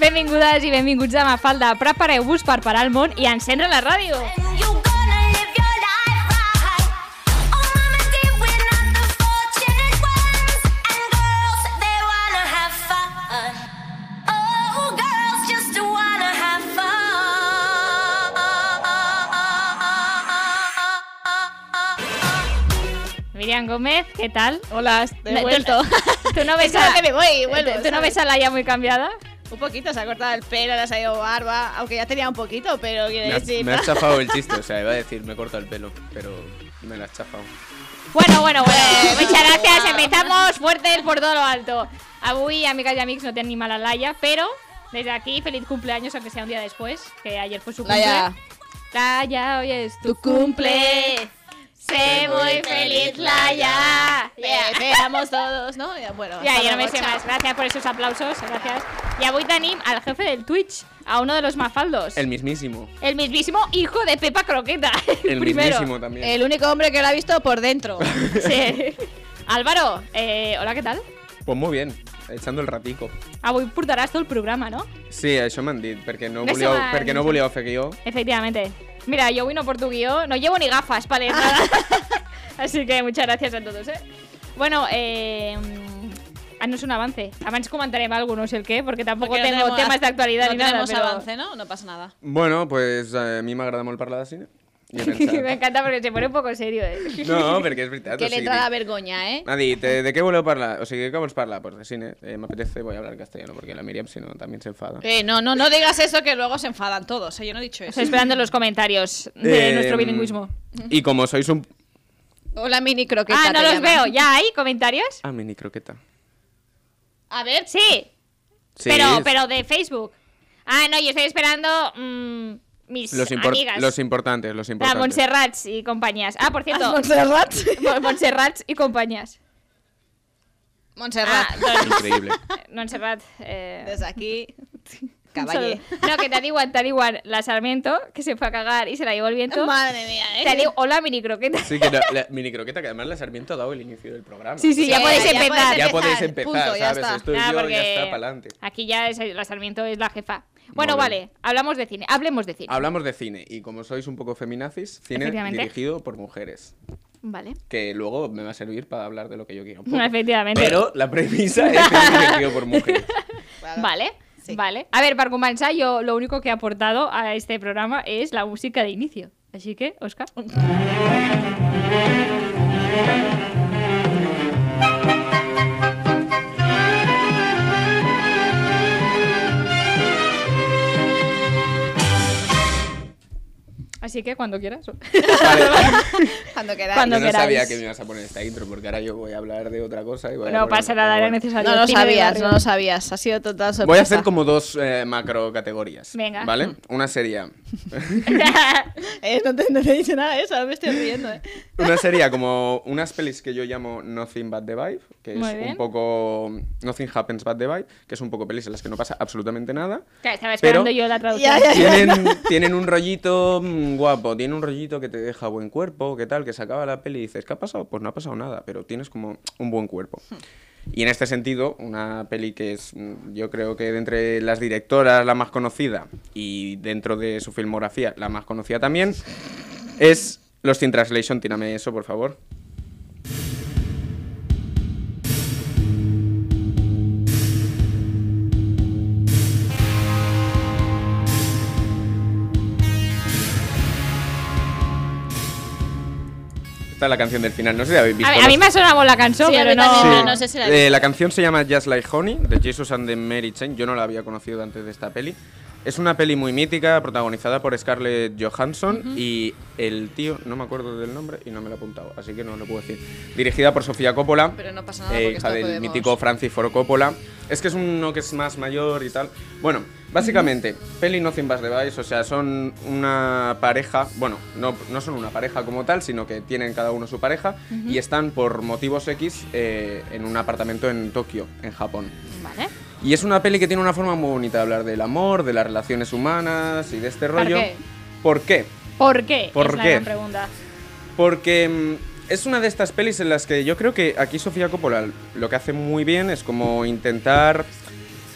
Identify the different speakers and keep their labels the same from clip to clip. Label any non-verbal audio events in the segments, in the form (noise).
Speaker 1: Benvingudes i benvinguts a Mafalda. Prepareu-vos per parar el món i encendre la ràdio. Miriam Gómez, ¿qué tal?
Speaker 2: Hola,
Speaker 1: No,
Speaker 2: estoy
Speaker 1: tú-
Speaker 2: vuelto.
Speaker 1: ¿Tú no ves a,
Speaker 2: que me voy y vuelvo.
Speaker 1: ¿tú, tú no
Speaker 2: ¿sabes?
Speaker 1: ves a Laia muy cambiada?
Speaker 2: Un poquito, se ha cortado el pelo, le ha salido barba, aunque ya tenía un poquito, pero
Speaker 3: Me
Speaker 1: Eh,
Speaker 2: quiero
Speaker 3: has,
Speaker 2: decir... (laughs)
Speaker 3: me has chafado el chiste,
Speaker 1: (laughs)
Speaker 3: o sea, iba a decir me he cortado el pelo, pero me lo has chafado.
Speaker 1: Bueno, bueno,
Speaker 2: (laughs)
Speaker 1: bueno. Muchas gracias. Empezamos fuertes por todo lo alto. Avui, amigas y amics, no tenim a la Laia, pero desde aquí, feliz cumpleaños, aunque sea un día después, que ayer fue su cumple.
Speaker 2: Laia.
Speaker 1: Laia, hoy es tu,
Speaker 2: Tu cumple.
Speaker 1: Sé muy feliz, Laia.
Speaker 2: Te esperamos todos, ¿no? Ya, Bueno,
Speaker 1: Ja,
Speaker 2: hasta
Speaker 1: ja no me
Speaker 2: luego,
Speaker 1: sé
Speaker 2: chao.
Speaker 1: más. Gracias por esos aplausos. Gracias. Y avui tenim al jefe del Twitch, a uno de los mafaldos.
Speaker 3: El
Speaker 1: El,
Speaker 3: mismísimo.
Speaker 1: mismísimo hijo de Pepa Croqueta. (laughs)
Speaker 3: El
Speaker 1: primero.
Speaker 3: mismísimo también.
Speaker 2: El único hombre que lo ha visto por
Speaker 3: (laughs)
Speaker 2: dentro.
Speaker 1: Sí. Álvaro, eh, hola, ¿qué tal?
Speaker 3: Pues molt bien, echando el ratico.
Speaker 1: Avui portaràs tot el programa, no?
Speaker 3: Sí, això m'han dit, perquè no,
Speaker 1: Això
Speaker 3: volíeu,
Speaker 1: m'han-
Speaker 3: perquè no volíeu fer guió.
Speaker 1: Efectivamente. Mira, yo vino por tu guión, no llevo ni gafas
Speaker 2: (laughs)
Speaker 1: para leer nada. (laughs) Así que muchas gracias a todos, ¿eh? Bueno, eh... mm, Haznos un avance. Abans comentarem alguna no sé el qué, porque tampoco
Speaker 2: Porque no
Speaker 1: tengo
Speaker 2: tenemos-
Speaker 1: temas de actualidad
Speaker 2: No
Speaker 1: ni nada.
Speaker 2: tenemos
Speaker 1: pero-
Speaker 2: avance, ¿no? No pasa nada.
Speaker 3: Bueno, pues eh, a mi m'agrada molt parlar de
Speaker 1: (laughs)
Speaker 3: cine. I he pensat-
Speaker 1: (laughs) Me encanta porque se pone un poco serio, ¿eh?
Speaker 3: No, perquè és veritat.
Speaker 2: Que
Speaker 3: o
Speaker 2: le
Speaker 3: sigui,
Speaker 2: entra la
Speaker 3: dic-
Speaker 2: vergoña, ¿eh?
Speaker 3: m'ha dit, eh, ¿de qué voleu parlar? O sigui, ¿de qué vols parlar? Pues de cine. Eh, me apetece, voy a hablar castellano, porque la Miriam, si no, también se enfada.
Speaker 2: Eh, no, no, no digas eso que luego se enfadan todos. eh, Yo no he dicho eso.
Speaker 1: Estoy esperando los comentarios de
Speaker 3: Eh,
Speaker 1: nuestro bilingüismo.
Speaker 3: Y como sois un...
Speaker 2: Hola, mini croqueta.
Speaker 1: Ah, no
Speaker 2: te
Speaker 1: los
Speaker 2: llaman.
Speaker 1: veo. ¿Ya hay comentarios?
Speaker 3: Ah, mini croqueta.
Speaker 2: A ver,
Speaker 1: Sí,
Speaker 3: Sí,
Speaker 1: pero, pero de Facebook. Ah, no, yo estoy esperando mm, mis
Speaker 3: los, impor-
Speaker 1: amigas.
Speaker 3: los importantes, los
Speaker 1: La
Speaker 3: importantes.
Speaker 1: Montserrat y compañías. Ah, por cierto.
Speaker 2: (laughs) Montserrat.
Speaker 1: Mon- Montserrat y compañías.
Speaker 2: Montserrat.
Speaker 1: Ah, doncs,
Speaker 3: Increíble.
Speaker 1: (laughs) Montserrat. Eh,
Speaker 2: Desde (laughs) aquí,
Speaker 1: un
Speaker 2: caballé.
Speaker 1: saludo. No, que te da igual, te da igual. La Sarmiento, que se fue a cagar y se la llevó el viento.
Speaker 2: Madre mía, ¿eh?
Speaker 1: Te digo, hola, mini croqueta.
Speaker 3: Sí, que la, la mini croqueta, que además la Sarmiento ha dado el inicio del programa.
Speaker 1: Sí, sí, ya
Speaker 2: Sí,
Speaker 1: podéis
Speaker 2: ya
Speaker 1: empezar.
Speaker 3: Ya podéis
Speaker 2: Empezar,
Speaker 3: empezar,
Speaker 2: punto, ya
Speaker 3: ¿sabes?
Speaker 2: está.
Speaker 3: Estoy
Speaker 1: Nada,
Speaker 3: yo,
Speaker 1: porque
Speaker 3: ya está, pa'lante.
Speaker 1: Aquí ya es, la Sarmiento es la jefa. Bueno,
Speaker 3: Muy
Speaker 1: vale,
Speaker 3: bien.
Speaker 1: hablamos de cine. Hablemos de cine.
Speaker 3: Hablamos de cine, y como sois un poco feminazis, cine
Speaker 1: Efectivamente.
Speaker 3: dirigido por mujeres.
Speaker 1: Vale.
Speaker 3: Que luego me va a servir para hablar de lo que yo quiero.
Speaker 1: (laughs) Efectivamente.
Speaker 3: Pero la premisa es que es dirigido por mujeres.
Speaker 2: Claro.
Speaker 1: Vale.
Speaker 2: Sí.
Speaker 1: Vale. A ver, para comenzar, yo lo único que he aportado a este programa es la música de inicio. Así que, Oscar. Así que cuando quieras.
Speaker 2: Cuando queráis.
Speaker 1: (laughs) Cuando
Speaker 3: yo no sabía
Speaker 1: queráis.
Speaker 3: que me ibas a poner esta intro, porque ahora yo voy a hablar de otra cosa. Y voy a
Speaker 1: No
Speaker 3: poner-
Speaker 1: pasa nada, era
Speaker 3: Bueno.
Speaker 1: necesario.
Speaker 2: No lo
Speaker 1: Cine de
Speaker 2: sabías,
Speaker 1: barrio.
Speaker 2: no lo sabías. Ha sido total sorpresa.
Speaker 3: Voy a hacer como dos eh, macro categorías.
Speaker 1: Venga. Mm.
Speaker 3: ¿Vale? Una sería.
Speaker 1: (laughs)
Speaker 2: Eh, no, te, no te he dicho nada de eso, ahora me estoy riendo. eh.
Speaker 3: Una sería como unas pelis que yo llamo Nothing But The Vibe, que
Speaker 1: Muy
Speaker 3: es
Speaker 1: bien.
Speaker 3: un poco... Nothing Happens But The Vibe, que es un poco pelis en las que no pasa absolutamente nada.
Speaker 1: Claro, Estaba esperando
Speaker 3: Pero-
Speaker 1: yo la traducción.
Speaker 2: Ya, ya.
Speaker 3: Tienen, tienen un rollito mm, guapo, tienen un rollito que te deja buen cuerpo, que tal, que se acaba la peli y dices, ¿qué ha pasado? Pues no ha pasado nada, pero tienes como un buen cuerpo. Y en este sentido, una peli que es, mm, yo creo que de entre las directoras la más conocida y dentro de su filmografía la más conocida también, es Los in Translation. Tírame eso, por favor. Esta es la canción del final. No sé si habéis visto.
Speaker 1: A, ver, a
Speaker 3: los-
Speaker 1: mí me ha sonado la canción,
Speaker 2: Sí, a
Speaker 1: pero
Speaker 2: mí
Speaker 1: no.
Speaker 2: también,
Speaker 3: Sí.
Speaker 2: Ah, no sé si la he
Speaker 3: Eh,
Speaker 2: visto.
Speaker 3: la canción se llama Just Like Honey, de Jesus and the Mary Chain. Yo no la había conocido antes de esta peli. Es una peli muy mítica, protagonizada por Scarlett Johansson y el tío, no me acuerdo del nombre y no me lo he apuntado, así que no lo puedo decir. Dirigida por Sofía Coppola,
Speaker 2: Pero no pasa nada,
Speaker 3: eh,
Speaker 2: Ah, porque
Speaker 3: hija
Speaker 2: esto
Speaker 3: del
Speaker 2: podemos-
Speaker 3: mítico Francis Ford Coppola. Es que es uno que es más mayor y tal. Bueno, Básicamente, Peli Nothing But Device, o sea, son una pareja, bueno, no, no son una pareja como tal, sino que tienen cada uno su pareja y están por motivos X eh, en un apartamento en Tokio, en Japón.
Speaker 1: Vale.
Speaker 3: Y es una peli que tiene una forma muy bonita de hablar del amor, de las relaciones humanas y de este rollo.
Speaker 1: qué?
Speaker 3: ¿Por qué?
Speaker 1: ¿Por qué?
Speaker 3: ¿Por
Speaker 1: es la
Speaker 3: qué?
Speaker 1: gran pregunta.
Speaker 3: Porque mm, es una de estas pelis en las que yo creo que aquí Sofía Coppola lo que hace muy bien es como intentar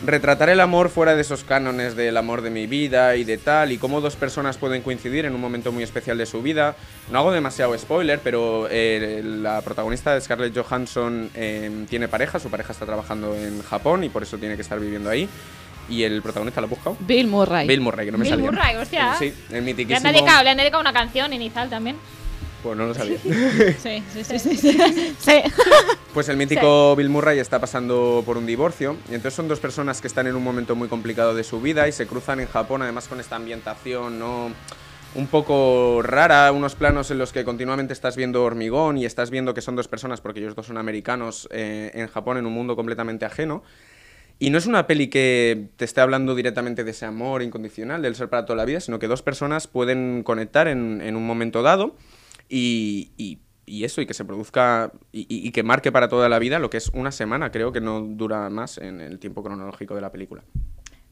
Speaker 3: retratar el amor fuera de esos cánones del amor de mi vida y de tal, y cómo dos personas pueden coincidir en un momento muy especial de su vida. No hago demasiado spoiler, pero eh, la protagonista de Scarlett Johansson eh, tiene pareja, su pareja está trabajando en Japón y por eso tiene que estar viviendo ahí. Y el protagonista lo ha buscado.
Speaker 2: Bill Murray.
Speaker 3: Bill Murray, que no me
Speaker 1: Bill
Speaker 3: salía.
Speaker 1: Murray, hostia.
Speaker 3: Sí, el
Speaker 1: Le han,
Speaker 3: mitiquísimo.
Speaker 1: dedicado, le han dedicado una canción inicial también.
Speaker 3: Pues no
Speaker 1: (laughs)
Speaker 3: lo sabía.
Speaker 2: Sí, sí, sí. (laughs) sí, sí. Sí.
Speaker 3: Pues el mítico Bill Murray está pasando por un divorcio y entonces son dos personas que están en un momento muy complicado de su vida y se cruzan en Japón además con esta ambientación no un poco rara, unos planos en los que continuamente estás viendo hormigón y estás viendo que son dos personas porque ellos dos son americanos eh, en Japón en un mundo completamente ajeno. Y no es una peli que te esté hablando directamente de ese amor incondicional, del ser para toda la vida, sino que dos personas pueden conectar en, en un momento dado y, y- y eso, y que se produzca y, y- y que marque para toda la vida lo que es una semana, creo que no dura más en el tiempo cronológico de la película.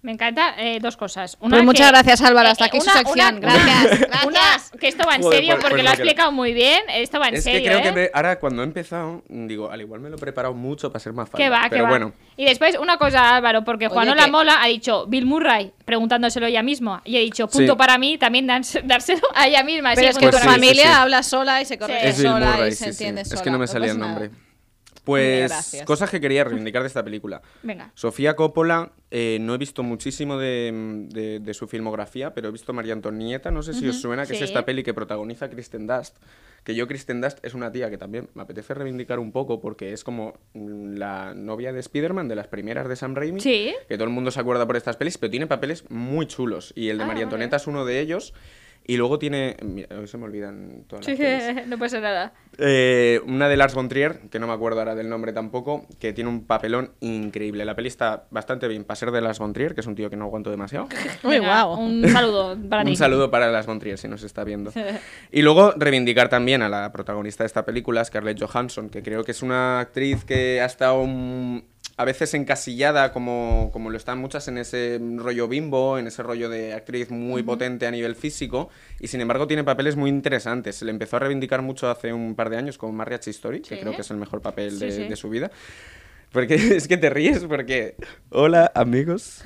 Speaker 1: Me encanta eh, dos cosas. Una
Speaker 2: Pues muchas
Speaker 1: que-
Speaker 2: gracias, Álvaro. Hasta
Speaker 1: Eh,
Speaker 2: aquí
Speaker 1: una-
Speaker 2: su sección.
Speaker 1: (laughs) una-
Speaker 2: gracias.
Speaker 1: Una-
Speaker 2: Gracias.
Speaker 1: que esto va en
Speaker 3: Joder,
Speaker 1: serio
Speaker 3: pues-
Speaker 1: porque
Speaker 3: pues
Speaker 1: lo ha
Speaker 3: me quedo.
Speaker 1: explicado muy bien. Esto va en
Speaker 3: es
Speaker 1: serio.
Speaker 3: que creo
Speaker 1: ¿eh?
Speaker 3: que me- ahora cuando he empezado, digo, al igual me lo he preparado mucho para ser más fácil.
Speaker 1: Que va,
Speaker 3: pero
Speaker 1: que va.
Speaker 3: bueno,
Speaker 1: Y después, una cosa, Álvaro, porque
Speaker 2: Oye,
Speaker 1: Juanola
Speaker 2: que-
Speaker 1: Mola ha dicho Bill Murray, preguntándoselo ella misma. Y he dicho, punto
Speaker 3: Sí.
Speaker 1: para mí, también dans- (laughs) dárselo a ella misma.
Speaker 2: Pero
Speaker 1: Sí,
Speaker 2: es que
Speaker 1: punto
Speaker 2: tu
Speaker 3: Pues sí,
Speaker 1: para mí.
Speaker 2: familia
Speaker 3: sí, sí.
Speaker 2: habla sola y se
Speaker 4: Eh,
Speaker 2: corrige
Speaker 3: es Bill
Speaker 2: sola
Speaker 3: Murray,
Speaker 2: y se
Speaker 3: sí, sí.
Speaker 2: entiende sola.
Speaker 3: Es que no me salía el
Speaker 2: pasa nada.
Speaker 3: nombre. Pues
Speaker 2: gracias.
Speaker 3: cosas que quería reivindicar de esta película.
Speaker 1: Venga.
Speaker 3: Sofía Coppola, eh, no he visto muchísimo de, mm, de- de su filmografía, pero he visto María Antonieta, no sé si os suena,
Speaker 1: sí.
Speaker 3: que es esta peli que protagoniza Kristen Dust. Que yo, Kristen Dust, es una tía que también me apetece reivindicar un poco porque es como mm, la novia de Spider-Man, de las primeras de Sam Raimi,
Speaker 1: Sí.
Speaker 3: que todo el mundo se acuerda por estas pelis, pero tiene papeles muy chulos. Y el de
Speaker 1: Ah,
Speaker 3: María
Speaker 1: vale.
Speaker 3: Antonieta es uno de ellos. Y luego tiene. Mira, hoy se me olvidan todas las
Speaker 1: Sí, (laughs)
Speaker 2: (laughs)
Speaker 3: pelis.
Speaker 1: no pasa nada.
Speaker 3: Eh, una de Lars von Trier, que no me acuerdo ahora del nombre tampoco, que tiene un papelón increíble. La peli está bastante bien. Para ser de Lars von Trier, que es un tío que no aguanto demasiado.
Speaker 2: Uy,
Speaker 1: Venga,
Speaker 2: guau.
Speaker 1: (laughs) Un saludo para ti.
Speaker 3: Un saludo para Lars von Trier, si nos está
Speaker 1: (laughs)
Speaker 3: viendo. Y luego reivindicar también a la protagonista de esta película, Scarlett Johansson, que creo que es una actriz que ha estado mm, a veces encasillada, como, como lo están muchas, en ese rollo bimbo, en ese rollo de actriz muy potente a nivel físico, y sin embargo tiene papeles muy interesantes. Se le empezó a reivindicar mucho hace un par de años con Marriage Story, que
Speaker 1: Sí.
Speaker 3: creo que es el mejor papel
Speaker 1: Sí,
Speaker 3: de-
Speaker 1: sí.
Speaker 3: de su vida. Porque (laughs) es que te ríes, porque. Hola, amigos.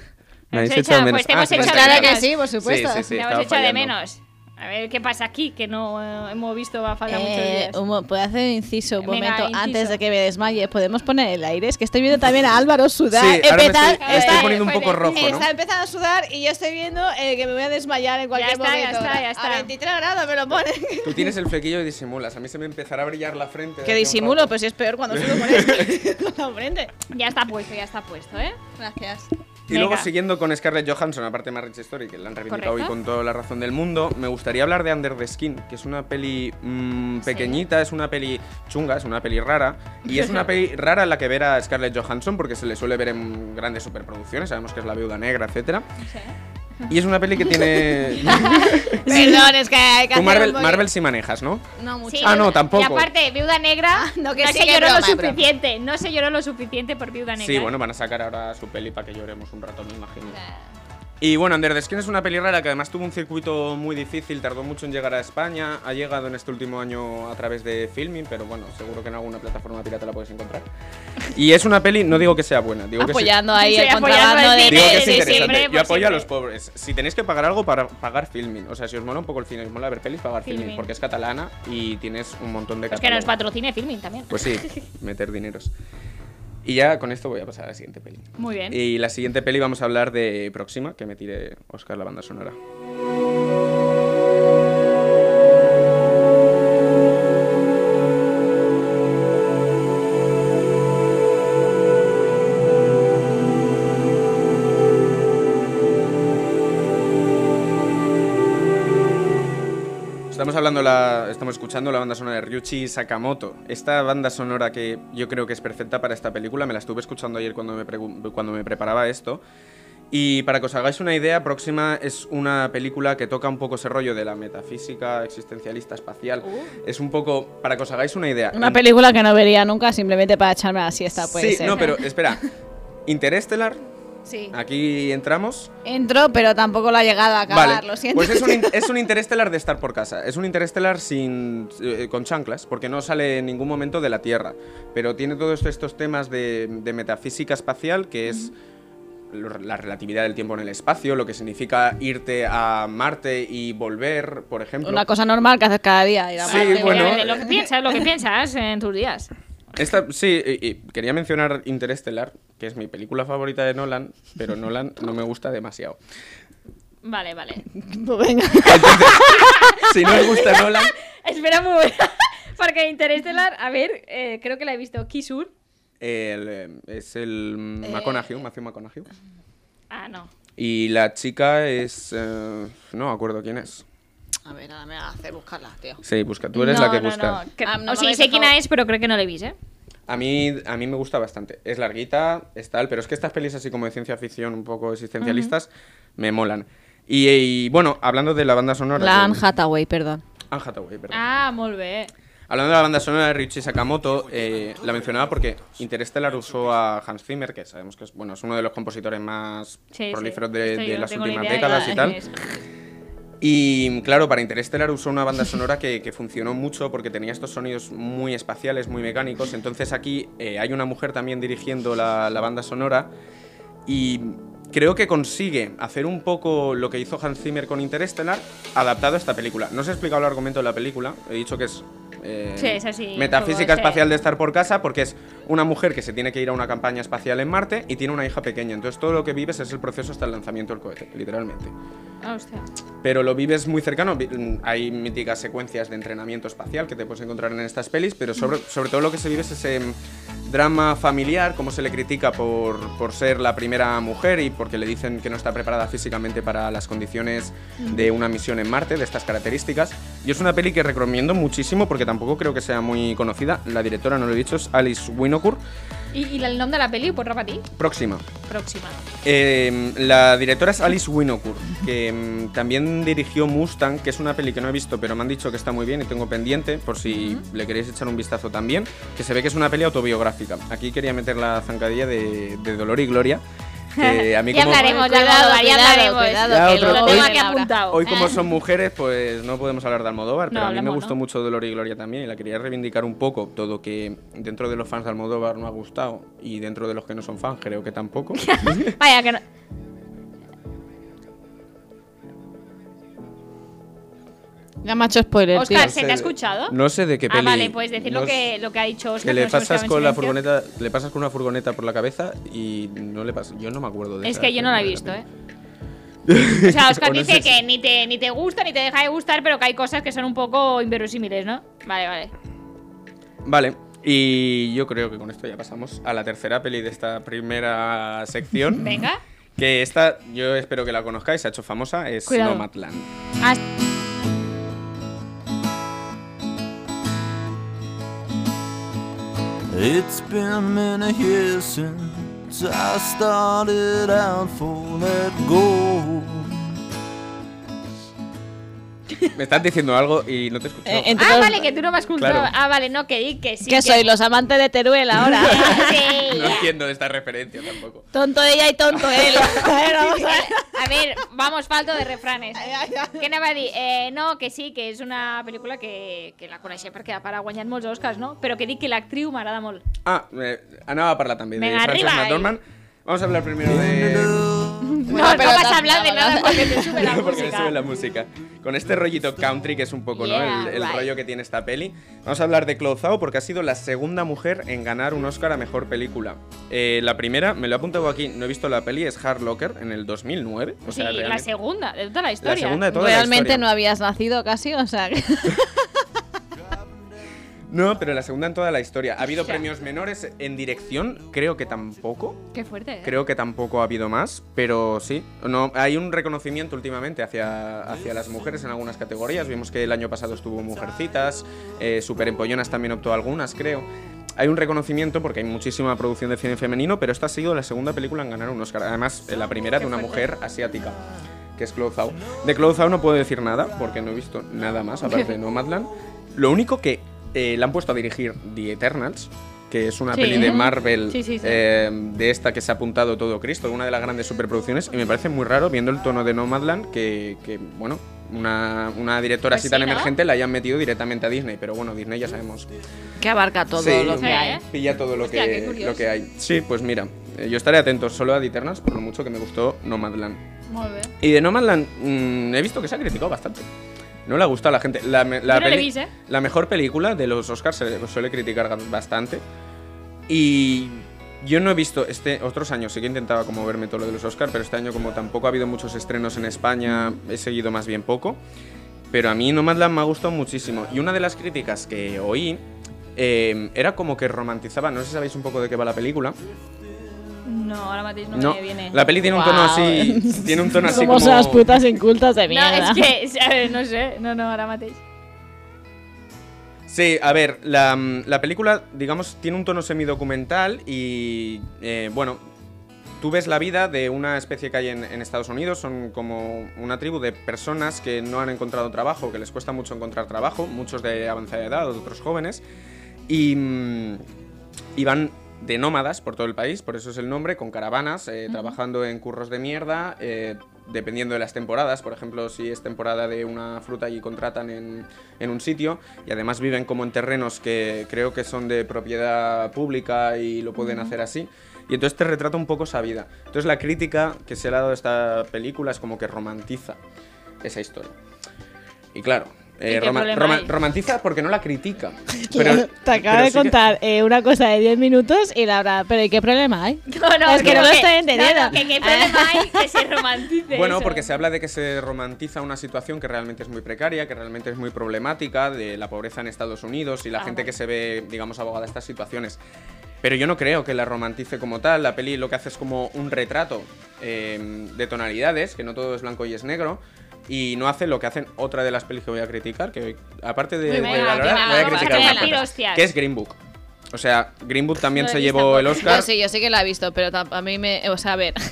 Speaker 3: Me
Speaker 1: Nos
Speaker 3: habéis
Speaker 1: echa-
Speaker 3: echado de menos.
Speaker 1: pues te hemos
Speaker 3: sí, me
Speaker 1: echado
Speaker 3: has
Speaker 1: de
Speaker 2: Claro
Speaker 3: echado.
Speaker 2: que
Speaker 1: menos.
Speaker 2: sí, (laughs) por supuesto.
Speaker 3: Sí, sí, sí.
Speaker 1: Te
Speaker 3: estaba
Speaker 1: hemos hecho de
Speaker 3: fallando.
Speaker 1: menos. A ver qué pasa aquí, que no eh, hemos visto a falta muchos
Speaker 2: Eh,
Speaker 1: días.
Speaker 2: un mo- ¿Puedo hacer un inciso un
Speaker 1: Venga,
Speaker 2: momento
Speaker 1: inciso.
Speaker 2: antes de que me desmaye? ¿Podemos poner el aire? Es que estoy viendo también a Álvaro sudar.
Speaker 3: Sí, ahora me
Speaker 2: empezar-
Speaker 3: estoy, me estoy
Speaker 2: está-
Speaker 3: poniendo un
Speaker 1: fue
Speaker 3: poco
Speaker 1: de-
Speaker 3: rojo, ¿no?
Speaker 2: Está empezando a sudar y yo estoy viendo eh, que me voy a desmayar en cualquier
Speaker 1: Ya está, ya
Speaker 2: momento.
Speaker 1: está, ya está.
Speaker 2: A 23 grados me lo ponen.
Speaker 3: Tú tienes el flequillo y disimulas. A mí se me empezará a brillar la frente. de aquí
Speaker 2: Que
Speaker 3: a un
Speaker 2: disimulo,
Speaker 3: rato.
Speaker 2: pues si es peor cuando sudo
Speaker 3: (laughs)
Speaker 2: con esto. (laughs) con la frente.
Speaker 1: Ya está puesto, ya está puesto, ¿eh?
Speaker 2: Gracias.
Speaker 3: Y luego
Speaker 1: venga.
Speaker 3: siguiendo con Scarlett Johansson, aparte de Marriage Story, que la han reivindicado
Speaker 1: Correcto.
Speaker 3: hoy con toda la razón del mundo, me gustaría hablar de Under the Skin, que es una peli mm, pequeñita, es una peli chunga, es una peli rara. Y
Speaker 2: (laughs)
Speaker 3: es una peli rara la que ver a Scarlett Johansson, porque se le suele ver en grandes superproducciones, sabemos que es la viuda negra, etcétera. Y es una peli
Speaker 2: (laughs)
Speaker 3: que
Speaker 2: (laughs)
Speaker 3: tiene.
Speaker 2: Perdón, es que hay que
Speaker 3: Tú
Speaker 2: hacer
Speaker 3: Marvel,
Speaker 2: un poquito-
Speaker 3: Marvel sí manejas, ¿no?
Speaker 2: No mucho. Ah,
Speaker 1: Sí,
Speaker 3: Ah, no,
Speaker 1: viuda-
Speaker 3: tampoco.
Speaker 1: Y aparte, Viuda Negra, no,
Speaker 2: no, que sí,
Speaker 1: se
Speaker 2: que
Speaker 1: lloró
Speaker 2: broma,
Speaker 1: lo
Speaker 2: broma.
Speaker 1: suficiente. No se lloró lo suficiente por Viuda Negra.
Speaker 3: Sí, bueno, van a sacar ahora su peli para que lloremos un rato, me imagino. Y bueno, Under the Skin es una peli rara que además tuvo un circuito muy difícil, tardó mucho en llegar a España, ha llegado en este último año a través de filming, pero bueno, seguro que en alguna plataforma pirata la puedes encontrar. Y es una peli, no digo que sea buena,
Speaker 1: Ah,
Speaker 3: digo que sí.
Speaker 2: Apoyando ahí
Speaker 1: Sí,
Speaker 2: el
Speaker 1: apoyando
Speaker 2: contrabando
Speaker 1: el
Speaker 2: de
Speaker 3: Digo que
Speaker 1: Sí,
Speaker 3: es
Speaker 1: sí,
Speaker 3: interesante.
Speaker 1: pues siempre,
Speaker 3: Yo
Speaker 1: por
Speaker 3: apoyo
Speaker 1: siempre.
Speaker 3: a los pobres. Si tenéis que pagar algo para pagar filming, o sea, si os mola un poco el cine, os mola ver pelis, pagar filming,
Speaker 1: Filmin.
Speaker 3: porque es catalana y tienes un montón de
Speaker 1: Pues que nos
Speaker 3: catálogo.
Speaker 1: patrocine Filming también. (laughs)
Speaker 3: Pues sí, meter dineros. Y ya con esto voy a pasar a la siguiente peli.
Speaker 1: Muy bien.
Speaker 3: Y la siguiente peli vamos a hablar de Próxima, que me tire Oscar la banda sonora. Estamos hablando la, estamos escuchando la banda sonora de Ryuichi Sakamoto. Esta banda sonora que yo creo que es perfecta para esta película, me la estuve escuchando ayer cuando me, pregun- cuando me preparaba esto Y para que os hagáis una idea, Próxima es una película que toca un poco ese rollo de la metafísica existencialista espacial. Es un poco, para que os hagáis una idea.
Speaker 2: Uh. Una
Speaker 3: en-
Speaker 2: película que no vería nunca simplemente para echarme la siesta, puede
Speaker 3: Mm. Sí,
Speaker 2: ser. (laughs)
Speaker 3: no, pero espera. Interestelar,
Speaker 1: Sí.
Speaker 3: aquí entramos.
Speaker 2: Entro, pero tampoco la he llegado a acabar,
Speaker 3: vale,
Speaker 2: lo siento.
Speaker 3: pues es un, in- es un interestelar de estar por casa. Es un interestelar sin, eh, con chanclas, porque no sale en ningún momento de la Tierra. Pero tiene todos estos temas de, de metafísica espacial, que es lo- la relatividad del tiempo en el espacio, lo que significa irte a Marte y volver, por ejemplo.
Speaker 2: (laughs) Una cosa normal que haces cada día. ir a
Speaker 3: Sí,
Speaker 2: Marte,
Speaker 3: bueno.
Speaker 2: volver.
Speaker 1: Lo que piensas, lo que piensas en tus días.
Speaker 3: Esta, sí, y- y quería mencionar Interestelar, que es mi película favorita de Nolan, pero Nolan no me gusta demasiado.
Speaker 1: Vale, (laughs) vale.
Speaker 2: Pues (laughs) venga.
Speaker 3: Si no os
Speaker 2: (laughs)
Speaker 3: gusta Nolan,
Speaker 1: Espera muy (laughs) Porque Interestelar, a ver, eh, creo que la he visto. Kisur.
Speaker 3: el, eh, es el
Speaker 2: Eh,
Speaker 3: mm, McConaughey, Matthew McConaughey.
Speaker 1: Ah, no.
Speaker 3: Y la chica es... eh, no me acuerdo quién es.
Speaker 2: A ver, ahora me hace buscarla, tío.
Speaker 3: Sí, busca, tú eres la que busca.
Speaker 1: No, no. Que-
Speaker 2: Ah, no
Speaker 1: o
Speaker 2: me
Speaker 1: sí,
Speaker 2: habéis
Speaker 1: sé quién
Speaker 2: dejado.
Speaker 1: es, pero creo que no la he visto, ¿eh?
Speaker 3: A mí, a mí me gusta bastante. Es larguita, es tal, pero es que estas pelis así como de ciencia ficción, un poco existencialistas, me molan. Y, y, bueno, hablando de la banda sonora...
Speaker 2: La
Speaker 3: de-
Speaker 2: Anne Hathaway, perdón.
Speaker 3: Anne Hathaway, perdón.
Speaker 1: Ah, muy bien.
Speaker 3: Hablando de la banda sonora de Richie Sakamoto, eh, la mencionaba porque Interstellar usó a Hans Zimmer, que sabemos que es, bueno, es uno de los compositores más
Speaker 1: Sí,
Speaker 3: prolíferos
Speaker 1: sí.
Speaker 3: de,
Speaker 1: Esto
Speaker 3: de
Speaker 1: yo no
Speaker 3: las
Speaker 1: tengo ni
Speaker 3: últimas
Speaker 1: idea de
Speaker 3: décadas y
Speaker 1: quién
Speaker 3: tal.
Speaker 1: es.
Speaker 3: Y claro, para Interstellar usó una banda sonora que, que funcionó mucho porque tenía estos sonidos muy espaciales, muy mecánicos. Entonces aquí eh, hay una mujer también dirigiendo la, la banda sonora y creo que consigue hacer un poco lo que hizo Hans Zimmer con Interstellar adaptado a esta película. No os he explicado el argumento de la película, he dicho que es... eh,
Speaker 1: Sí, es así,
Speaker 3: Metafísica
Speaker 1: un poco, sí.
Speaker 3: espacial de estar por casa porque es una mujer que se tiene que ir a una campaña espacial en Marte y tiene una hija pequeña. Entonces todo lo que vives es el proceso hasta el lanzamiento del cohete, literalmente
Speaker 1: Ah, hostia.
Speaker 3: pero lo vives muy cercano. Vi- mm, Hay míticas secuencias de entrenamiento espacial que te puedes encontrar en estas pelis, pero sobre, sobre todo lo que se vive es ese mm, drama familiar, cómo se le critica por, por ser la primera mujer y porque le dicen que no está preparada físicamente para las condiciones de una misión en Marte, de estas características. Y es una peli que recomiendo muchísimo porque tampoco creo que sea muy conocida. La directora, no lo he dicho, es Alice Winokur.
Speaker 1: ¿Y, y el nombre de la peli? Pues repetir.
Speaker 3: Próxima.
Speaker 1: Próxima.
Speaker 3: Eh, la directora es Alice Winokur, que mm, también dirigió Mustang, que es una peli que no he visto, pero me han dicho que está muy bien y tengo pendiente, por si le queréis echar un vistazo también, que se ve que es una peli autobiográfica. Aquí quería meter la zancadilla de, de Dolor y Gloria.
Speaker 1: (laughs)
Speaker 3: que a mí
Speaker 1: ya
Speaker 3: como,
Speaker 1: hablaremos, ya,
Speaker 2: Cuidado,
Speaker 1: hablaremos, ya
Speaker 2: cuidado,
Speaker 1: hablaremos.
Speaker 2: cuidado,
Speaker 3: Ya
Speaker 1: que
Speaker 3: otro-
Speaker 1: lo tengo
Speaker 3: hoy-
Speaker 1: aquí apuntado. (laughs)
Speaker 3: Hoy como son mujeres, pues no podemos hablar de Almodóvar, pero
Speaker 1: No,
Speaker 3: a mí me
Speaker 1: hablamos,
Speaker 3: gustó
Speaker 1: ¿no?
Speaker 3: mucho Dolor y Gloria también y la quería reivindicar un poco, todo que dentro de los fans de Almodóvar no ha gustado y dentro de los que no son fans creo que
Speaker 1: (laughs)
Speaker 3: tampoco.
Speaker 1: Vaya, que no.
Speaker 2: Ya me ha hecho spoiler, tío.
Speaker 1: Oscar, ¿se
Speaker 3: No sé
Speaker 1: te ha
Speaker 3: de-
Speaker 1: escuchado?
Speaker 3: No sé de qué
Speaker 1: Ah,
Speaker 3: peli.
Speaker 1: vale, pues decir
Speaker 3: no
Speaker 1: lo, que,
Speaker 3: sé.
Speaker 1: lo que ha dicho Oscar.
Speaker 3: Que le
Speaker 1: que nos escuchaba
Speaker 3: pasas
Speaker 1: en
Speaker 3: con la
Speaker 1: silencio.
Speaker 3: furgoneta, le pasas con una furgoneta por la cabeza y no le pasa. Yo no me acuerdo de
Speaker 1: Es
Speaker 3: esa
Speaker 1: que yo no la he
Speaker 3: peli,
Speaker 1: visto,
Speaker 3: peli.
Speaker 1: ¿eh? O
Speaker 3: (laughs)
Speaker 1: sea, Oscar
Speaker 3: O no
Speaker 1: dice
Speaker 3: sé si-
Speaker 1: que ni te, ni te gusta ni te deja de gustar, pero que hay cosas que son un poco inverosímiles, ¿no? Vale, vale.
Speaker 3: Vale. Y yo creo que con esto ya pasamos a la tercera peli de esta primera sección.
Speaker 1: Venga.
Speaker 3: Que esta, yo espero que la conozcáis, se ha hecho famosa, es
Speaker 1: Cuidado.
Speaker 3: Nomadland.
Speaker 1: As-
Speaker 5: It's been many years since I started out for that goal.
Speaker 3: Me estás diciendo algo y no te escucho.
Speaker 2: Eh, entre
Speaker 1: Ah,
Speaker 2: los-
Speaker 1: vale, que tú no me has escuchado.
Speaker 3: Mm. Claro.
Speaker 1: Ah, vale, no, que di que sí. Ah,
Speaker 2: Que soy los amantes de Teruel ahora.
Speaker 3: (laughs)
Speaker 1: Sí.
Speaker 3: No entiendo esta referencia tampoco.
Speaker 2: tonto ella y tonto
Speaker 3: (laughs)
Speaker 2: él. A ver, vamos a ver.
Speaker 1: A ver, vamos, falto de refranes. Que anava a dir? Eh, no, que sí, que és una pel·lícula que, que la coneixem perquè a part ha guanyat molts Oscars, no? Però que dic que l'actriu m'agrada molt.
Speaker 3: Ah, eh, Ana va a hablar también de
Speaker 1: Venga,
Speaker 3: Frances
Speaker 1: arriba,
Speaker 3: McDormand. Vamos a hablar primero de...
Speaker 1: no, no vas a hablar de nada porque te sube la
Speaker 3: (laughs) porque me
Speaker 1: música.
Speaker 3: sube la música. Con este rollito country que es un poco, ¿no?
Speaker 1: Yeah,
Speaker 3: El, el
Speaker 1: right.
Speaker 3: rollo que tiene esta peli. Vamos a hablar de Chloe Zhao porque ha sido la segunda mujer en ganar un Oscar a mejor película. Eh, la primera, me lo he apuntado aquí, no he visto la peli, es Hard Locker en el 2009. O
Speaker 1: Sí, la
Speaker 3: sea, realmente-
Speaker 1: segunda, de tota la història.
Speaker 3: La segunda de toda
Speaker 2: Realmente no
Speaker 3: la historia.
Speaker 2: habías nacido casi, o sea. que-
Speaker 3: no. pero la segunda en toda la historia. Ha habido premios menores en dirección, creo que tampoco.
Speaker 1: Qué fuerte, eh?
Speaker 3: Creo que tampoco ha habido más, pero sí. No, hay un reconocimiento últimamente hacia, hacia las mujeres en algunas categorías. Vimos que el año pasado estuvo Mujercitas, eh, Super Empollonas también optó a algunas, creo. hay un reconocimiento porque hay muchísima producción de cine femenino, pero esta ha sido la segunda película en ganar un Oscar. Además, eh, la primera de una mujer asiática, que es Clothao. De Clothao no puedo decir nada porque no he visto nada más,
Speaker 1: (laughs)
Speaker 3: aparte de Nomadland. Lo único que eh, la han puesto a dirigir The Eternals, que es una
Speaker 1: Sí.
Speaker 3: peli de Marvel,
Speaker 1: Sí, sí, sí.
Speaker 3: eh, de esta que se ha apuntado todo Cristo, una de las grandes superproducciones, y me parece muy raro viendo el tono de Nomadland que, que bueno, una, una directora
Speaker 1: Pues
Speaker 3: así
Speaker 1: sí,
Speaker 3: tan
Speaker 1: ¿no?
Speaker 3: emergente la hayan metido directamente a Disney, pero bueno, Disney ya sabemos
Speaker 4: Que abarca todo
Speaker 3: Sí,
Speaker 4: lo que
Speaker 1: sí.
Speaker 4: hay.
Speaker 3: Pilla todo lo,
Speaker 1: ¿eh? Hostia, qué
Speaker 3: que,
Speaker 1: curioso.
Speaker 3: lo que hay. Sí, pues mira, eh, yo estaré atento solo a The Eternals por lo mucho que me gustó Nomadland.
Speaker 2: Muy bien.
Speaker 3: Y de Nomadland mm, he visto que se ha criticado bastante. No le ha gustado a la gente. La, me- la
Speaker 1: Yo no le
Speaker 3: peli-
Speaker 1: vi, ¿eh?
Speaker 3: la mejor película de los Oscars se le suele criticar ga- bastante. Y yo no he visto este otros años, sí que intentaba como verme todo lo de los Oscars, pero este año como tampoco ha habido muchos estrenos en España, he seguido más bien poco. Pero a mí Nomadland me ha gustado muchísimo. Y una de las críticas que oí eh, era como que romantizaba, no sé si sabéis un poco de qué va la película.
Speaker 2: No, ahora Matis no, me viene.
Speaker 3: la peli tiene un tono
Speaker 4: Guau.
Speaker 3: así, tiene un
Speaker 4: (laughs)
Speaker 3: tono así
Speaker 2: Somos
Speaker 3: como...
Speaker 2: unas putas incultas de
Speaker 1: No,
Speaker 2: mierda.
Speaker 1: es que, eh, no sé, no, no, ahora matéis.
Speaker 3: Sí, a ver, la, mm, la película, digamos, tiene un tono semidocumental y, eh, bueno, tú ves la vida de una especie que hay en, en Estados Unidos, son como una tribu de personas que no han encontrado trabajo, que les cuesta mucho encontrar trabajo, muchos de avanzada edad, otros jóvenes, y, mm, y van de nómadas por todo el país, por eso es el nombre, con caravanas, eh, trabajando en curros de mierda, eh, dependiendo de las temporadas, por ejemplo, si es temporada de una fruta y contratan en, en un sitio, y además viven como en terrenos que creo que son de propiedad pública y lo pueden hacer así. Y entonces te retrata un poco esa vida. Entonces la crítica que se le ha dado a esta película es como que romantiza esa historia. Y claro, eh,
Speaker 1: ¿Y qué
Speaker 3: roma-
Speaker 1: problema
Speaker 3: roma-
Speaker 1: hay?
Speaker 3: romantiza porque no
Speaker 1: (laughs)
Speaker 3: la critica.
Speaker 2: Claro, te acabo
Speaker 3: pero
Speaker 2: de
Speaker 3: sí que-
Speaker 2: contar eh, una cosa de 10 minutos y la verdad, pero ¿y qué problema hay?
Speaker 1: (laughs) No, no,
Speaker 2: Es que no lo
Speaker 1: que-
Speaker 2: estoy entendiendo.
Speaker 1: no, no, que qué problema
Speaker 4: Ah.
Speaker 1: hay que se romantice
Speaker 3: (laughs) Bueno,
Speaker 1: eso.
Speaker 3: porque se habla de que se romantiza una situación que realmente es muy precaria, que realmente es muy problemática, de la pobreza en Estados Unidos y la
Speaker 1: Ah,
Speaker 3: gente
Speaker 1: vale.
Speaker 3: que se ve, digamos, abogada a estas situaciones. Pero yo no creo que la romantice como tal. La peli lo que hace es como un retrato eh, de tonalidades, que no todo es blanco y es negro. Y no hace lo que hacen otra de las pelis que voy a criticar, que aparte de,
Speaker 1: Muy
Speaker 3: de
Speaker 1: buena,
Speaker 3: valorar,
Speaker 4: venga,
Speaker 3: voy a
Speaker 4: vamos a
Speaker 3: criticar una
Speaker 4: debatir,
Speaker 3: cosa,
Speaker 1: hostias.
Speaker 3: que es Green Book. O sea, Green Book también
Speaker 1: No
Speaker 3: se
Speaker 1: he
Speaker 3: llevó
Speaker 1: visto
Speaker 3: el
Speaker 4: Yo
Speaker 3: Oscar.
Speaker 4: sí, yo sí que la he visto, pero tam- a mí me. O sea, a ver. (laughs)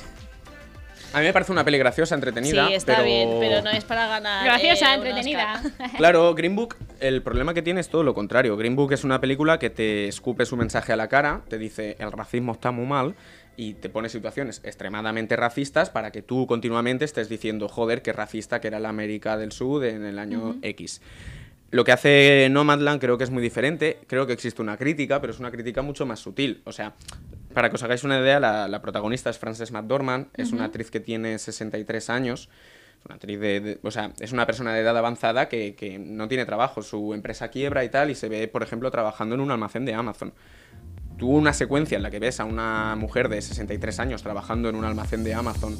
Speaker 3: A mí me parece una peli graciosa, entretenida.
Speaker 4: sí, está
Speaker 3: pero...
Speaker 4: bien, pero no es para ganar.
Speaker 1: Graciosa,
Speaker 4: eh, un
Speaker 1: entretenida.
Speaker 4: Oscar.
Speaker 3: Claro, Green Book, el problema que tiene es todo lo contrario. Green Book es una película que te escupe su mensaje a la cara, te dice el racismo está muy mal y te pone situaciones extremadamente racistas para que tú continuamente estés diciendo, joder, qué racista que era la América del Sur en el año X. Lo que hace Nomadland creo que es muy diferente. Creo que existe una crítica, pero es una crítica mucho más sutil. O sea, para que os hagáis una idea, la, la protagonista es Frances McDormand, es una actriz que tiene 63 años. Es una actriz de, de- O sea, es una persona de edad avanzada que, que no tiene trabajo. Su empresa quiebra y tal, y se ve, por ejemplo, trabajando en un almacén de Amazon. Tú una secuencia en la que ves a una mujer de 63 años trabajando en un almacén de Amazon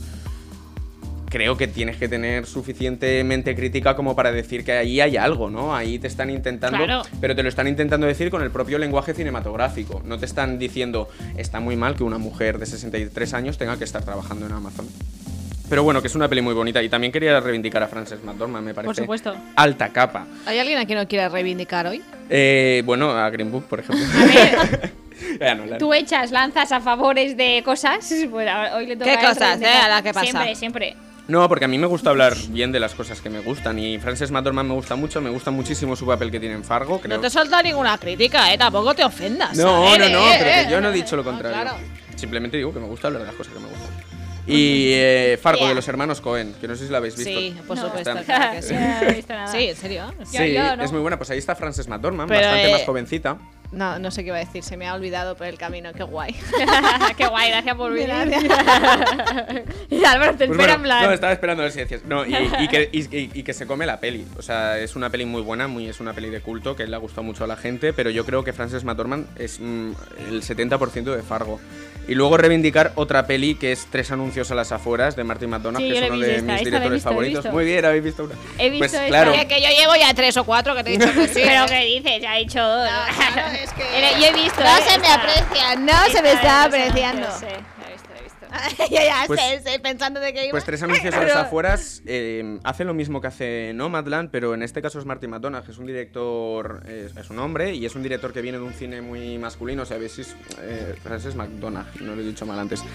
Speaker 3: creo que tienes que tener suficientemente crítica como para decir que ahí hay algo, ¿no? Ahí te están intentando,
Speaker 1: Claro.
Speaker 3: pero te lo están intentando decir con el propio lenguaje cinematográfico. No te están diciendo, está muy mal que una mujer de 63 años tenga que estar trabajando en Amazon. Pero bueno, que es una peli muy bonita y también quería reivindicar a Frances McDormand, me parece.
Speaker 1: Por supuesto.
Speaker 3: Alta capa.
Speaker 4: ¿Hay alguien a quien no quiera reivindicar hoy?
Speaker 3: Eh, bueno, a Green Book, por ejemplo. (laughs) Ya no, la-
Speaker 1: Tú echas lanzas a favores de cosas. (laughs) Pues ahora- hoy le toca
Speaker 4: ¿Qué
Speaker 1: a él
Speaker 4: cosas,
Speaker 1: reivindicar.
Speaker 4: eh, a la que pasa?
Speaker 1: Siempre, siempre.
Speaker 3: No, porque a mí me gusta hablar bien de las cosas que me gustan y Frances McDormand me gusta mucho, me gusta muchísimo su papel que tiene en Fargo. Creo.
Speaker 4: No te solta ninguna crítica, ¿eh? Tampoco te ofendas.
Speaker 3: No,
Speaker 4: ¿eh?
Speaker 3: no, no,
Speaker 4: Eh,
Speaker 3: pero
Speaker 4: eh,
Speaker 3: que yo no he
Speaker 4: eh.
Speaker 3: dicho lo
Speaker 4: No,
Speaker 3: contrario.
Speaker 4: claro.
Speaker 3: Simplemente digo que me gusta hablar de las cosas que me gustan. Y eh, Fargo de los hermanos Cohen, que no sé si la habéis visto.
Speaker 4: Sí, por
Speaker 1: No.
Speaker 4: supuesto,
Speaker 3: Está-
Speaker 4: claro que sí.
Speaker 1: Yo no he visto nada.
Speaker 4: Sí, en serio.
Speaker 1: Ya,
Speaker 3: Sí,
Speaker 1: ya, ¿no?
Speaker 3: es muy buena. Pues ahí está Frances McDormand,
Speaker 4: Pero,
Speaker 3: bastante
Speaker 4: eh,
Speaker 3: más jovencita.
Speaker 4: No, no sé qué iba a decir, se me ha olvidado por el camino, qué guay.
Speaker 1: (laughs) Qué guay, gracias por venir. (laughs) y Álvaro te
Speaker 3: Pues
Speaker 1: espera en
Speaker 3: bueno,
Speaker 1: plan.
Speaker 3: No, estaba esperando a ver si decías. No, y, y
Speaker 1: (laughs)
Speaker 3: que, y- y- y que se come la peli. O sea, es una peli muy buena, muy, es una peli de culto que le ha gustado mucho a la gente, pero yo creo que Frances McDormand es mm, el 70% de Fargo. Y luego reivindicar otra peli que es Tres anuncios a las afueras de Martin McDonagh,
Speaker 1: Sí,
Speaker 3: que
Speaker 1: yo la
Speaker 3: es
Speaker 1: he
Speaker 3: uno
Speaker 1: visto
Speaker 3: de
Speaker 1: esta, esta la he
Speaker 3: mis directores
Speaker 1: visto, la he
Speaker 3: favoritos.
Speaker 1: visto.
Speaker 3: Muy bien, habéis visto una.
Speaker 1: He visto
Speaker 3: pues
Speaker 1: esta.
Speaker 4: (laughs)
Speaker 3: claro,
Speaker 4: Es que yo llevo ya tres o cuatro que te he dicho (laughs) que sí.
Speaker 1: Pero que dices, ha dicho dos.
Speaker 4: claro, es que-
Speaker 1: (laughs) Yo he visto. eh, esta-
Speaker 4: aprecia, no
Speaker 1: esta de los anuncios, sí, la he visto, la he visto.
Speaker 4: ya, ya,
Speaker 3: Pues-
Speaker 4: estoy, estoy eh, pensando de que iba.
Speaker 3: Pues tres anuncios a las afueras eh, hace lo mismo que hace Nomadland, pero en este caso es Marty McDonagh, que es un director, eh, es un hombre y es un director que viene de un cine muy masculino, o sea, a veces eh, es McDonagh, no lo he dicho mal antes.
Speaker 4: (laughs)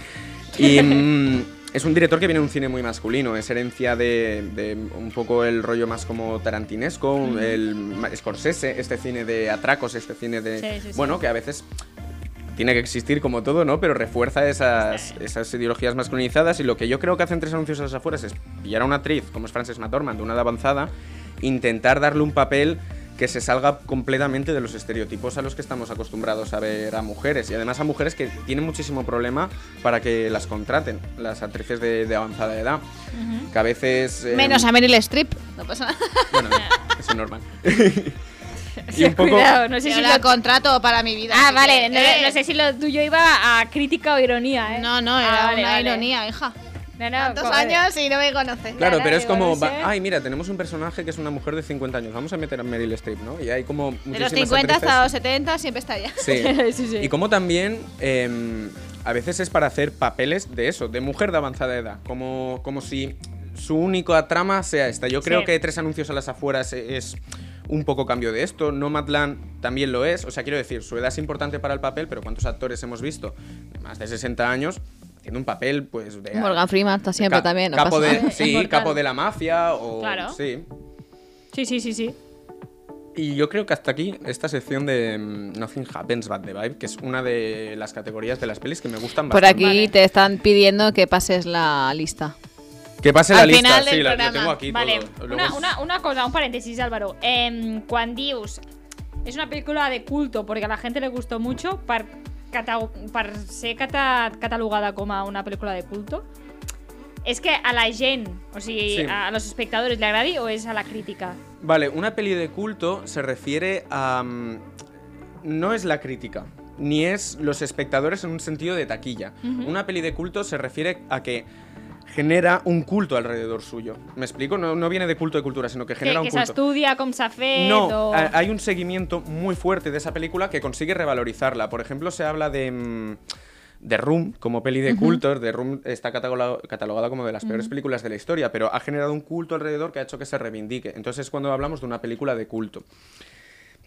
Speaker 3: Y mm, es un director que viene de un cine muy masculino, es herencia de, de un poco el rollo más como tarantinesco, el ma- Scorsese, este cine de atracos, este cine de...
Speaker 2: Sí, sí, sí.
Speaker 3: Bueno, que a veces tiene que existir como todo, ¿no? Pero refuerza esas, esas ideologías masculinizadas y lo que yo creo que hacen tres anuncios a las afueras es pillar a una actriz, como es Frances McDormand, de una edad avanzada, intentar darle un papel que se salga completamente de los estereotipos a los que estamos acostumbrados a ver a mujeres y además a mujeres que tienen muchísimo problema para que las contraten, las actrices de, de avanzada edad, que a veces... eh,
Speaker 4: Menos a Meryl Streep. No pasa nada.
Speaker 3: Bueno, eso es
Speaker 4: (laughs)
Speaker 3: normal. y
Speaker 1: Sí,
Speaker 3: un poco...
Speaker 1: Cuidado, no sé
Speaker 4: Yo
Speaker 1: si
Speaker 4: la
Speaker 1: lo...
Speaker 4: contrato para mi vida.
Speaker 1: Ah,
Speaker 4: así
Speaker 1: vale,
Speaker 4: que-
Speaker 1: no,
Speaker 4: eh.
Speaker 1: no sé si lo tuyo iba a crítica o ironía, ¿eh?
Speaker 4: No, no,
Speaker 1: Ah,
Speaker 4: era
Speaker 1: vale,
Speaker 4: una
Speaker 1: vale. Ah,
Speaker 4: ironía, hija.
Speaker 1: No, no,
Speaker 4: Tantos
Speaker 1: co-
Speaker 4: años y no me conoces.
Speaker 3: Claro,
Speaker 1: Claro,
Speaker 3: pero es
Speaker 1: igual
Speaker 3: como,
Speaker 1: no
Speaker 3: va-
Speaker 1: sé.
Speaker 3: ay, mira, tenemos un personaje que es una mujer de 50 años, vamos a meter a Meryl Streep, ¿no? Y hay como
Speaker 4: De los
Speaker 3: muchísimas
Speaker 4: 50 hasta
Speaker 3: actrices-
Speaker 4: los (laughs) 70 siempre está allá.
Speaker 3: Sí.
Speaker 1: Sí, sí.
Speaker 3: Y como también eh, a veces es para hacer papeles de eso, de mujer de avanzada edad, como, como si su única trama sea esta. Yo creo
Speaker 1: Sí.
Speaker 3: que tres anuncios a las afueras e- es un poco cambio de esto. Nomadland también lo es. O sea, quiero decir, su edad es importante para el papel, pero ¿cuántos actores hemos visto de más de 60 años haciendo un papel, pues, de...
Speaker 4: (laughs) Morgan Freeman está siempre
Speaker 3: ca-
Speaker 4: pues también. No
Speaker 3: capo,
Speaker 4: pasa
Speaker 3: de,
Speaker 4: (laughs) nada.
Speaker 3: sí, capo de la mafia o...
Speaker 1: Claro.
Speaker 3: Sí.
Speaker 1: Sí, sí, sí, sí.
Speaker 3: Y yo creo que hasta aquí esta sección de mm, Nothing Happens But The Vibe, que es una de las categorías de las pelis que me gustan
Speaker 4: Por
Speaker 3: bastante.
Speaker 4: aquí te están pidiendo que pases la lista.
Speaker 3: Que pase la
Speaker 4: Al
Speaker 3: lista,
Speaker 4: final
Speaker 3: sí,
Speaker 4: del
Speaker 3: la, la
Speaker 4: programa.
Speaker 3: tengo aquí
Speaker 1: Vale,
Speaker 3: todo. Luego
Speaker 1: una,
Speaker 3: es-
Speaker 1: una, una cosa, un paréntesis, Álvaro. Em, Quan dius, es una película de culto porque a la gente le gustó mucho per, cata- per ser cata, catalogada com a una película de culto, és que a la gent, o sigui,
Speaker 3: Sí.
Speaker 1: a, a los espectadores li agradi o és a la crítica?
Speaker 3: Vale, una peli de culto se refiere a... mm, no es la crítica, ni es los espectadores en un sentido de taquilla. Una peli de culto se refiere a que genera un culto alrededor suyo. ¿Me explico? No, no viene de culto de cultura, sino que
Speaker 1: Que,
Speaker 3: genera
Speaker 1: que
Speaker 3: un culto.
Speaker 1: s'estudia com s'ha fet
Speaker 3: No,
Speaker 1: o...
Speaker 3: ha- hay un seguimiento muy fuerte de esa película que consigue revalorizarla. Por ejemplo, se habla de. mm, de Room como peli de culto, de Room está catalogado- catalogada como de las peores películas de la historia, pero ha generado un culto alrededor que ha hecho que se reivindique. Entonces, es cuando hablamos de una película de culto.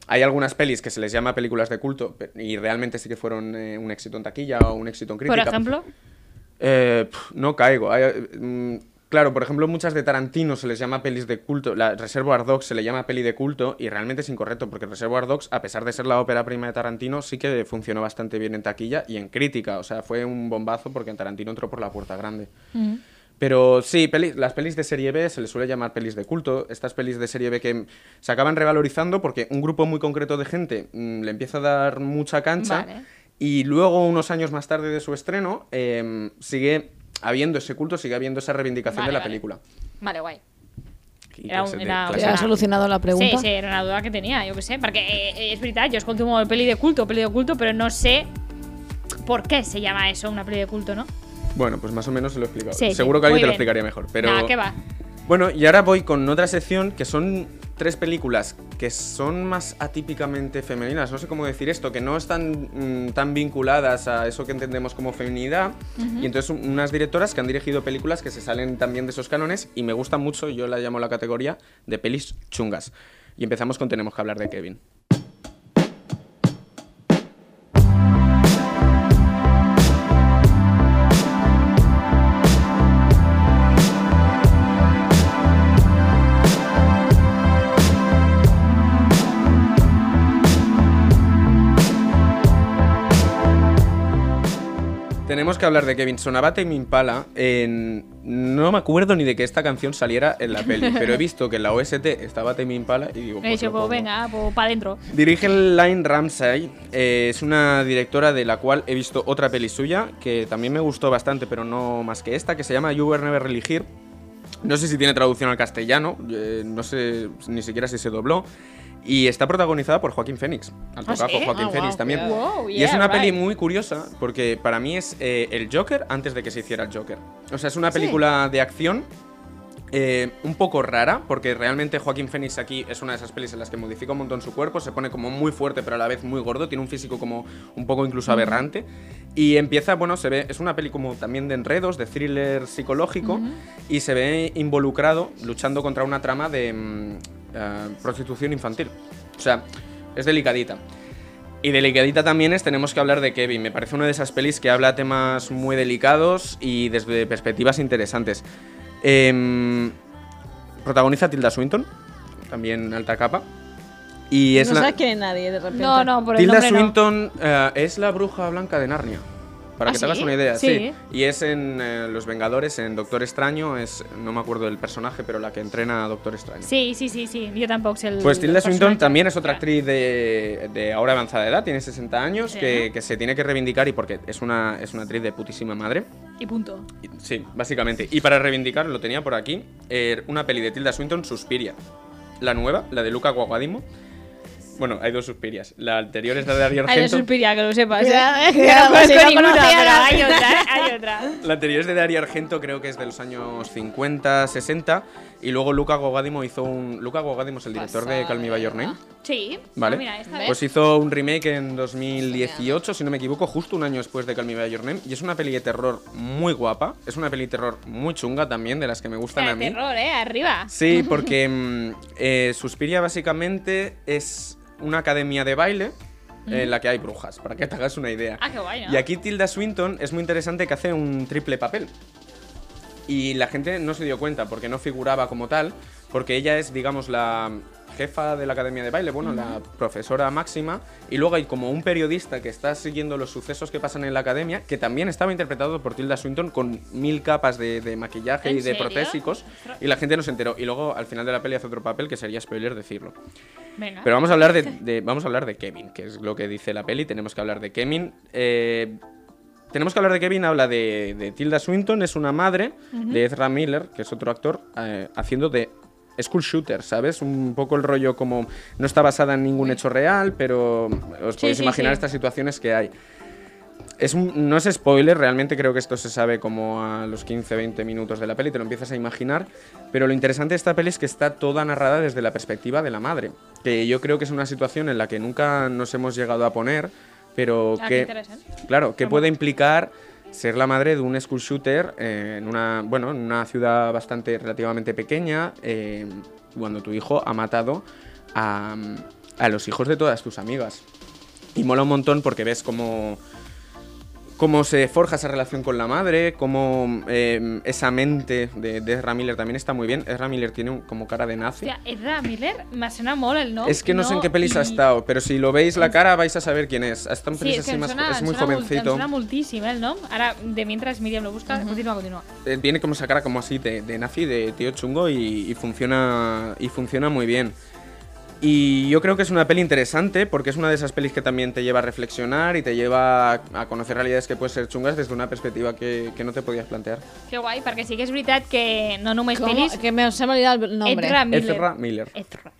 Speaker 3: Hay algunas pelis que se les llama películas de culto pe- y realmente sí que fueron eh, un éxito en taquilla o un éxito en
Speaker 1: Por
Speaker 3: crítica.
Speaker 1: ejemplo,
Speaker 3: Eh, pf, no caigo. Hay, eh, mm, claro, por ejemplo, muchas de Tarantino se les llama pelis de culto. La Reservoir Dogs se le llama peli de culto y realmente es incorrecto porque Reservoir Dogs, a pesar de ser la ópera prima de Tarantino, sí que funcionó bastante bien en taquilla y en crítica. O sea, fue un bombazo porque en Tarantino entró por la puerta grande. Pero sí, peli- las pelis de serie B se les suele llamar pelis de culto. Estas pelis de serie B que se acaban revalorizando porque un grupo muy concreto de gente mm, le empieza a dar mucha cancha.
Speaker 1: Vale.
Speaker 3: Y luego, unos años más tarde de su estreno, em, sigue habiendo ese culto, sigue habiendo esa reivindicación
Speaker 1: Vale,
Speaker 3: de la
Speaker 1: vale.
Speaker 3: película.
Speaker 1: vale, guai.
Speaker 3: Y
Speaker 1: Era un-
Speaker 3: clase
Speaker 1: era Pues
Speaker 4: ¿Te
Speaker 3: de- clase
Speaker 1: una-
Speaker 3: de-
Speaker 4: has solucionado la
Speaker 1: Sí,
Speaker 4: pregunta?
Speaker 1: sí, era una duda que tenia, jo què sé, perquè eh, és veritat, jo escolto molt peli de culto, peli de culto, però no sé por qué se llama eso una peli de culto, ¿no?
Speaker 3: Bueno, pues más o menos se lo he explicado.
Speaker 1: Sí, sí,
Speaker 3: Seguro que alguien
Speaker 1: muy
Speaker 3: te lo
Speaker 1: bien.
Speaker 3: explicaría mejor. Pero...
Speaker 1: Nah, ¿qué va?
Speaker 3: Bueno, y ahora voy con otra sección que son tres películas que son más atípicamente femeninas, no sé cómo decir esto, que no están mm, tan vinculadas a eso que entendemos como feminidad. Y entonces un- unas directoras que han dirigido películas que se salen también de esos cánones y me gusta mucho, yo la llamo la categoría de pelis chungas. Y empezamos con Tenemos que hablar de Kevin. Tenemos que hablar de Kevin Sonabate y Impala. En... No me acuerdo ni de que esta canción saliera en
Speaker 1: (laughs)
Speaker 3: la peli, pero he visto que en la OST estaba Tame Impala y digo,
Speaker 1: He
Speaker 3: pues,
Speaker 1: dicho,
Speaker 3: lo
Speaker 1: pues
Speaker 3: pongo.
Speaker 1: venga, pues para adentro.
Speaker 3: Dirige Line Ramsay, eh, es una directora de la cual he visto otra peli suya que también me gustó bastante, pero no más que esta, que se llama You Were Never Really Here. No sé si tiene traducción al castellano, eh, no sé ni siquiera si se dobló. Y está protagonizada por Joaquín Phoenix. Al
Speaker 1: ¿Ah,
Speaker 3: tocapo,
Speaker 1: sí?
Speaker 3: Joaquín
Speaker 4: Ah,
Speaker 3: Phoenix
Speaker 4: guau,
Speaker 3: también.
Speaker 4: cuidado.
Speaker 1: Wow,
Speaker 3: y es
Speaker 1: yeah,
Speaker 3: una peli
Speaker 1: right.
Speaker 3: muy curiosa porque para mí es eh, el Joker antes de que se hiciera el Joker. O sea, es una película de acción eh, un poco rara, porque realmente Joaquín Phoenix aquí es una de esas pelis en las que modifica un montón su cuerpo, se pone como muy fuerte pero a la vez muy gordo, tiene un físico como un poco incluso aberrante. Y empieza, bueno, se ve, es una peli como también de enredos, de thriller psicológico, y se ve involucrado luchando contra una trama de mm, eh, prostitución infantil. O sea, es delicadita. Y delicadita también es, tenemos que hablar de Kevin. Me parece una de esas pelis que habla temas muy delicados y desde perspectivas interesantes. Em, protagoniza Tilda Swinton, también alta capa. Y es
Speaker 2: no
Speaker 3: la...
Speaker 2: sabes quién es nadie de repente.
Speaker 1: No,
Speaker 4: (laughs)
Speaker 1: no, por el
Speaker 3: Tilda
Speaker 1: nombre no.
Speaker 3: Swinton eh, es la bruja blanca de Narnia. Para
Speaker 1: ¿Ah,
Speaker 3: que
Speaker 1: sí?
Speaker 3: te hagas una idea, sí.
Speaker 1: Sí.
Speaker 3: Y es en eh, Los Vengadores, en Doctor Extraño, es, no me acuerdo del personaje, pero la que entrena a Doctor Extraño.
Speaker 1: Sí, sí, sí, sí. Yo tampoco sé el.
Speaker 3: Pues Tilda
Speaker 1: el
Speaker 3: Swinton
Speaker 1: personaje.
Speaker 3: también es otra actriz de, de ahora avanzada edad, tiene 60 años,
Speaker 1: Sí.
Speaker 3: que, que se tiene que reivindicar y porque es una, es una actriz de putísima madre.
Speaker 1: Y punto.
Speaker 3: Y- Sí, básicamente. Y para reivindicar, lo tenía por aquí, eh, una peli de Tilda Swinton, Suspiria. La nueva, la de Luca Guaguadimo. Bueno, hay dos Suspirias. La anterior es la de
Speaker 2: Ay,
Speaker 3: Ari
Speaker 2: yo
Speaker 3: Argento.
Speaker 2: suspiría que lo sepas.
Speaker 4: Cuidado,
Speaker 2: ¿eh?
Speaker 4: eh,
Speaker 2: Que
Speaker 4: cuidado,
Speaker 2: no
Speaker 1: pues,
Speaker 2: conozco
Speaker 4: si no
Speaker 2: ninguna,
Speaker 4: conocía
Speaker 2: pero
Speaker 4: nada.
Speaker 2: hay
Speaker 1: Hay
Speaker 2: otra.
Speaker 1: otra, ¿eh? hay (laughs) otra.
Speaker 3: La anterior es de Dario Argento, creo que es de los años 50, 60. Y luego Luca Guagadimo hizo un. Luca Guagadimo es el director de Call Me By Your Name.
Speaker 1: Sí.
Speaker 3: Vale.
Speaker 1: Ah, mira, esta vez.
Speaker 3: pues hizo un remake en 2018, si no me equivoco, justo un año después de Call Me By Your Name. Y es una peli de terror muy guapa. Es una peli de terror muy chunga también, de las que me gustan a
Speaker 1: Hostia,
Speaker 3: mí.
Speaker 1: terror, eh, arriba.
Speaker 3: Sí, porque mm, eh, Suspiria básicamente es una academia de baile eh, en la que hay brujas, para que te hagas una idea.
Speaker 1: Ah, qué guay, ¿no?
Speaker 3: Y aquí Tilda Swinton es muy interesante que hace un triple papel. Y la gente no se dio cuenta porque no figuraba como tal, porque ella es, digamos, la jefa de la academia de baile, bueno, la profesora máxima, y luego hay como un periodista que está siguiendo los sucesos que pasan en la academia, que también estaba interpretado por Tilda Swinton con mil capas de, de maquillaje y
Speaker 1: ¿En
Speaker 3: de
Speaker 1: serio?
Speaker 3: protésicos, y la gente no se enteró. Y luego al final de la peli hace otro papel que sería spoiler decirlo.
Speaker 1: Venga.
Speaker 3: Pero vamos a hablar de, de- vamos a hablar de Kevin, que es lo que dice la peli. Tenemos que hablar de Kevin. Eh, tenemos que hablar de Kevin. Habla de, de Tilda Swinton, es una madre de Ezra Miller, que es otro actor, eh, haciendo de school shooter, ¿sabes? Un poco el rollo como no está basada en ningún hecho real, pero os
Speaker 1: Sí,
Speaker 3: podéis
Speaker 1: sí,
Speaker 3: imaginar
Speaker 1: sí.
Speaker 3: estas situaciones que hay. Es un- no es spoiler, realmente creo que esto se sabe como a los 15-20 minutos de la peli, te lo empiezas a imaginar, pero lo interesante de esta peli es que está toda narrada desde la perspectiva de la madre, que yo creo que es una situación en la que nunca nos hemos llegado a poner, pero
Speaker 1: Ah, qué
Speaker 3: que...
Speaker 1: interesante.
Speaker 3: Claro, que puede implicar ser la madre de un school shooter eh, en una, bueno, en una ciudad bastante relativamente pequeña, eh, cuando tu hijo ha matado a, a los hijos de todas tus amigas. Y mola un montón porque ves cómo, cómo se forja esa relación con la madre, cómo eh, esa mente de, de Ezra Miller también está muy bien. Ezra Miller tiene un- como cara de nazi.
Speaker 1: Hostia, Ezra Miller, me suena mola el nombre.
Speaker 3: Es que no, sé en qué pelis ha
Speaker 1: y-
Speaker 3: estado, pero si lo veis la cara vais a saber quién es. Ha estado en
Speaker 1: Sí,
Speaker 3: pelis
Speaker 1: es que
Speaker 3: así
Speaker 1: em
Speaker 3: más-
Speaker 1: sona-
Speaker 3: es
Speaker 1: em
Speaker 3: muy
Speaker 1: sona mul-
Speaker 3: jovencito.
Speaker 1: Em sona moltíssim, eh, el nom. Ara, de mientras Miriam lo busca, continua, continua.
Speaker 3: Eh, viene como esa cara como así de, de nazi, de tío chungo y, y funciona y funciona muy bien. Y yo creo que es una peli interesante porque es una de esas pelis que también te lleva a reflexionar y te lleva a, a conocer realidades que pueden ser chungas desde una perspectiva que, que no te podías plantear.
Speaker 1: Que guai, perquè sí que és veritat que no només
Speaker 2: ¿Cómo?
Speaker 1: pelis...
Speaker 2: Que me, se me ha olvidado el nombre.
Speaker 1: Ezra Miller.
Speaker 3: Ezra Miller.
Speaker 1: Ezra.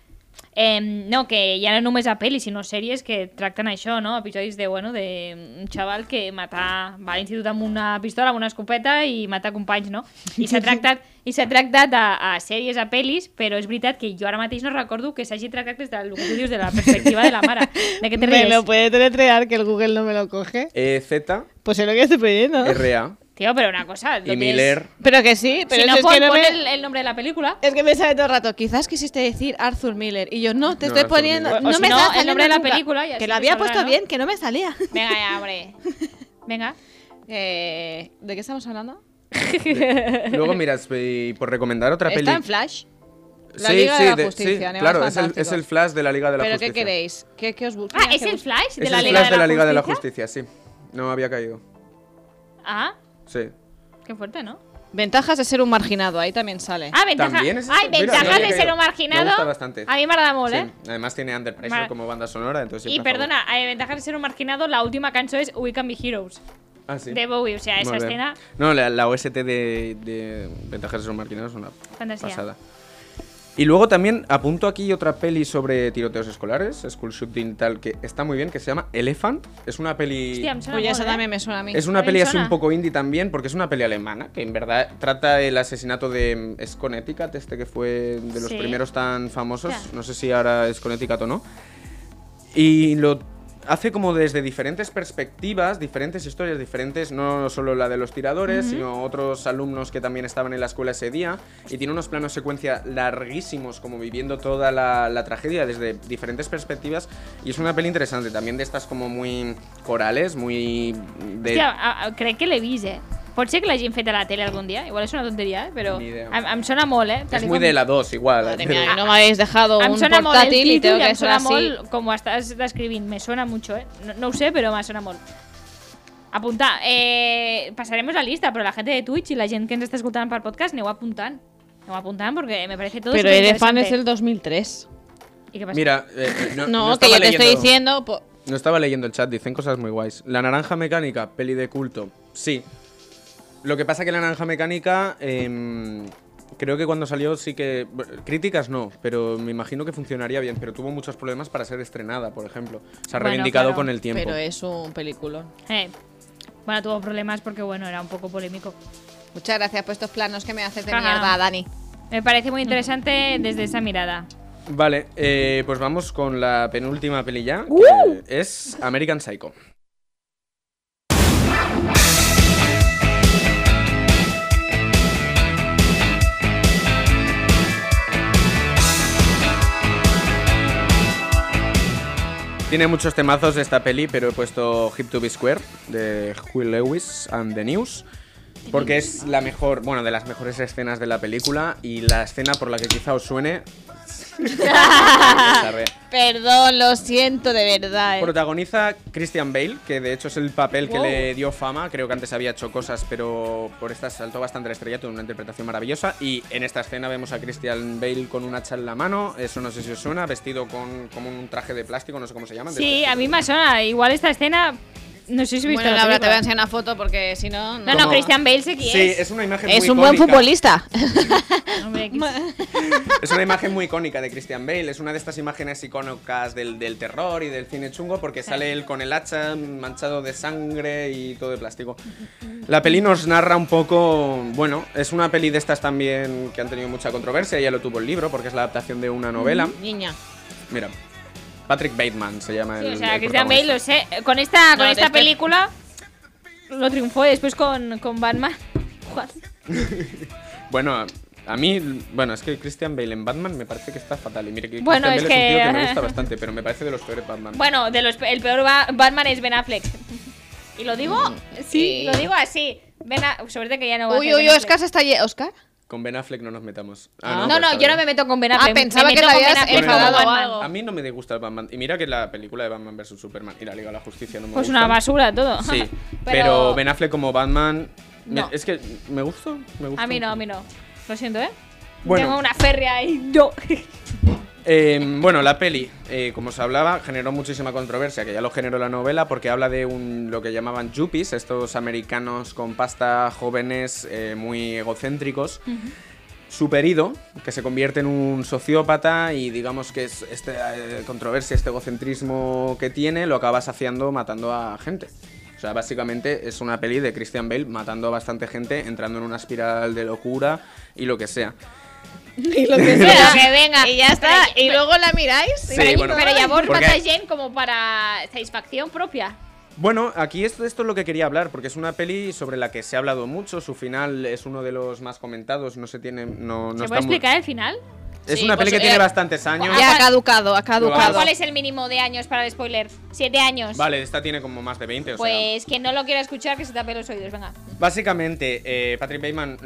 Speaker 1: Em, no, que ja no només a pel·lis, sinó sèries que tracten això, no? Episodis de, bueno, de un xaval que mata, va a l'institut amb una pistola, amb una escopeta i mata companys, no? I s'ha tractat, i s'ha tractat a, a sèries, a pel·lis, però és veritat que jo ara mateix no recordo que s'hagi tractat des del que tu dius, de la perspectiva de la mare. De què te
Speaker 2: ¿Me lo
Speaker 1: ries?
Speaker 2: puede deletrear que el Google no me lo coge?
Speaker 3: E Z
Speaker 2: Pues es lo que estoy pidiendo.
Speaker 4: (laughs)
Speaker 3: R A
Speaker 1: Tío, però una cosa... lo
Speaker 3: y
Speaker 1: tienes-
Speaker 3: Miller.
Speaker 2: Pero que sí, pero
Speaker 1: si no,
Speaker 2: eso
Speaker 1: pon,
Speaker 2: es que no
Speaker 1: pon
Speaker 2: me...
Speaker 1: el, el nombre de la película.
Speaker 4: Es que me sale todo el rato, quizás quisiste decir Arthur Miller. Y yo, no, te
Speaker 3: No,
Speaker 4: estoy
Speaker 3: Arthur
Speaker 4: poniendo.
Speaker 3: Miller.
Speaker 1: O- o
Speaker 4: no
Speaker 1: si
Speaker 4: me
Speaker 1: no,
Speaker 4: está
Speaker 1: el
Speaker 4: saliendo
Speaker 1: nombre de la
Speaker 4: nunca.
Speaker 1: película y así
Speaker 4: Que
Speaker 1: te
Speaker 4: lo había
Speaker 1: saldrá,
Speaker 4: puesto
Speaker 1: ¿no?
Speaker 4: bien, que no
Speaker 1: (laughs)
Speaker 4: me salía.
Speaker 1: Venga, ya, hombre. Venga.
Speaker 4: Eh, ¿De qué estamos hablando?
Speaker 3: Luego mira, si- por recomendar otra peli.
Speaker 4: Está en Flash. La Liga de la Justicia, Animales
Speaker 3: claro, es el,
Speaker 4: Fantásticos.
Speaker 3: es el flash de la Liga de la
Speaker 4: ¿Pero
Speaker 3: Justicia.
Speaker 4: qué queréis? ¿Qué, qué os gusta?
Speaker 1: Ah, ¿es el Flash de
Speaker 3: Es
Speaker 1: la
Speaker 3: el
Speaker 1: Liga,
Speaker 3: flash de la Liga de la
Speaker 1: Justicia?
Speaker 3: Justicia, sí. No había caído.
Speaker 1: Ah,
Speaker 3: Sí.
Speaker 1: qué fuerte, ¿no?
Speaker 4: Ventajas de ser un marginado, ahí también sale.
Speaker 1: Ah, ventaja.
Speaker 3: También es eso.
Speaker 1: Ay,
Speaker 3: Mira,
Speaker 1: ventajas
Speaker 3: mira,
Speaker 1: de
Speaker 3: mira,
Speaker 1: ser
Speaker 3: mira.
Speaker 1: un marginado.
Speaker 3: Me gusta bastante.
Speaker 1: A mí me agrada molt,
Speaker 3: Sí,
Speaker 1: eh?
Speaker 3: Además tiene Under Pressure
Speaker 1: Vale.
Speaker 3: como banda sonora, entonces
Speaker 1: Y
Speaker 3: siempre a favor.
Speaker 1: perdona, a ventajas de ser un marginado, la última canción es We Can Be Heroes
Speaker 3: Ah, sí.
Speaker 1: de Bowie. O sea, esa
Speaker 3: Muy bien.
Speaker 1: escena,
Speaker 3: No, la, la OST de, de Ventajas de ser marginados es una
Speaker 1: Fantasía.
Speaker 3: pasada. Y luego también apunto aquí otra peli sobre tiroteos escolares, School Shooting tal, que está muy bien, que se llama Elephant. Es una peli...
Speaker 1: Hostia, me suena
Speaker 4: Oye,
Speaker 1: mola,
Speaker 4: Pues esa
Speaker 1: ¿eh?
Speaker 4: también me suena a mí.
Speaker 3: Es una
Speaker 1: También
Speaker 3: peli así
Speaker 1: suena.
Speaker 3: un poco indie también, porque es una peli alemana, que en verdad trata el asesinato de... Es Connecticut, este que fue de los
Speaker 1: Sí.
Speaker 3: primeros tan famosos.
Speaker 1: Ya.
Speaker 3: No sé si ahora es Connecticut o no. Y lo hace como desde diferentes perspectivas, diferentes historias, diferentes, no solo la de los tiradores, sino otros alumnos que también estaban en la escuela ese día. Y tiene unos planos secuencia larguísimos, como viviendo toda la, la tragedia desde diferentes perspectivas. Y es una peli interesante, también de estas como muy corales, muy... De...
Speaker 1: Hòstia, a- a- crec que l'he vist, eh? Pot ser que l'hagin fet a la tele algun dia, igual és una tonteria, eh? però
Speaker 3: Ni idea.
Speaker 1: em, em sona molt, eh? Tal
Speaker 3: es
Speaker 1: i
Speaker 3: muy
Speaker 1: com-
Speaker 3: de la 2 igual. eh,
Speaker 4: Madre mía, y no me habéis dejado
Speaker 1: Em
Speaker 4: un
Speaker 1: sona molt el
Speaker 4: portátil y tengo
Speaker 1: títol i
Speaker 4: que
Speaker 1: em
Speaker 4: sonar
Speaker 1: sona
Speaker 4: así.
Speaker 1: molt, com ho estàs descrivint, me sona mucho, eh? No, no ho sé, però me sona molt. Apuntar. Eh, pasaremos la lista, pero la gente de Twitch y la gente que ens està escoltant per podcast aneu apuntant. Aneu apuntant porque me parece todo
Speaker 4: Pero Elefant es
Speaker 1: superinteresante.
Speaker 4: el 2003.
Speaker 1: ¿Y qué pasa?
Speaker 3: Mira, eh, eh, no,
Speaker 4: No,
Speaker 3: no
Speaker 4: que yo
Speaker 3: estaba
Speaker 4: te estoy
Speaker 3: leyendo.
Speaker 4: diciendo. po-
Speaker 3: No estaba leyendo el chat, dicen cosas muy guays. La naranja mecánica, peli de culto. Sí. Lo que pasa que la naranja mecánica, em, creo que cuando salió sí que... b- Críticas no, pero me imagino que funcionaría bien, pero tuvo muchos problemas para ser estrenada, por ejemplo. Se ha
Speaker 1: Bueno,
Speaker 3: reivindicado
Speaker 1: claro,
Speaker 3: con el tiempo.
Speaker 4: Pero es un peliculón.
Speaker 1: Eh, bueno, tuvo problemas porque, bueno, era un poco polémico.
Speaker 4: Muchas gracias por estos planos que me haces de
Speaker 1: Ajá.
Speaker 4: mierda, Dani.
Speaker 1: Me parece muy interesante desde esa mirada.
Speaker 3: Vale, eh, pues vamos con la penúltima peli ya, que es American Psycho. Tiene muchos temazos esta peli, pero he puesto Hip to Be Square de Huey Lewis and the News. Porque es la mejor, bueno, de las mejores escenas de la película y la escena por la que quizá os suene.
Speaker 4: Perdón, lo siento de verdad. eh.
Speaker 3: Protagoniza Christian Bale, que de hecho es el papel que le dio fama. Creo que antes había hecho cosas, pero por esta saltó bastante la estrella, tuvo una interpretación maravillosa. Y en esta escena vemos a Christian Bale con un hacha en la mano, eso no sé si os suena, vestido con como un traje de plástico, no sé cómo se llama. de
Speaker 1: Sí,
Speaker 3: estos-
Speaker 1: a mí me suena. Igual esta escena. No sé si he visto
Speaker 4: Bueno,
Speaker 1: la
Speaker 4: Laura, te
Speaker 1: película.
Speaker 4: voy a enseñar una foto porque si no.
Speaker 1: No, no,
Speaker 3: Como-
Speaker 1: Christian Bale sé quién
Speaker 3: Sí,
Speaker 1: es.
Speaker 3: es una imagen
Speaker 4: Es
Speaker 3: muy
Speaker 4: un buen
Speaker 3: icónica.
Speaker 4: futbolista.
Speaker 1: Hombre, que-
Speaker 3: Es una imagen muy icónica de Christian Bale. Es una de estas imágenes icónicas del, del terror y del cine chungo porque sale él con el hacha manchado de sangre y todo de plástico. La peli nos narra un poco. Bueno, es una peli de estas también que han tenido mucha controversia. Ya lo tuvo el libro porque es la adaptación de una novela.
Speaker 4: Niña.
Speaker 3: Mira, Patrick Bateman se llama
Speaker 1: Sí,
Speaker 3: el.
Speaker 1: o sea,
Speaker 3: el
Speaker 1: Christian Bale, lo
Speaker 3: protagonista.
Speaker 1: sé. Con esta, con
Speaker 4: No, este-
Speaker 1: esta
Speaker 4: después-
Speaker 1: película lo triunfó y después con, con Batman. (laughs) Juan.
Speaker 3: Bueno, a- a mí, bueno, es que Christian Bale en Batman me parece que está fatal. Y mire que
Speaker 1: Bueno, es
Speaker 3: Christian Bale es un tío
Speaker 1: que-
Speaker 3: que me gusta bastante, pero me parece de los peores Batman.
Speaker 1: Bueno, de los, el peor Ba- Batman es Ben Affleck. Y lo digo, sí,
Speaker 4: sí.
Speaker 1: lo digo así. Ben A- Suerte que ya no va a
Speaker 4: Uy,
Speaker 1: ser
Speaker 4: uy,
Speaker 1: Ben
Speaker 4: Oscar
Speaker 1: Affleck.
Speaker 4: se está. ye- ¿Oscar?
Speaker 3: Con Ben Affleck no nos metamos.
Speaker 1: No,
Speaker 3: Ah,
Speaker 1: no,
Speaker 3: pues
Speaker 1: yo
Speaker 3: está
Speaker 1: no
Speaker 3: bien.
Speaker 1: me meto con Ben
Speaker 4: Ah,
Speaker 1: Affleck. me
Speaker 4: pensaba que
Speaker 1: meto
Speaker 4: te
Speaker 1: con Ben
Speaker 4: habías
Speaker 1: Affleck como
Speaker 3: enfadado
Speaker 4: o
Speaker 1: Batman.
Speaker 4: algo.
Speaker 3: A mí no me disgusta el Batman. Y mira que la película de Batman vs Superman y la Liga de la Justicia no me
Speaker 1: Pues
Speaker 3: gustan.
Speaker 1: una basura todo. (laughs)
Speaker 3: Sí, pero... Ben Affleck como Batman. me-
Speaker 1: No.
Speaker 3: Es que me gustó, me gustó.
Speaker 1: A mí no, a mí no. Lo siento, ¿eh?
Speaker 3: Bueno.
Speaker 1: Tengo una férrea ahí. No. (laughs)
Speaker 3: Eh, bueno, la peli, eh, como os hablaba, generó muchísima controversia, que ya lo generó la novela, porque habla de un, lo que llamaban yuppies, estos americanos con pasta, jóvenes, eh, muy egocéntricos. Superido, que se convierte en un sociópata y digamos que es este eh, controversia, este egocentrismo que tiene, lo acaba saciando matando a gente. O sea, básicamente es una peli de Christian Bale matando a bastante gente, entrando en una espiral de locura y lo que sea.
Speaker 4: Y lo que
Speaker 1: Pero que venga.
Speaker 4: Y ya está.
Speaker 1: Pero-
Speaker 4: Y luego la miráis.
Speaker 3: Sí,
Speaker 1: pero,
Speaker 3: bueno.
Speaker 1: pero Yabor
Speaker 3: Porque-
Speaker 1: mata a Jane como para satisfacción propia.
Speaker 3: Bueno, aquí esto, esto es lo que quería hablar, porque es una peli sobre la que se ha hablado mucho, su final es uno de los más comentados, no se tiene... No, no
Speaker 1: ¿Se
Speaker 3: está
Speaker 1: puede
Speaker 3: muy-
Speaker 1: explicar el final?
Speaker 3: Es
Speaker 4: Sí,
Speaker 3: una
Speaker 4: pues,
Speaker 3: peli que
Speaker 4: eh,
Speaker 3: tiene bastantes años.
Speaker 4: Ya ha caducado, ha caducado.
Speaker 3: Claro.
Speaker 1: ¿Cuál es el mínimo de años para el spoiler? ¿Siete años?
Speaker 3: Vale, esta tiene como más de 20, o sea...
Speaker 1: Pues quien no lo quiera escuchar, que se tape los oídos,
Speaker 3: (laughs)
Speaker 1: venga.
Speaker 3: Básicamente, eh, Patrick Bateman...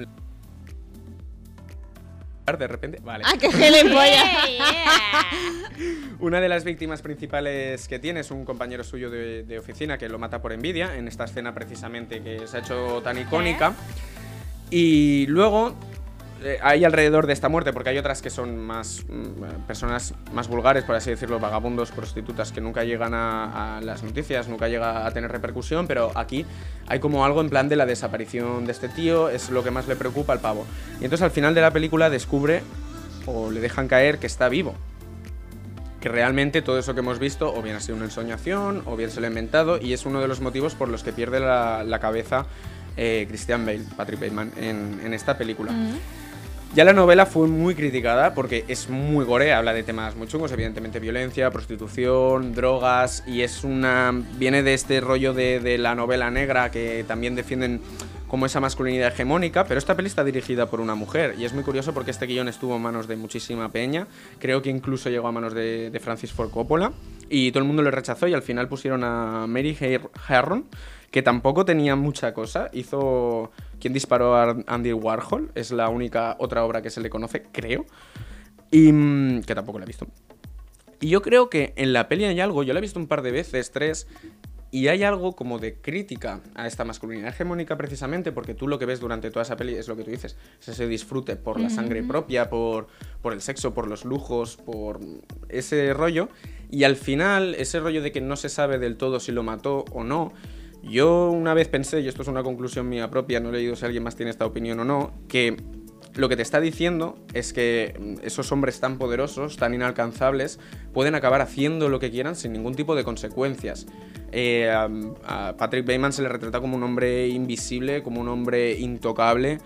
Speaker 3: De repente... Vale.
Speaker 4: Ah, qué gilipollas.
Speaker 1: Yeah, yeah.
Speaker 3: Una de las víctimas principales que tiene es un compañero suyo de, de oficina que lo mata por envidia, en esta escena precisamente que se ha hecho tan icónica. Y luego eh, hay alrededor de esta muerte, porque hay otras que son más mm, eh, personas más vulgares, por así decirlo, vagabundos, prostitutas, que nunca llegan a, a las noticias, nunca llega a tener repercusión, pero aquí hay como algo en plan de la desaparición de este tío, es lo que más le preocupa al pavo. Y entonces al final de la película descubre o le dejan caer que está vivo. Que realmente todo eso que hemos visto o bien ha sido una ensoñación o bien se lo ha inventado y es uno de los motivos por los que pierde la, la cabeza eh, Christian Bale, Patrick Bateman, en, en esta película. Ya la novela fue muy criticada porque es muy gore, habla de temas muy chungos, evidentemente violencia, prostitución, drogas y es una viene de este rollo de, de la novela negra que también defienden como esa masculinidad hegemónica, pero esta peli está dirigida por una mujer y es muy curioso porque este guión estuvo en manos de muchísima peña, creo que incluso llegó a manos de, de Francis Ford Coppola y todo el mundo lo rechazó y al final pusieron a Mary Her- Harron que tampoco tenía mucha cosa. Hizo quien disparó a Andy Warhol, es la única otra obra que se le conoce, creo. Y mm, que tampoco la he visto. Y yo creo que en la peli hay algo, yo la he visto un par de veces, tres, y hay algo como de crítica a esta masculinidad hegemónica precisamente, porque tú lo que ves durante toda esa peli es lo que tú dices, es ese disfrute por la sangre propia, por, por el sexo, por los lujos, por ese rollo, y al final ese rollo de que no se sabe del todo si lo mató o no, yo una vez pensé, y esto es una conclusión mía propia, no he leído si alguien más tiene esta opinión o no, que lo que te está diciendo es que mm, esos hombres tan poderosos, tan inalcanzables, pueden acabar haciendo lo que quieran sin ningún tipo de consecuencias. Eh, a, a Patrick Bateman se le retrata como un hombre invisible, como un hombre intocable,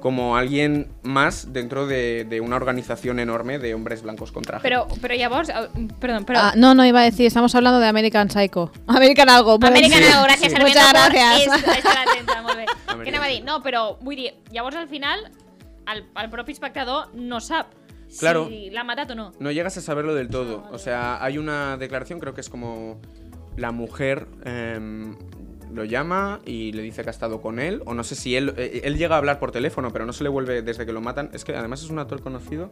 Speaker 3: como alguien más dentro de, de una organización enorme de hombres blancos contra
Speaker 1: (laughs) Pero, pero ya vos, ah, perdón, pero
Speaker 2: Ah, no, no iba a decir, estamos hablando de American Psycho.
Speaker 4: (laughs)
Speaker 2: American algo. por
Speaker 4: pues,
Speaker 1: American
Speaker 2: ejemplo.
Speaker 1: Idol, gracias,
Speaker 2: sí.
Speaker 1: Armendo,
Speaker 2: Muchas
Speaker 1: por
Speaker 2: gracias.
Speaker 1: es- estar atenta,
Speaker 3: (laughs)
Speaker 1: molt bé.
Speaker 3: American
Speaker 1: Què anava a dir? No, però vull dir, llavors al final, el, el propi espectador no sap
Speaker 3: Claro.
Speaker 1: si l'ha matat o no.
Speaker 3: No llegas a saberlo del todo. O sea, hay una declaración, creo que es como la mujer em, lo llama y le dice que ha estado con él. O no sé si él, eh, él llega a hablar por teléfono, pero no se le vuelve desde que lo matan. Es que además es un actor conocido,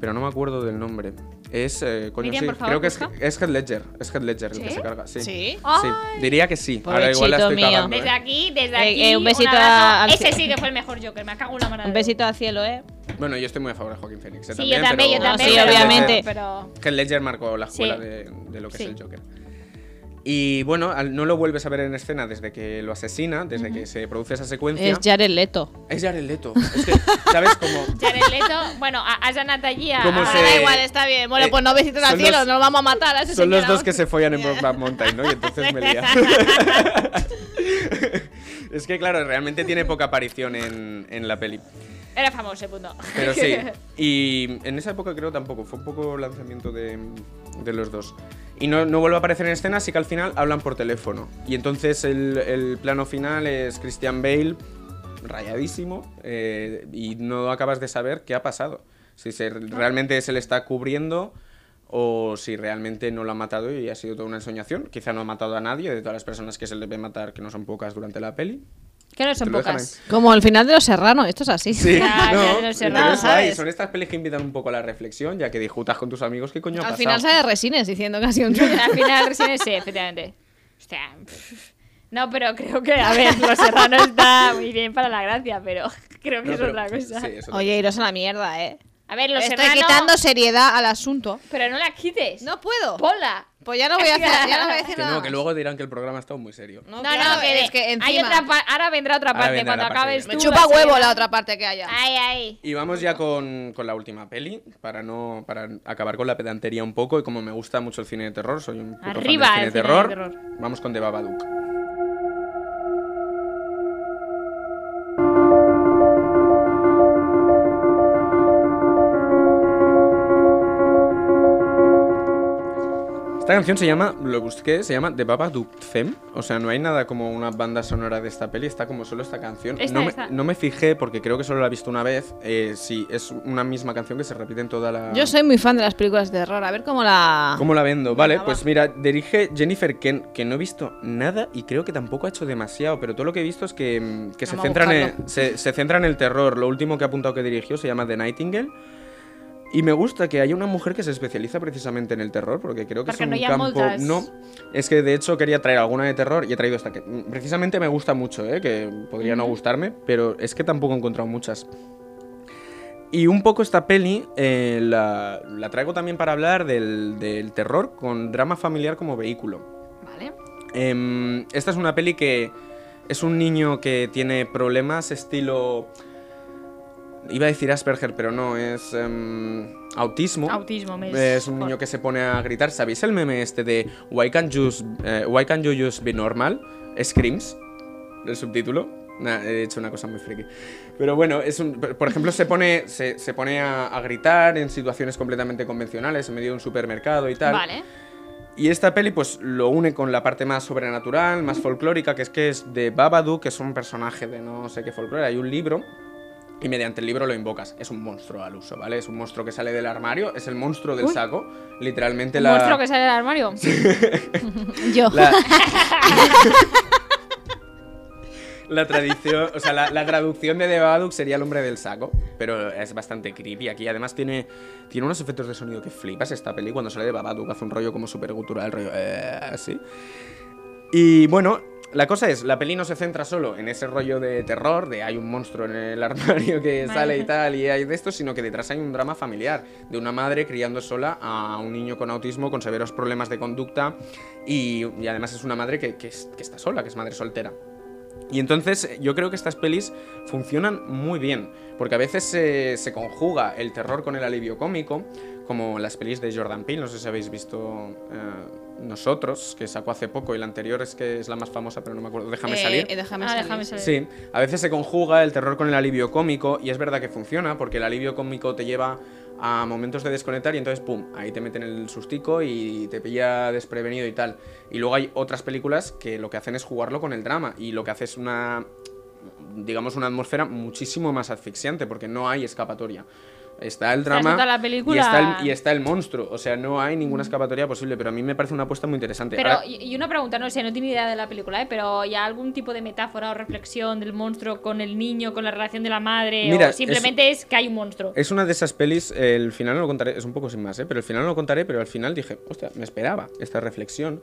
Speaker 3: pero no me acuerdo del nombre. Es, eh, coño,
Speaker 1: Miriam,
Speaker 3: sí,
Speaker 1: por favor,
Speaker 3: creo que es,
Speaker 1: busca.
Speaker 3: es Heath Ledger. Es Heath Ledger el que se carga. Sí.
Speaker 4: ¿Sí?
Speaker 1: Ay.
Speaker 3: Diría que sí. Ahora igual la
Speaker 4: Pobrecito
Speaker 3: estoy
Speaker 4: mío.
Speaker 3: cagando,
Speaker 1: Desde
Speaker 3: eh.
Speaker 1: aquí, desde
Speaker 4: Eh,
Speaker 1: aquí,
Speaker 4: eh, un besito
Speaker 1: abrazo.
Speaker 4: a- al-
Speaker 1: Ese sí que fue el mejor Joker, me cago en la mano.
Speaker 4: Un besito al cielo, ¿eh?
Speaker 3: Bueno, yo estoy muy a favor de Joaquín Phoenix. eh,
Speaker 1: Sí, yo también, yo
Speaker 3: pero-
Speaker 1: también.
Speaker 4: Sí,
Speaker 1: pero-
Speaker 4: obviamente.
Speaker 1: Pero,
Speaker 3: Que Ledger marcó la escuela
Speaker 1: Sí.
Speaker 3: de, de lo que
Speaker 1: Sí.
Speaker 3: es el Joker. Y bueno, al- no lo vuelves a ver en escena desde que lo asesina, desde que se produce esa secuencia.
Speaker 2: Es Jared Leto.
Speaker 3: Es Jared Leto. Es que, ¿sabes? Como,
Speaker 1: Jared Leto, bueno, ha- has anat allí a...
Speaker 3: ¿Cómo
Speaker 1: a-
Speaker 3: se-
Speaker 4: Ah, Da igual, está bien. Bueno,
Speaker 3: eh,
Speaker 4: pues no besitos
Speaker 3: son
Speaker 4: al cielo,
Speaker 3: los-
Speaker 4: nos vamos a matar a ese
Speaker 3: son los
Speaker 4: señor
Speaker 3: dos que se follan en Brokeback Mountain, ¿no? Y entonces me lía. (laughs) es que claro, realmente tiene poca aparición en, en la peli.
Speaker 1: Era famoso, punto.
Speaker 3: Pero sí. Y en esa época creo tampoco. Fue un poco lanzamiento de, de los dos. Y no, no vuelve a aparecer en escena, así que al final hablan por teléfono. Y entonces el, el plano final es Christian Bale rayadísimo eh, y no acabas de saber qué ha pasado. Si se- realmente se le está cubriendo o si realmente no lo ha matado y ha sido toda una ensoñación. Quizá no ha matado a nadie de todas las personas que se le ve matar, que no son pocas durante la peli.
Speaker 1: Que no
Speaker 3: Te
Speaker 1: son
Speaker 3: lo dejan ahí.
Speaker 1: pocas.
Speaker 2: Como al final de Los Serrano, esto es así.
Speaker 3: Sí,
Speaker 1: Ya,
Speaker 3: no,
Speaker 1: ya lo
Speaker 3: pero es
Speaker 1: cerraba,
Speaker 3: guay,
Speaker 4: ¿sabes?
Speaker 3: Son estas pelis que invitan un poco a la reflexión, ya que discutas con tus amigos qué coño ha
Speaker 2: Al
Speaker 3: pasado.
Speaker 2: final sale Resines diciendo que ha
Speaker 3: (laughs)
Speaker 2: sido un
Speaker 1: Al final recién sí, efectivamente. Hostia, pff. No, pero creo que, a ver, Los Serrano está muy bien para la gracia, pero (laughs) creo que
Speaker 3: No,
Speaker 1: es
Speaker 3: pero-
Speaker 1: otra cosa.
Speaker 3: sí, es otra
Speaker 4: Oye, iros a la mierda, ¿eh?
Speaker 1: A ver, Los
Speaker 2: Estoy
Speaker 1: Serrano...
Speaker 2: quitando seriedad al asunto.
Speaker 1: Pero no la quites.
Speaker 4: No puedo.
Speaker 1: Ponla.
Speaker 4: Pues ya no voy a hacer, ya no voy a
Speaker 3: (laughs) cosa.
Speaker 4: hacer
Speaker 3: Que
Speaker 4: nada.
Speaker 3: no, que luego dirán que el programa ha estado muy serio.
Speaker 4: No,
Speaker 1: No,
Speaker 4: claro,
Speaker 1: no, que,
Speaker 4: es que
Speaker 1: hay
Speaker 4: encima
Speaker 1: otra pa- ahora vendrá otra
Speaker 3: Ahora
Speaker 1: parte
Speaker 3: vendrá
Speaker 1: cuando
Speaker 3: la parte
Speaker 1: acabes
Speaker 3: que
Speaker 1: tú.
Speaker 3: viene.
Speaker 4: chupa
Speaker 1: Serrano.
Speaker 4: huevo la otra parte que haya.
Speaker 1: Ay, ay.
Speaker 3: Y vamos ya con, con la última peli, para no para acabar con la pedantería un poco. Y como me gusta mucho el cine de terror, soy un puto fan del
Speaker 1: Arriba el
Speaker 3: cine de
Speaker 1: cine de
Speaker 3: terror,
Speaker 1: terror.
Speaker 3: Vamos con The Babadook. Esta canción se llama, lo busqué, se llama The Babadook Theme. O sea, no hay nada como una banda sonora de esta peli, está como solo esta canción.
Speaker 1: Esta,
Speaker 3: no, me,
Speaker 1: esta.
Speaker 3: no me fijé porque creo que solo la he visto una vez. Eh, sí, es una misma canción que se repite en toda la.
Speaker 2: Yo soy muy fan de las películas de terror. A ver cómo la.
Speaker 3: ¿Cómo la vendo? Vale, pues mira, dirige Jennifer Kent, que no he visto nada y creo que tampoco ha hecho demasiado, pero todo lo que he visto es que, mm, que se,
Speaker 2: Vamos a
Speaker 3: centra en,
Speaker 2: buscarlo.
Speaker 3: se, se centra en el terror. Lo último que ha apuntado que dirigió se llama The Nightingale. Y me gusta que haya una mujer que se especializa precisamente en el terror, porque creo que
Speaker 1: Perquè
Speaker 3: es un
Speaker 1: no hi ha
Speaker 3: campo.
Speaker 1: moltes.
Speaker 3: No, es que de hecho quería traer alguna de terror y he traído esta que mm, precisamente me gusta mucho, ¿eh? que podría no gustarme, pero es que tampoco he encontrado muchas. Y un poco esta peli eh, la, la traigo también para hablar del, del terror con drama familiar como vehículo. Em, esta es una peli que es un niño que tiene problemas estilo... Iba a decir Asperger, pero no, es em, autismo.
Speaker 1: Autismo, me
Speaker 3: Es un niño que se pone a gritar. ¿Sabéis el meme este de Why can't you, s- eh, why can't you just be normal? Screams. El subtítulo. Nah, he hecho una cosa muy friki. Pero bueno, es un, por por ejemplo, se pone, se, se pone a, a gritar en situaciones completamente convencionales, en medio de un supermercado y tal.
Speaker 1: Vale.
Speaker 3: Y esta peli pues lo une con la parte más sobrenatural, más folclórica, que es que es de Babadook, que es un personaje de no sé qué folclore. Hay un libro y mediante el libro lo invocas. Es un monstruo al uso, ¿vale? Es un monstruo que sale del armario, es el monstruo del saco. Literalmente
Speaker 1: ¿Un
Speaker 3: la...
Speaker 1: monstruo que sale del armario?
Speaker 4: Yo.
Speaker 3: (laughs) La... (laughs) La tradición, o sea, la, la traducción de The Babadook sería el hombre del saco, pero es bastante creepy aquí. Además tiene, tiene unos efectos de sonido que flipas esta peli. Cuando sale de Babadook hace un rollo como súper gutural, rollo eh, así. Y bueno, la cosa es, la peli no se centra solo en ese rollo de terror, de hay un monstruo en el (laughs) armario que
Speaker 1: Vale.
Speaker 3: sale y tal, y hay de esto, sino que detrás hay un drama familiar, de una madre criando sola a un niño con autismo, con severos problemas de conducta, y, y además es una madre que, que es- que está sola, que es madre soltera. Y entonces eh, yo creo que estas pelis funcionan muy bien, porque a veces se, se conjuga el terror con el alivio cómico, como las pelis de Jordan Peele, no sé si habéis visto eh, Nosotros, que sacó hace poco, y la anterior es que es la más famosa, pero no me acuerdo, déjame
Speaker 4: Eh,
Speaker 3: salir.
Speaker 4: eh, déjame
Speaker 1: Ah,
Speaker 4: salir.
Speaker 1: déjame salir.
Speaker 3: Sí, a veces se conjuga el terror con el alivio cómico y es verdad que funciona porque el alivio cómico te lleva a momentos de desconectar y entonces, ¡pum!, ahí te meten el sustico y te pilla desprevenido y tal. Y luego hay otras películas que lo que hacen es jugarlo con el drama y lo que hace es una, digamos, una atmósfera muchísimo más asfixiante porque no hay escapatoria. Está el drama
Speaker 1: toda la
Speaker 3: y,
Speaker 1: película- Mm.
Speaker 3: está el, y está el monstruo, o sea, no hay ninguna escapatoria posible, pero a mí me parece una apuesta muy interesante.
Speaker 1: Pero,
Speaker 3: Ahora-
Speaker 1: y y una pregunta, no sé, no tiene idea de la película, ¿eh? pero ya algún tipo de metáfora o reflexión del monstruo con el niño, con la relación de la madre,
Speaker 3: Mira,
Speaker 1: o simplemente es... que hay un monstruo.
Speaker 3: Es una de esas pelis, el final no lo contaré, es un poco sin más, ¿eh? pero el final no lo contaré, pero al final dije, hostia, me esperaba esta reflexión.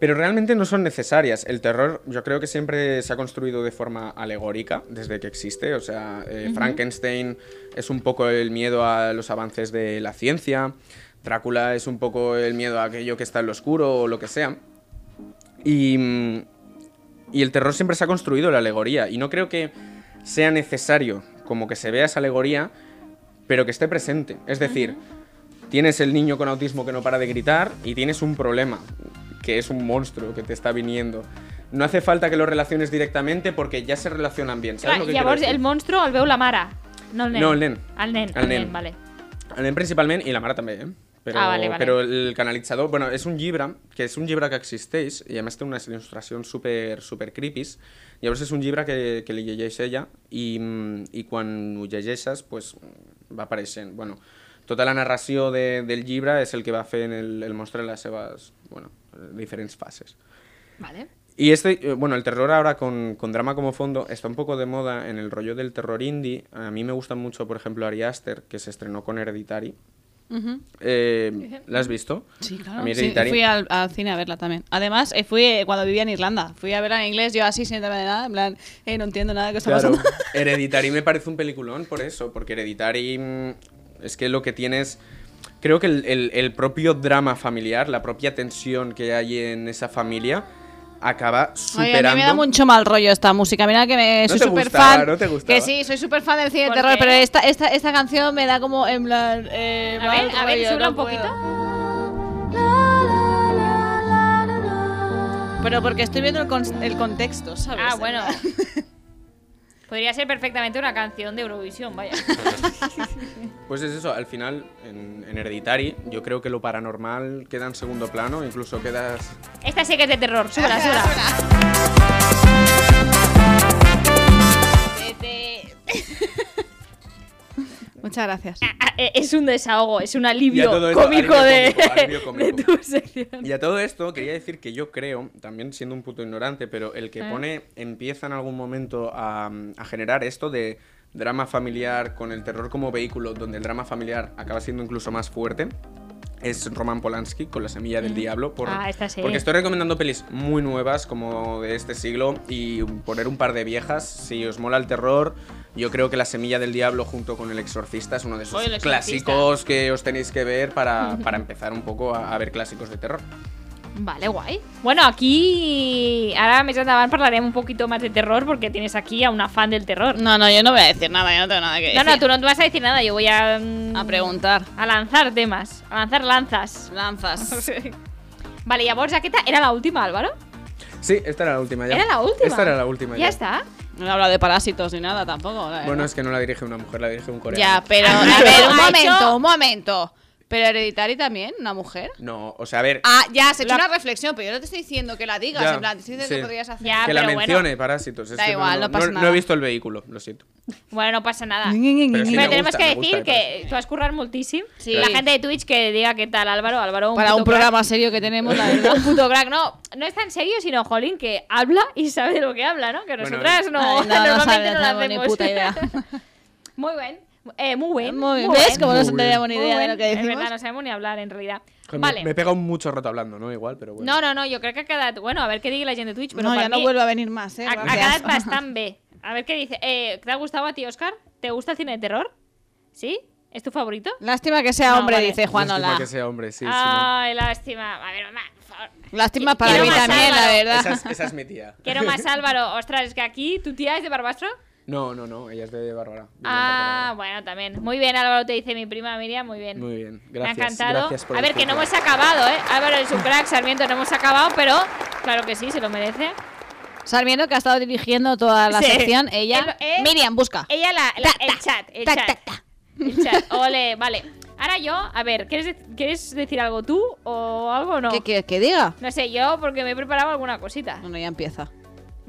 Speaker 3: Pero realmente no son necesarias. El terror yo creo que siempre se ha construido de forma alegórica desde que existe. O sea, eh, Frankenstein es un poco el miedo a los avances de la ciencia, Drácula es un poco el miedo a aquello que está en lo oscuro o lo que sea. Y, mm, y el terror siempre se ha construido la alegoría. Y no creo que sea necesario como que se vea esa alegoría, pero que esté presente. Es decir, tienes el niño con autismo que no para de gritar y tienes un problema, que es un monstruo que te está viniendo. No hace falta que lo relaciones directamente porque ya se relacionan bien. ¿Sabes
Speaker 1: Clar,
Speaker 3: lo que quiero
Speaker 1: llavors,
Speaker 3: decir?
Speaker 1: el monstruo el veu la mare, no el nen.
Speaker 3: No, el nen.
Speaker 1: El nen,
Speaker 3: El
Speaker 1: el
Speaker 3: nen.
Speaker 1: nen, vale.
Speaker 3: El nen principalment i la mare també, eh? Però,
Speaker 1: Ah, vale, vale.
Speaker 3: però el canalitzador, bueno, és un llibre, que és un llibre que existeix, i a més té unes il·lustracions super, super creepies, llavors és un llibre que, que li llegeix ella, i, mm, i quan ho llegeixes, pues, va apareixent, bueno, tota la narració de, del llibre és el que va fent el, el monstre en les seves, bueno, diferents fases.
Speaker 1: Vale.
Speaker 3: Y este, eh, bueno, el terror ahora con, con drama como fondo está un poco de moda en el rollo del terror indie. A mí me gusta mucho, por ejemplo, Ari Aster, que se estrenó con Hereditary. Eh, ¿La has visto?
Speaker 2: Sí,
Speaker 3: A
Speaker 2: claro.
Speaker 3: mí
Speaker 2: Sí,
Speaker 3: Hereditary-
Speaker 4: fui al, al cine a verla también. Además, eh, fui eh, cuando vivía en Irlanda. Fui a verla en inglés, yo así sin entender nada. En plan, eh, no entiendo nada que está
Speaker 3: Claro,
Speaker 4: pasando.
Speaker 3: Hereditary me parece un peliculón por eso, porque Hereditary mm, es que lo que tienes... Creo que el, el- el propio drama familiar, la propia tensión que hay en esa familia, acaba
Speaker 4: Oye,
Speaker 3: superando...
Speaker 4: a mí me da mucho mal rollo esta música. Mira que me,
Speaker 3: No
Speaker 4: soy
Speaker 3: te
Speaker 4: súper
Speaker 3: gustaba,
Speaker 4: fan.
Speaker 3: no te gustaba.
Speaker 4: Que sí, soy súper fan del cine de
Speaker 1: ¿Por
Speaker 4: terror,
Speaker 1: qué?
Speaker 4: pero esta, esta, esta canción me da como en plan. eh,
Speaker 1: A
Speaker 4: mal
Speaker 1: ver, a ver,
Speaker 4: rollo,
Speaker 1: sube
Speaker 4: no
Speaker 1: un poquito.
Speaker 4: puedo. Pero porque estoy viendo el, con- el contexto, ¿sabes?
Speaker 1: Ah,
Speaker 4: (laughs)
Speaker 1: bueno. Podría ser perfectamente una canción de Eurovisión, vaya.
Speaker 3: Pues es eso, al final en, en Hereditary yo creo que lo paranormal queda en segundo plano, incluso quedas...
Speaker 1: Esta sí que es de terror,
Speaker 4: (laughs)
Speaker 1: súbela, súbela.
Speaker 4: Eh, (laughs) Muchas gracias.
Speaker 1: Ah, ah, eh, Es un desahogo, es un alivio
Speaker 3: Y a todo esto,
Speaker 1: cómico
Speaker 3: alivio
Speaker 1: (laughs) de,
Speaker 3: cómico, alivio cómico.
Speaker 1: de tu (laughs) sección.
Speaker 3: Y a todo esto quería decir que yo creo, también siendo un puto ignorante, pero el
Speaker 1: Eh.
Speaker 3: que pone empieza en algún momento a, a generar esto de drama familiar con el terror como vehículo, donde el drama familiar acaba siendo incluso más fuerte. Es Roman Polanski con La semilla del diablo. Por,
Speaker 1: Ah, esta sí.
Speaker 3: Porque estoy recomendando pelis muy nuevas, como de este siglo, y poner un par de viejas. Si os mola el terror, yo creo que La semilla del diablo junto con El exorcista es uno de esos
Speaker 1: Oye, El Exorcista.
Speaker 3: clásicos que os tenéis que ver para, para empezar un poco a- a ver clásicos de terror.
Speaker 1: Vale, guai. Bueno, aquí... Ara més endavant parlarem un poquito más de terror porque tienes aquí a una fan del terror.
Speaker 4: No, no, yo no voy a decir nada, yo no tengo nada que
Speaker 1: No,
Speaker 4: decir.
Speaker 1: no, tú no te vas a decir nada. Yo voy a... mm,
Speaker 4: A preguntar.
Speaker 1: A lanzar temas. A lanzar lanzas.
Speaker 4: (laughs) Lanzas.
Speaker 1: Vale, llavors aquesta era la última, Álvaro?
Speaker 3: Sí, esta era la última ya.
Speaker 1: Era la última.
Speaker 3: Esta era la última
Speaker 1: Ya está.
Speaker 4: No he hablado de parásitos ni nada tampoco. la
Speaker 3: Bueno,
Speaker 4: verdad.
Speaker 3: es que no la dirige una mujer, la dirige un
Speaker 4: Ya,
Speaker 3: coreano.
Speaker 4: pero
Speaker 1: Ah,
Speaker 4: a ver, (laughs) un
Speaker 1: ha
Speaker 4: momento,
Speaker 1: hecho-
Speaker 4: un momento. ¿Pero Hereditary también? ¿Una mujer?
Speaker 3: No, o sea, a ver,
Speaker 4: Ah, ya, has hecho una reflexión, pero yo no te estoy diciendo que la digas.
Speaker 3: Ya,
Speaker 4: en plan, te estoy diciendo
Speaker 3: sí.
Speaker 4: que podrías hacer.
Speaker 1: Ya,
Speaker 3: que la
Speaker 1: pero bueno.
Speaker 3: mencione, parásitos. es
Speaker 4: Da
Speaker 3: que
Speaker 4: igual, no pasa
Speaker 3: No
Speaker 4: nada.
Speaker 3: he visto el vehículo, lo siento.
Speaker 1: Bueno, no pasa nada.
Speaker 3: Pero sí
Speaker 1: Pero
Speaker 3: me
Speaker 1: tenemos
Speaker 3: gusta,
Speaker 1: que
Speaker 3: me
Speaker 1: decir
Speaker 3: gusta, me
Speaker 1: que tú has currar moltísimo.
Speaker 4: Sí.
Speaker 1: La gente de Twitch que diga qué tal Álvaro. Álvaro, un
Speaker 4: Para
Speaker 1: puto
Speaker 4: un programa serio que tenemos, la verdad. (laughs)
Speaker 1: crack. Un puto crack, no, no es tan serio, sino Jolín que habla y sabe de lo que habla, ¿no? Que
Speaker 3: Bueno,
Speaker 1: nosotras no,
Speaker 4: Ay, no, no
Speaker 1: normalmente
Speaker 4: sabe,
Speaker 1: no,
Speaker 4: no
Speaker 1: lo
Speaker 4: tengo
Speaker 1: hacemos.
Speaker 4: ni puta idea.
Speaker 1: (laughs) muy bien, eh, muy bien.
Speaker 4: Muy bien. ¿Ves? Como no
Speaker 3: Muy bien.
Speaker 4: tenemos ni
Speaker 1: Muy
Speaker 4: idea de
Speaker 1: bien.
Speaker 4: lo que decimos.
Speaker 1: Es verdad, no sabemos ni hablar en realidad.
Speaker 3: Joder,
Speaker 1: vale.
Speaker 3: Me, me he pegado mucho rato hablando, ¿no? Igual, pero bueno.
Speaker 1: No, no, no, jo crec que ha quedat... Bueno, a veure què digui la gent de Twitch, però
Speaker 4: no,
Speaker 1: per
Speaker 4: ya no
Speaker 1: mi
Speaker 4: vuelvo a venir más, ¿eh?
Speaker 1: ha, ha
Speaker 4: Gracias.
Speaker 1: quedat bastant bé. A ver qué dice. Eh, ¿Te ha gustado a ti, Oscar? ¿Te gusta el cine de terror? ¿Sí? ¿Es tu favorito?
Speaker 4: Lástima que sea
Speaker 1: No,
Speaker 4: hombre,
Speaker 1: vale.
Speaker 4: dice
Speaker 3: Lástima
Speaker 4: Juanola.
Speaker 3: que sea hombre, sí, sí, no.
Speaker 1: Ay, lástima. A ver, mamá, por favor.
Speaker 4: Lástima para
Speaker 1: Quiero
Speaker 4: mí
Speaker 1: más
Speaker 4: también, la
Speaker 1: Álvaro.
Speaker 4: verdad.
Speaker 3: Esa es, esa es
Speaker 1: (laughs)
Speaker 3: mi tía.
Speaker 1: Quiero
Speaker 3: (laughs)
Speaker 1: más Álvaro. Ostras, es que aquí tu tía es de Barbastro.
Speaker 3: No, no, no, ella es de Bárbara. Vive en
Speaker 1: Ah,
Speaker 3: Bárbara.
Speaker 1: bueno, también. Muy bien, Álvaro, te dice mi prima Miriam. Muy bien.
Speaker 3: Muy bien, gracias.
Speaker 1: Me ha encantado.
Speaker 3: gracias por
Speaker 1: A ver,
Speaker 3: el
Speaker 1: que no
Speaker 3: feedback.
Speaker 1: hemos acabado, ¿eh? Álvaro es un crack, Sarmiento, no hemos acabado, pero claro que sí, se lo merece.
Speaker 4: Sarmiento, que ha estado dirigiendo toda la
Speaker 1: Sí.
Speaker 4: sección, ella.
Speaker 1: El- eh,
Speaker 4: Miriam, busca.
Speaker 1: Ella la, la- el chat, el
Speaker 4: ta,
Speaker 1: chat.
Speaker 4: ta, ta.
Speaker 1: El chat. Ole, vale. Ahora yo, a ver, ¿quieres, de- quieres decir algo tú o algo no?
Speaker 4: ¿Qué quieres que diga?
Speaker 1: No sé, yo porque me he preparado alguna cosita.
Speaker 4: Bueno, ya empieza.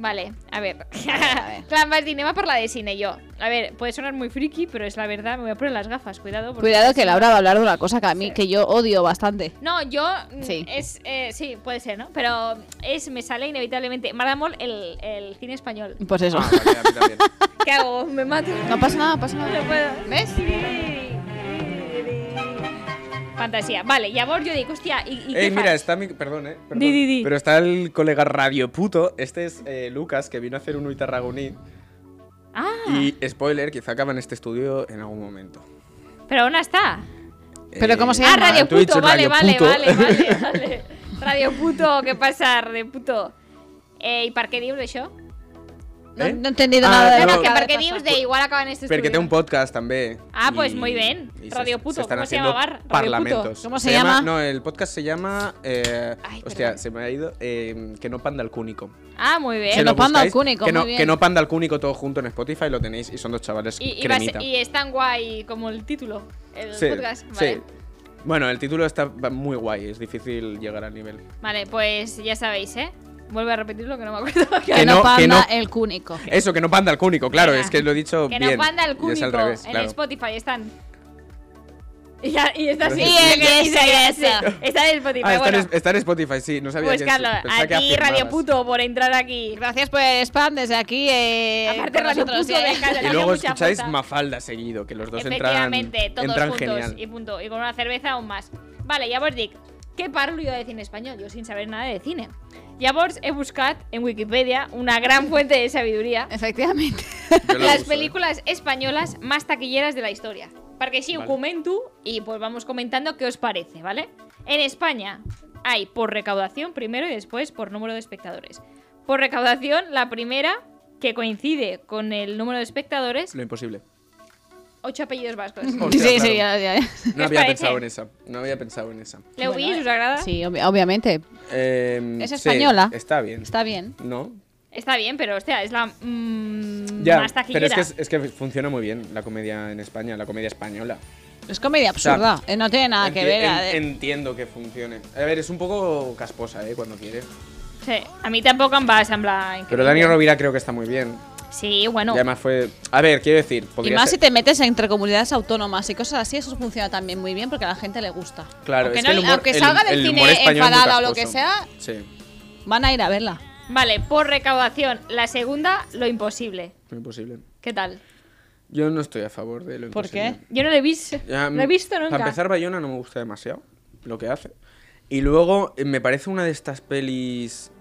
Speaker 1: Vale, a ver. (laughs)
Speaker 4: ver.
Speaker 1: Clan más Dinema por la de cine yo. A ver, puede sonar muy friki, pero es la verdad, me voy a poner las gafas, cuidado. porque-
Speaker 4: Cuidado que Laura va a hablar de una cosa que a mí, que yo odio bastante.
Speaker 1: No, yo mm,
Speaker 4: Sí.
Speaker 1: es eh, sí, puede ser, ¿no? Pero es me sale inevitablemente Maramol el, el cine español.
Speaker 4: Pues eso.
Speaker 3: Ah, vale, a mí también.
Speaker 1: (laughs) ¿Qué hago? Me mato.
Speaker 4: No pasa nada, pasa
Speaker 1: No
Speaker 4: nada.
Speaker 1: puedo.
Speaker 4: ¿Ves?
Speaker 1: Fantasía. Vale, y ahora yo digo, hostia, ¿y, y
Speaker 3: Ey,
Speaker 1: qué
Speaker 3: mira,
Speaker 1: fas?
Speaker 3: está mi. Perdón, eh. perdón.
Speaker 1: Di, di, di.
Speaker 3: Pero está el colega Radio Puto. Este es eh, Lucas, que vino a hacer un Uitarraguní.
Speaker 1: Ah,
Speaker 3: Y spoiler, quizá acaba en este estudio en algún momento. Eh,
Speaker 1: pero aún está.
Speaker 4: Pero ¿cómo se
Speaker 1: Ah,
Speaker 4: llama?
Speaker 1: Radio
Speaker 3: Twitch,
Speaker 1: Puto, vale,
Speaker 3: Radio
Speaker 1: vale,
Speaker 3: Puto.
Speaker 1: vale,
Speaker 3: (laughs)
Speaker 1: Este vale, vale. Radio Puto, ¿qué pasa, Radio Puto? Eh, I per què dius això?
Speaker 4: No,
Speaker 3: ¿Eh?
Speaker 4: no he entendido
Speaker 3: Ah,
Speaker 4: nada de
Speaker 3: no,
Speaker 4: lo que
Speaker 3: no, que
Speaker 1: Que
Speaker 4: acaba
Speaker 1: per
Speaker 4: de
Speaker 1: què
Speaker 4: pasar.
Speaker 1: dius de igual este acaben estos
Speaker 3: Porque tengo un podcast también.
Speaker 1: Ah, pues muy bien. Radio Puto,
Speaker 3: están
Speaker 1: ¿cómo se
Speaker 3: haciendo
Speaker 1: llamaba? Radio Puto.
Speaker 3: Parlamentos.
Speaker 4: ¿Cómo se llama?
Speaker 3: No, el podcast se llama. eh,
Speaker 1: Ay,
Speaker 3: hostia,
Speaker 1: perdón.
Speaker 3: se me ha ido. eh, que no panda el cúnico.
Speaker 1: Ah, muy
Speaker 3: Se
Speaker 1: bien.
Speaker 4: no
Speaker 3: lo
Speaker 4: panda al
Speaker 3: buscáis,
Speaker 4: cúnico,
Speaker 3: Que
Speaker 4: muy
Speaker 3: no,
Speaker 4: bien.
Speaker 3: que no panda el cúnico todo junto en Spotify lo tenéis y son dos chavales
Speaker 1: Y, y, va a ser-
Speaker 3: cremita.
Speaker 1: y es tan guay como el título, el
Speaker 3: Sí,
Speaker 1: podcast.
Speaker 3: sí.
Speaker 1: Vale.
Speaker 3: Bueno, el título está va- muy guay, es difícil llegar al nivel.
Speaker 1: Vale, pues ya sabéis, ¿eh? Vuelvo a repetirlo que no me
Speaker 3: (laughs)
Speaker 1: acuerdo.
Speaker 4: Que
Speaker 3: Que
Speaker 4: no
Speaker 3: no- que
Speaker 4: panda
Speaker 3: no-
Speaker 4: el cúnico.
Speaker 3: Eso, que no panda el cúnico, claro,
Speaker 1: Venga.
Speaker 3: es que lo he dicho
Speaker 1: que nos
Speaker 3: bien.
Speaker 1: manda el
Speaker 3: y es
Speaker 1: cúnico
Speaker 3: al revés,
Speaker 1: en
Speaker 3: claro.
Speaker 1: Spotify, están. Y, ya- y está así. (laughs)
Speaker 4: Y el
Speaker 1: y
Speaker 4: yes, yes.
Speaker 1: Está en Spotify.
Speaker 3: Ah, está,
Speaker 1: bueno,
Speaker 3: en, está en Spotify, sí, no sabía
Speaker 1: pues
Speaker 3: que
Speaker 1: Carlos,
Speaker 3: pensaba
Speaker 1: a
Speaker 3: que
Speaker 1: ti Radio
Speaker 3: afirmabas.
Speaker 1: Puto por entrar aquí.
Speaker 4: Gracias por el spam desde aquí. Eh,
Speaker 1: Aparte
Speaker 4: con
Speaker 1: Radio
Speaker 4: nosotros,
Speaker 1: Puto
Speaker 4: eh.
Speaker 1: de casa.
Speaker 3: Y luego escucháis Mafalda seguido, que los dos entran,
Speaker 1: Efectivamente, todos
Speaker 3: entran
Speaker 1: juntos
Speaker 3: genial.
Speaker 1: y punto. Y con una cerveza aún más. Vale, llavors dic, què parlo jo de cine espanyol? Jo sin saber nada de cine. Llavors he buscat en Wikipedia una gran fuente de sabiduría.
Speaker 4: Efectivamente.
Speaker 3: (laughs) Yo la
Speaker 1: las
Speaker 3: uso, ¿eh?
Speaker 1: películas españolas más taquilleras de la historia. Para que sí,
Speaker 3: Vale.
Speaker 1: comento y pues vamos comentando qué os parece, ¿vale? En España hay por recaudación primero y después por número de espectadores. Por recaudación, la primera que coincide con el número de espectadores,
Speaker 3: Lo
Speaker 1: (laughs)
Speaker 3: imposible.
Speaker 1: ocho apellidos
Speaker 3: (laughs)
Speaker 1: vascos.
Speaker 3: O
Speaker 4: sí,
Speaker 3: sea,
Speaker 4: sí,
Speaker 3: claro.
Speaker 4: ya, ya, ya.
Speaker 3: No
Speaker 1: os
Speaker 3: había
Speaker 1: parece?
Speaker 3: pensado en esa. No había pensado en esa.
Speaker 1: ¿Le oís?
Speaker 4: Bueno,
Speaker 1: ¿Os agrada?
Speaker 4: Sí, obvi- obviamente.
Speaker 3: Eh,
Speaker 4: Es
Speaker 3: sí,
Speaker 4: española.
Speaker 3: está bien.
Speaker 4: Está bien.
Speaker 3: ¿No?
Speaker 1: Está bien, pero hostia, es la mm,
Speaker 3: Ya,
Speaker 1: más taquillera.
Speaker 3: pero es que, es, que funciona muy bien la comedia en España, la comedia española.
Speaker 4: Es comedia absurda. eh, no tiene nada que
Speaker 3: Enti-
Speaker 4: ver. eh.
Speaker 3: en-
Speaker 4: a ver.
Speaker 3: Entiendo que funcione. A ver, es un poco casposa, ¿eh? Cuando quiere.
Speaker 1: Sí, a mí tampoco em va semblar increíble.
Speaker 3: Pero Dani Rovira creo que está muy bien.
Speaker 1: Sí, bueno.
Speaker 3: Y además fue... A ver, quiero decir,
Speaker 4: y
Speaker 3: podría
Speaker 4: más si
Speaker 3: ser-
Speaker 4: te metes entre comunidades autónomas y cosas así, eso funciona también muy bien porque a la gente le gusta.
Speaker 3: Claro,
Speaker 4: aunque
Speaker 3: es
Speaker 4: no-
Speaker 3: que el humor-
Speaker 4: aunque
Speaker 3: el-
Speaker 4: salga del
Speaker 3: el
Speaker 4: cine
Speaker 3: humor español es muy
Speaker 4: enfadada o lo que
Speaker 3: casposo.
Speaker 4: sea,
Speaker 3: Sí,
Speaker 4: Van a ir a verla.
Speaker 1: Vale, por recaudación, la segunda, lo imposible.
Speaker 3: muy imposible.
Speaker 1: ¿Qué tal?
Speaker 3: Yo no estoy a favor de lo
Speaker 4: ¿Por
Speaker 3: imposible.
Speaker 4: qué?
Speaker 1: Yo no lo he visto,
Speaker 3: Ya,
Speaker 1: no he visto nunca.
Speaker 3: Para empezar, Bayona no me gusta demasiado lo que hace. Y luego eh, me parece una de estas pelis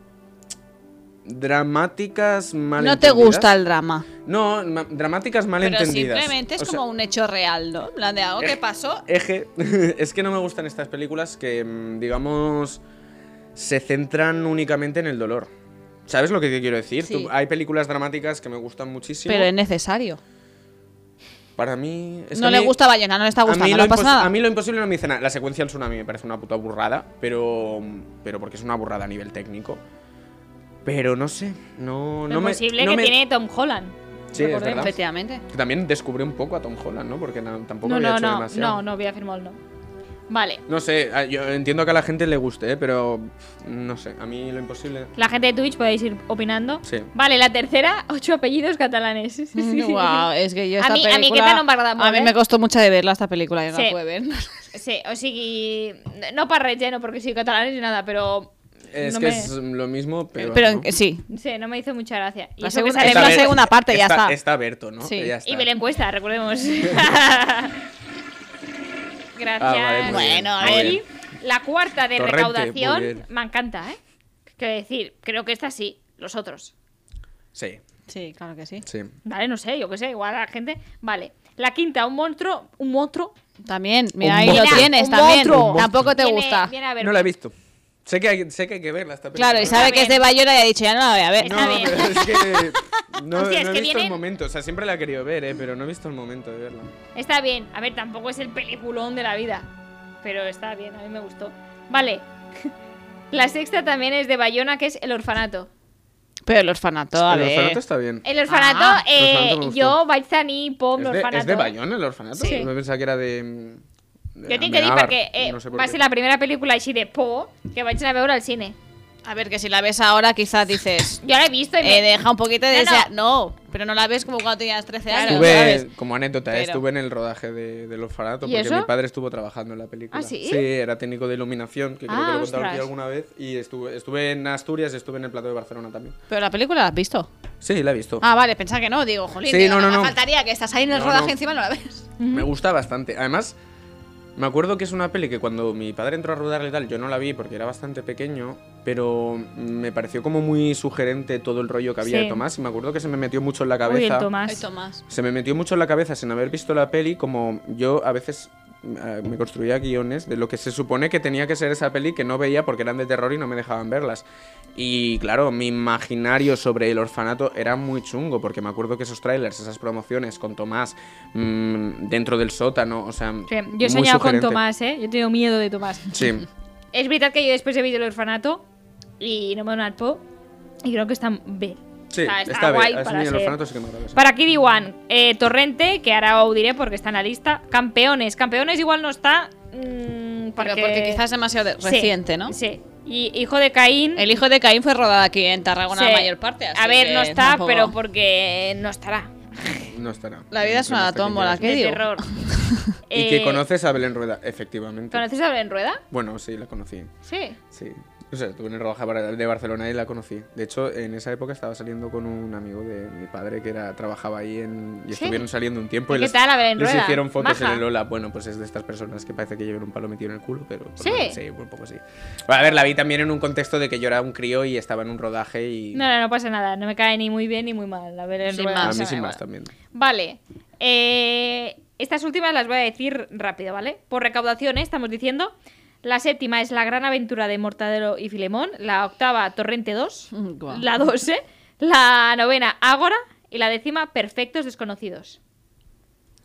Speaker 3: dramáticas mal
Speaker 4: No te gusta el drama.
Speaker 3: No, ma- dramáticas mal
Speaker 4: Pero
Speaker 3: entendidas.
Speaker 4: simplemente es
Speaker 3: O sea, eh,
Speaker 4: como un hecho real, ¿no? En plan de algo que pasó.
Speaker 3: (laughs) Eje, es que no me gustan estas películas que, mm, digamos, se centran únicamente en el dolor. ¿Sabes lo que te quiero decir?
Speaker 2: Sí.
Speaker 3: Tú- hay películas dramáticas que me gustan muchísimo.
Speaker 4: Pero es necesario.
Speaker 3: Para mí. es que
Speaker 4: no
Speaker 3: a
Speaker 4: le
Speaker 3: mí-
Speaker 4: gusta Bayona, no le está
Speaker 3: a mí
Speaker 4: gustando,
Speaker 3: lo
Speaker 4: no pasa
Speaker 3: impos-
Speaker 4: nada.
Speaker 3: A mí lo imposible no me dice nada. La secuencia del tsunami me parece una puta burrada, pero, pero porque es una burrada a nivel técnico. Pero no sé, no,
Speaker 1: Lo
Speaker 3: no me.
Speaker 1: posible
Speaker 3: no
Speaker 1: que
Speaker 3: me-
Speaker 1: tiene Tom Holland.
Speaker 3: Sí, es
Speaker 1: recordemos.
Speaker 3: verdad.
Speaker 4: (laughs) Efectivamente.
Speaker 3: Que También descubrí un poco a Tom Holland, ¿no? Porque na- tampoco
Speaker 1: No,
Speaker 3: había
Speaker 1: no,
Speaker 3: hecho
Speaker 1: no,
Speaker 3: demasiado.
Speaker 1: no, no voy a firmar no. Vale.
Speaker 3: No sé, a- yo entiendo que a la gente le guste, ¿eh? pero pff, no sé, a mí lo imposible.
Speaker 1: La gente de Twitch podéis ir opinando.
Speaker 3: Sí.
Speaker 1: Vale, la tercera, ocho apellidos catalanes. (laughs)
Speaker 4: Mm, Guau, es que yo
Speaker 1: A
Speaker 4: esta
Speaker 1: mí- a mí que
Speaker 4: película-
Speaker 1: tan embargada
Speaker 4: A mí
Speaker 1: molt, eh?
Speaker 4: me costó mucho de verla esta película, yo no
Speaker 1: Sí.
Speaker 4: la pude ver. (laughs)
Speaker 1: Sí, o sigui, no per res, eh, no porque soy catalán ni nada, pero
Speaker 3: Es
Speaker 1: no
Speaker 3: que
Speaker 1: me...
Speaker 3: es lo mismo, pero.
Speaker 4: Pero
Speaker 3: ¿no?
Speaker 4: eh, sí.
Speaker 1: Sí, no me hizo mucha gracia. Y
Speaker 4: La
Speaker 1: eso que
Speaker 4: segunda-
Speaker 1: sale
Speaker 4: Está
Speaker 1: Belén-
Speaker 4: la bien. segunda parte, ya está.
Speaker 3: Está Berto, ¿no?
Speaker 4: Sí.
Speaker 3: Ya está.
Speaker 1: Y Belén Cuesta, (laughs) recordemos. Gracias.
Speaker 3: Ah, vale, muy bien,
Speaker 4: Bueno, a
Speaker 3: muy
Speaker 4: ver.
Speaker 3: bien.
Speaker 1: Y la cuarta de
Speaker 3: Torrente, muy
Speaker 1: recaudación
Speaker 3: bien.
Speaker 1: me encanta, ¿eh? Quiero decir, creo que esta sí, los otros.
Speaker 3: Sí,
Speaker 4: Sí, claro que sí.
Speaker 3: sí.
Speaker 1: Vale, no sé, yo qué sé, igual a la gente. Vale. La quinta, un monstruo, un monstruo.
Speaker 4: También,
Speaker 3: Un
Speaker 4: mira, ahí lo
Speaker 3: monstruo.
Speaker 4: tienes
Speaker 1: Un
Speaker 4: también.
Speaker 1: monstruo.
Speaker 4: Tampoco te
Speaker 1: Viene-
Speaker 4: gusta.
Speaker 1: viene a ver-
Speaker 3: No la he visto. Sé que hay, sé que, hay que verla esta película.
Speaker 4: Claro, y
Speaker 1: Está
Speaker 4: sabe que es de
Speaker 1: bien.
Speaker 4: Bayona y ha dicho, ya no la voy a ver.
Speaker 1: Está
Speaker 3: No,
Speaker 1: bien.
Speaker 3: pero
Speaker 1: (laughs)
Speaker 3: es que. No,
Speaker 1: Hostia, es
Speaker 3: no he
Speaker 1: que
Speaker 3: visto
Speaker 1: vienen-
Speaker 3: el momento. O sea, siempre la he querido ver, ¿eh? Pero no he visto el momento de verla.
Speaker 1: Está bien. A ver, tampoco es el peliculón de la vida. Pero está bien, a mí me gustó. Vale. (laughs) La sexta también es de Bayona, que es El Orfanato.
Speaker 4: Pero el orfanato, a
Speaker 3: el
Speaker 4: ver.
Speaker 3: orfanato está bien.
Speaker 1: El Orfanato,
Speaker 4: Ah.
Speaker 1: eh,
Speaker 3: L'Orfanato me gustó.
Speaker 1: jo vaig tenir por
Speaker 3: ¿Es, de,
Speaker 1: l'Orfanato.
Speaker 3: ¿Es de Bayona el orfanato?
Speaker 1: Sí.
Speaker 3: Yo pensaba que era de. de
Speaker 1: Jo tinc que dir
Speaker 3: Amenábar,
Speaker 1: perquè eh,
Speaker 3: Ah, no sé por
Speaker 1: va
Speaker 3: qué.
Speaker 1: ser la primera pel·lícula així de por que vaig anar a veure al cine.
Speaker 4: A ver, que si la ves ahora quizás dices,
Speaker 1: Jo l'he vist i me...
Speaker 4: eh, deja un poquito de
Speaker 1: No, no.
Speaker 4: desear. No. pero no la ves como cuando tenías 13 años,
Speaker 1: Claro,
Speaker 4: ¿sabes?
Speaker 3: Estuve, como anécdota, eh,
Speaker 4: Pero-
Speaker 3: estuve en el rodaje de, del orfanato
Speaker 1: ¿Y
Speaker 3: porque
Speaker 1: eso?
Speaker 3: mi padre estuvo trabajando en la película.
Speaker 1: ¿Ah, sí?
Speaker 3: era técnico de iluminación, que creo
Speaker 1: Ah,
Speaker 3: que lo he contado aquí
Speaker 1: ostras.
Speaker 3: alguna vez. Y estuve, estuve en Asturias y estuve en el plato de Barcelona también.
Speaker 4: Pero la película la has visto.
Speaker 3: Sí, la he visto.
Speaker 4: Ah, vale, pensaba que no, digo, jolín.
Speaker 3: Sí,
Speaker 4: digo,
Speaker 3: no, no,
Speaker 4: me
Speaker 3: no.
Speaker 4: faltaría que estás ahí en el
Speaker 3: No,
Speaker 4: rodaje
Speaker 3: no.
Speaker 4: encima no la ves.
Speaker 3: Me gusta bastante. Además, me acuerdo que es una peli que cuando mi padre entró a rodarle y tal, yo no la vi porque era bastante pequeño, pero me pareció como muy sugerente todo el rollo que había
Speaker 1: Sí.
Speaker 3: de Tomás. Y me acuerdo que se me metió mucho en la
Speaker 1: Ui,
Speaker 3: cabeza.
Speaker 1: el Tomàs.
Speaker 4: Tomás.
Speaker 3: se me metió mucho en la cabeza sin haber visto la peli, como yo a veces eh, me construía guiones de lo que se supone que tenía que ser esa peli que no veía porque eran de terror y no me dejaban verlas. Y claro, mi imaginario sobre el orfanato era muy chungo, porque me acuerdo que esos trailers, esas promociones con Tomás mm, dentro del sótano, o sea...
Speaker 1: Sí, jo
Speaker 3: muy
Speaker 1: he soñado con
Speaker 3: sugerente.
Speaker 1: Tomás, eh? Jo tenia miedo de Tomás. (laughs)
Speaker 3: Sí,
Speaker 1: És veritat que jo després he vist l'orfanato i no m'ha donat por i crec que està bé.
Speaker 3: sí,
Speaker 1: Está- está
Speaker 3: está
Speaker 1: guay
Speaker 3: bien. Es
Speaker 1: para
Speaker 3: muy el
Speaker 1: ser-
Speaker 3: orfanato sí que me agrada, sí.
Speaker 1: Para aquí diuen eh, Torrente, que ara ho diré perquè està en la lista, Campeones. Campeones igual no està... mm,
Speaker 4: Pero
Speaker 1: perquè...
Speaker 4: porque quizás es demasiado de-
Speaker 1: Sí,
Speaker 4: reciente, ¿no?
Speaker 1: Sí. Y Hijo de Caín...
Speaker 4: El hijo de Caín fue rodada aquí en Tarragona
Speaker 1: sí.
Speaker 4: la mayor parte. así
Speaker 1: A ver,
Speaker 4: que
Speaker 1: no está,
Speaker 4: tampoco-
Speaker 1: pero porque no estará.
Speaker 3: No estará.
Speaker 4: La vida es una
Speaker 3: Hasta que
Speaker 4: tómbola,
Speaker 3: quieras.
Speaker 4: ¿qué
Speaker 1: de
Speaker 4: digo?
Speaker 1: terror.
Speaker 3: (laughs) Y
Speaker 1: Eh,
Speaker 3: que conoces a Belén Rueda, efectivamente.
Speaker 1: ¿Conoces a Belén Rueda?
Speaker 3: Bueno, sí, la conocí.
Speaker 1: Sí.
Speaker 3: Sí. O sea, estuve en el rodaje para- de Barcelona y la conocí. De hecho, en esa época estaba saliendo con un amigo de mi padre que era trabajaba ahí en, y
Speaker 1: ¿Sí?
Speaker 3: estuvieron saliendo un tiempo.
Speaker 1: ¿Y
Speaker 3: Y,
Speaker 1: qué
Speaker 3: les,
Speaker 1: tal la Belén
Speaker 3: les
Speaker 1: Rueda?
Speaker 3: hicieron fotos
Speaker 1: Maja.
Speaker 3: en el Lola. Bueno, pues es de estas personas que parece que llevan un palo metido en el culo, pero... por
Speaker 1: ¿Sí?
Speaker 3: lo menos- sí, un poco sí. Bueno, a ver, la vi también en un contexto de que yo era un crío y estaba en un rodaje y...
Speaker 1: No, no, no pasa nada. No me cae ni muy bien ni muy mal la Belén
Speaker 4: Sin
Speaker 1: Rueda.
Speaker 3: a
Speaker 4: más,
Speaker 3: mí
Speaker 4: me
Speaker 3: sin
Speaker 4: da
Speaker 3: más
Speaker 4: igual.
Speaker 3: también.
Speaker 1: Vale. Eh, estas últimas las voy a decir rápido, ¿vale? Por recaudación, ¿eh? estamos diciendo. La séptima es La Gran Aventura de Mortadelo y Filemón. La octava, Torrente 2.
Speaker 4: Mm, (laughs) guau.
Speaker 1: La 12. La novena, Ágora. Y la décima, Perfectos Desconocidos.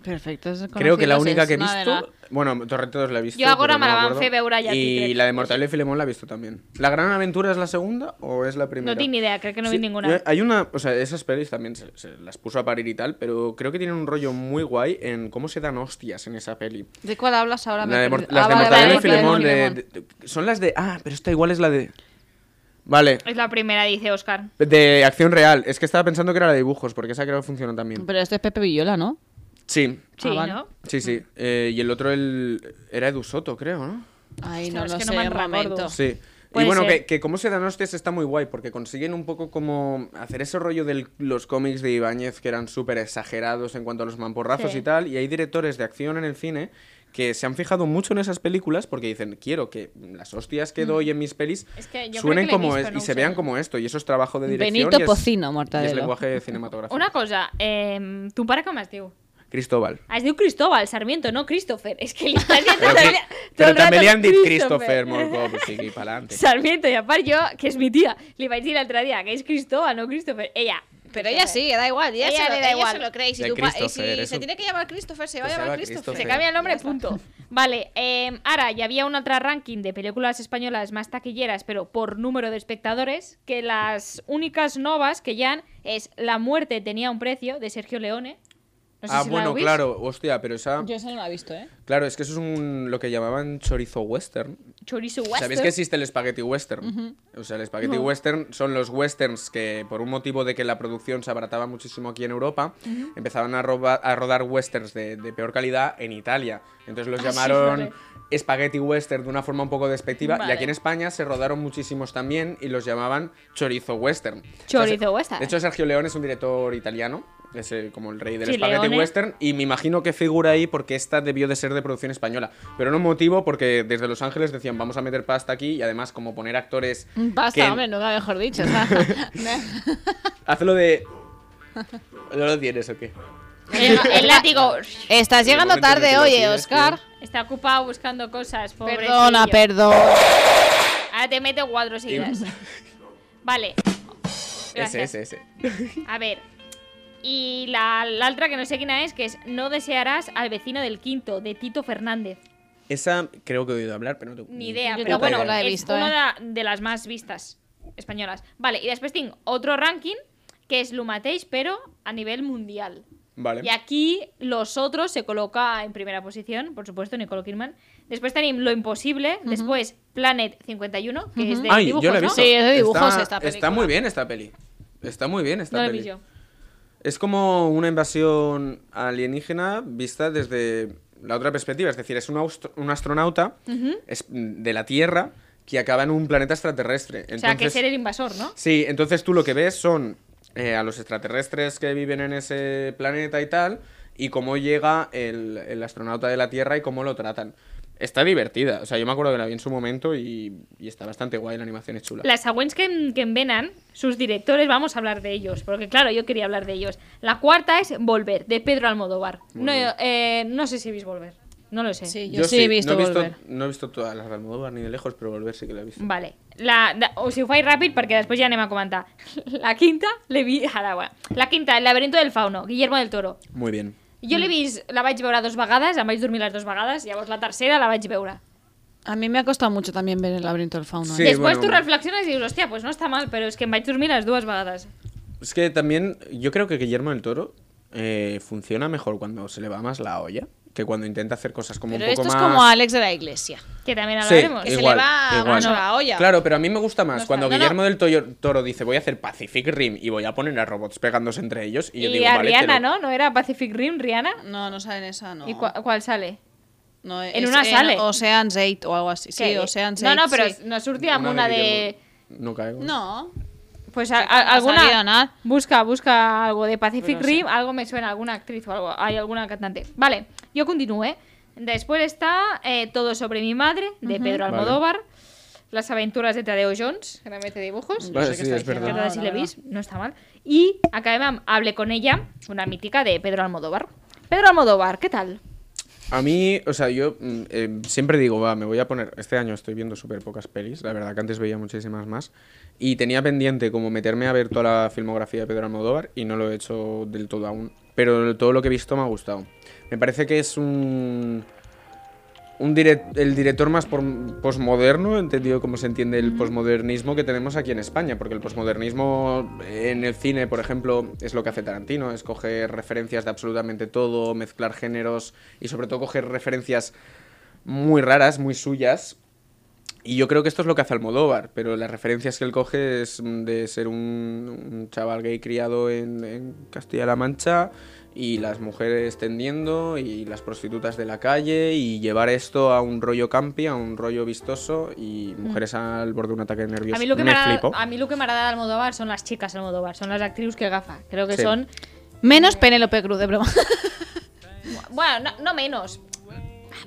Speaker 4: Perfecto. es
Speaker 3: Creo que la
Speaker 4: conocido,
Speaker 3: única
Speaker 4: es
Speaker 3: que he
Speaker 4: una de la-
Speaker 3: visto... Bueno, Torretos la he visto.
Speaker 1: Yo ahora
Speaker 3: pero no
Speaker 1: me la van
Speaker 3: acuerdo.
Speaker 1: fe veure ya aquí, creo que
Speaker 3: Y la de Mortadelo y Filemón la he visto también. ¿La Gran Aventura es la segunda o es la primera?
Speaker 1: No tengo ni idea, creo que no
Speaker 3: Sí,
Speaker 1: vi ninguna.
Speaker 3: yo- Hay una, o sea, esas pelis también se, se las puso a parir y tal, pero creo que tienen un rollo muy guay en cómo se dan hostias en esa peli.
Speaker 4: ¿De cuál hablas ahora? Me
Speaker 3: La de
Speaker 4: he
Speaker 3: Mor-
Speaker 4: perdido.
Speaker 3: las
Speaker 4: Ah,
Speaker 3: de
Speaker 4: vale,
Speaker 3: Mortadelo
Speaker 4: vale,
Speaker 3: y Filemón.
Speaker 4: Mortadelo y
Speaker 3: de- de- son las de. Ah, pero esta igual es la de. Vale.
Speaker 1: Es la primera, dice Oscar.
Speaker 3: De acción real. Es que estaba pensando que era la de dibujos, porque esa creo que funciona también.
Speaker 4: Pero este es Pepe Villola, ¿no?
Speaker 3: Sí.
Speaker 1: Sí,
Speaker 4: Ah, vale.
Speaker 1: ¿no?
Speaker 3: Sí, sí. Eh, y el otro el... era Edu Soto, creo, ¿no?
Speaker 4: Ay,
Speaker 1: Ostras,
Speaker 4: no lo
Speaker 1: es que no
Speaker 4: sé,
Speaker 1: me
Speaker 4: un
Speaker 1: recuerdo.
Speaker 4: momento.
Speaker 3: Sí.
Speaker 1: Puede
Speaker 3: y bueno,
Speaker 1: ser.
Speaker 3: que, que cómo se dan hostias está muy guay, porque consiguen un poco como hacer ese rollo de los cómics de Ibáñez que eran súper exagerados en cuanto a los mamporrazos
Speaker 1: Sí.
Speaker 3: y tal, y hay directores de acción en el cine que se han fijado mucho en esas películas porque dicen, quiero que las hostias que doy en mis pelis
Speaker 1: Mm. Es que yo creo
Speaker 3: suenen
Speaker 1: que la he
Speaker 3: como
Speaker 1: visto,
Speaker 3: es-
Speaker 1: no
Speaker 3: y se
Speaker 1: sé.
Speaker 3: vean como esto, y eso es trabajo de dirección.
Speaker 4: Benito
Speaker 3: y es-
Speaker 4: Pocino,
Speaker 3: Y
Speaker 4: (laughs)
Speaker 3: es
Speaker 4: Mortadelo.
Speaker 3: lenguaje cinematográfico.
Speaker 1: Una cosa, eh, tu em, pare com es diu?
Speaker 4: (laughs)
Speaker 3: Cristóbal.
Speaker 1: Has dicho Cristóbal, Sarmiento, no Christopher. (laughs) Es que le estás diciendo
Speaker 3: Pero,
Speaker 1: todo el
Speaker 3: que,
Speaker 1: día- todo
Speaker 3: pero
Speaker 1: el rato
Speaker 3: també li han dit
Speaker 1: Christopher. (laughs)
Speaker 3: Christopher, pues molt cop, o sigui,
Speaker 4: (laughs)
Speaker 3: pa'lante.
Speaker 1: Sarmiento, y aparte yo, que es mi tía, le vais a decir al otro día que es Cristóbal, no Christopher. Ella.
Speaker 2: Pero ella sí, da igual, ella,
Speaker 1: Ella
Speaker 2: se, lo,
Speaker 1: le da
Speaker 2: ella
Speaker 1: igual.
Speaker 2: se lo cree. Y si,
Speaker 3: De
Speaker 2: tu pa- y
Speaker 3: Christopher,
Speaker 2: si
Speaker 3: eso.
Speaker 2: se tiene que llamar Christopher, se va a
Speaker 3: Pues se
Speaker 2: llamar
Speaker 3: llama
Speaker 2: Christopher.
Speaker 1: Se
Speaker 3: Christopher.
Speaker 1: cambia el nombre,
Speaker 2: Ya está.
Speaker 1: punto. Vale, eh, ahora, ya había un otro ranking de películas españolas más taquilleras, pero por número de espectadores, que las únicas novas que ya han es La muerte tenía un precio, de Sergio Leone. No sé
Speaker 3: ah,
Speaker 1: si la
Speaker 3: bueno,
Speaker 1: habéis.
Speaker 3: claro, hostia, pero esa...
Speaker 4: Yo esa no la he visto, ¿eh?
Speaker 3: Claro, es que eso es un, lo que llamaban chorizo western.
Speaker 1: Chorizo Western.
Speaker 3: ¿Sabéis que existe el spaghetti western? O sea, el spaghetti western son los westerns que, por un motivo de que la producción se abarataba muchísimo aquí en Europa, empezaban a, roba- a rodar westerns de, de peor calidad en Italia. Entonces los
Speaker 1: Ah, sí,
Speaker 3: llamaron
Speaker 1: vale.
Speaker 3: spaghetti western de una forma un poco despectiva. Y
Speaker 1: Vale.
Speaker 3: aquí en España se rodaron muchísimos también y los llamaban chorizo western. O sea,
Speaker 1: Chorizo
Speaker 3: se-
Speaker 1: western.
Speaker 3: De hecho, Sergio Leone es un director italiano. Es eh, como el rey del
Speaker 1: Sí,
Speaker 3: spaghetti
Speaker 1: Leone.
Speaker 3: western. Y me imagino que figura ahí porque esta debió de ser de producción española. Pero no un motivo porque desde Los Ángeles decían vamos a meter pasta aquí y además como poner actores...
Speaker 4: Basta,
Speaker 3: que-
Speaker 4: Mm, hombre, nunca mejor dicho.
Speaker 3: (laughs) Hazlo de... ¿No lo tienes o qué?
Speaker 1: El, el látigo.
Speaker 2: (laughs) Estás llegando
Speaker 3: momento en el que
Speaker 2: tarde,
Speaker 3: lo
Speaker 2: oye,
Speaker 3: tienes,
Speaker 2: Oscar.
Speaker 1: Está ocupado buscando cosas. pobrecillo.
Speaker 4: Perdona, perdón.
Speaker 1: Ahora te meto cuatro seguidas. Vale. Gracias.
Speaker 3: Ese, ese, ese.
Speaker 1: A ver. Y la, la otra que no sé quién es, que es No desearás al vecino del quinto, de Tito Fernández.
Speaker 3: Esa creo que he oído hablar, pero no tengo
Speaker 1: Ni idea,
Speaker 4: Yo
Speaker 1: pero
Speaker 3: tampoco
Speaker 1: bueno,
Speaker 3: la
Speaker 4: he
Speaker 1: es
Speaker 4: visto,
Speaker 1: una de la- de las más vistas españolas. Vale, y después tengo otro ranking, que es Lumateis, pero a nivel mundial.
Speaker 3: Vale.
Speaker 1: Y aquí los otros se coloca en primera posición, por supuesto, Nicolo Kidman. Después tenemos Lo Imposible, después Planet 51, que es de
Speaker 3: Ay,
Speaker 1: dibujos,
Speaker 3: yo la he
Speaker 1: ¿no?
Speaker 3: visto.
Speaker 4: Sí, es de dibujos
Speaker 3: Está-
Speaker 4: esta
Speaker 3: Está
Speaker 4: película.
Speaker 3: muy bien esta peli. Está muy bien esta
Speaker 1: No lo he
Speaker 3: peli.
Speaker 1: visto.
Speaker 3: Es como una invasión alienígena vista desde la otra perspectiva. Es decir, es un, austro- un astronauta es- de la Tierra que acaba en un planeta extraterrestre.
Speaker 1: O sea, que
Speaker 3: Entonces-
Speaker 1: es el invasor, ¿no?
Speaker 3: Sí, entonces tú lo que ves son eh, a los extraterrestres que viven en ese planeta y tal, y cómo llega el, el astronauta de la Tierra y cómo lo tratan. Está divertida, o sea, yo me acuerdo que la vi en su momento y, y está bastante guay, la animación es chula.
Speaker 1: Las següents que, en- que envenan, sus directores, vamos a hablar de ellos, porque claro, yo quería hablar de ellos. La cuarta es Volver, de Pedro Almodóvar. No, eh, no sé si veis Volver, no lo sé.
Speaker 4: Sí, yo, sí, he visto,
Speaker 3: no he visto,
Speaker 4: volver. Mm.
Speaker 3: no he visto todas las de Almodóvar ni de lejos, pero volver sí que la he visto.
Speaker 1: Vale. La, da- o si ho faig ràpid, perquè després ja anem a comentar. (laughs) La quinta, l'he vist... Ara, va. (laughs) La quinta, El laberinto del fauno, Guillermo del Toro.
Speaker 3: Muy bien.
Speaker 1: Jo l'he vist, la vaig veure dos vegades, em vaig dormir les dues vegades, llavors la tercera la vaig veure.
Speaker 4: A mí me ha costado mucho también ver el laberinto del fauno.
Speaker 3: Sí.
Speaker 4: ¿eh?
Speaker 1: Després tu
Speaker 3: bueno.
Speaker 1: reflexiones i dius, hòstia, pues no està mal, però és que em vaig dormir les dues vegades.
Speaker 3: Es que también yo creo que Guillermo del Toro eh, funciona mejor cuando se le va más la olla que cuando intenta hacer cosas como
Speaker 4: Pero
Speaker 3: un poco
Speaker 4: esto es
Speaker 3: más...
Speaker 4: como Alex de la Iglesia.
Speaker 1: Que també
Speaker 3: Sí,
Speaker 1: hablaremos.
Speaker 2: Que se
Speaker 3: igual,
Speaker 2: le va
Speaker 3: igual.
Speaker 2: mano a la olla.
Speaker 3: Claro, pero a mí me gusta más cuando
Speaker 2: no, no.
Speaker 3: Guillermo del Toyo- Toro dice voy a hacer Pacific Rim y voy a poner a robots pegándose entre ellos y yo
Speaker 1: Y
Speaker 3: digo,
Speaker 1: a
Speaker 3: vale, te
Speaker 1: Rihanna,
Speaker 3: lo-
Speaker 1: ¿no? ¿No era Pacific Rim, Rihanna?
Speaker 4: No, no saben esa, no.
Speaker 1: ¿Y cua- cuál sale?
Speaker 4: No,
Speaker 1: En una sale.
Speaker 4: Ocean's 8 o algo así. Sí,
Speaker 1: Que-
Speaker 4: Ocean's 8.
Speaker 1: No, no, pero
Speaker 4: sí.
Speaker 1: nos surtíamos una de...
Speaker 3: Guillermo- No caigo.
Speaker 4: No.
Speaker 1: Pues a- a-
Speaker 4: no ha salido
Speaker 1: alguna...
Speaker 4: nada.
Speaker 1: Busca, busca algo de Pacific
Speaker 4: Pero no
Speaker 1: Rim, algo me suena, alguna actriz o algo, hay alguna cantante. Vale, yo continúe. Después está eh, Todo sobre mi madre, de Pedro
Speaker 3: Vale.
Speaker 1: Almodóvar. Las aventuras de Tadeo Jones, que también hace dibujos.
Speaker 3: Vale, sí, es
Speaker 1: Que
Speaker 3: verdad.
Speaker 1: todas si le veis, no está mal. Y acabé Hablé con ella, una mítica de Pedro Almodóvar. Pedro Almodóvar, ¿qué tal?
Speaker 3: A mí, o sea, yo mm, eh, siempre digo, va, me voy a poner. Este año estoy viendo súper pocas pelis, la verdad que antes veía muchísimas más. Y tenía pendiente como meterme a ver toda la filmografía de Pedro Almodóvar y no lo he hecho del todo aún. Pero todo lo que he visto me ha gustado. Me parece que es un. un direc- el director más por- posmoderno, entendido como se entiende el posmodernismo que tenemos aquí en España, porque el posmodernismo eh, en el cine, por ejemplo, es lo que hace Tarantino, es coger referencias de absolutamente todo, mezclar géneros y sobre todo coger referencias muy raras, muy suyas. Y yo creo que esto es lo que hace Almodóvar, pero las referencias que él coge es mm, de ser un, un chaval gay criado en, en Castilla-La Mancha y las mujeres tendiendo y las prostitutas de la calle y llevar esto a un rollo campi, a un rollo vistoso y mujeres al borde de un ataque nervioso.
Speaker 1: Mm. A mí, lo que me
Speaker 3: me
Speaker 1: agrada-
Speaker 3: flipo.
Speaker 1: a mí lo que me agrada de Almodóvar son las chicas Almodóvar, son las actrices que gafa. Creo que
Speaker 3: Sí.
Speaker 1: son.
Speaker 4: Menos Penélope Cruz, de broma.
Speaker 1: Bueno, no, no menos.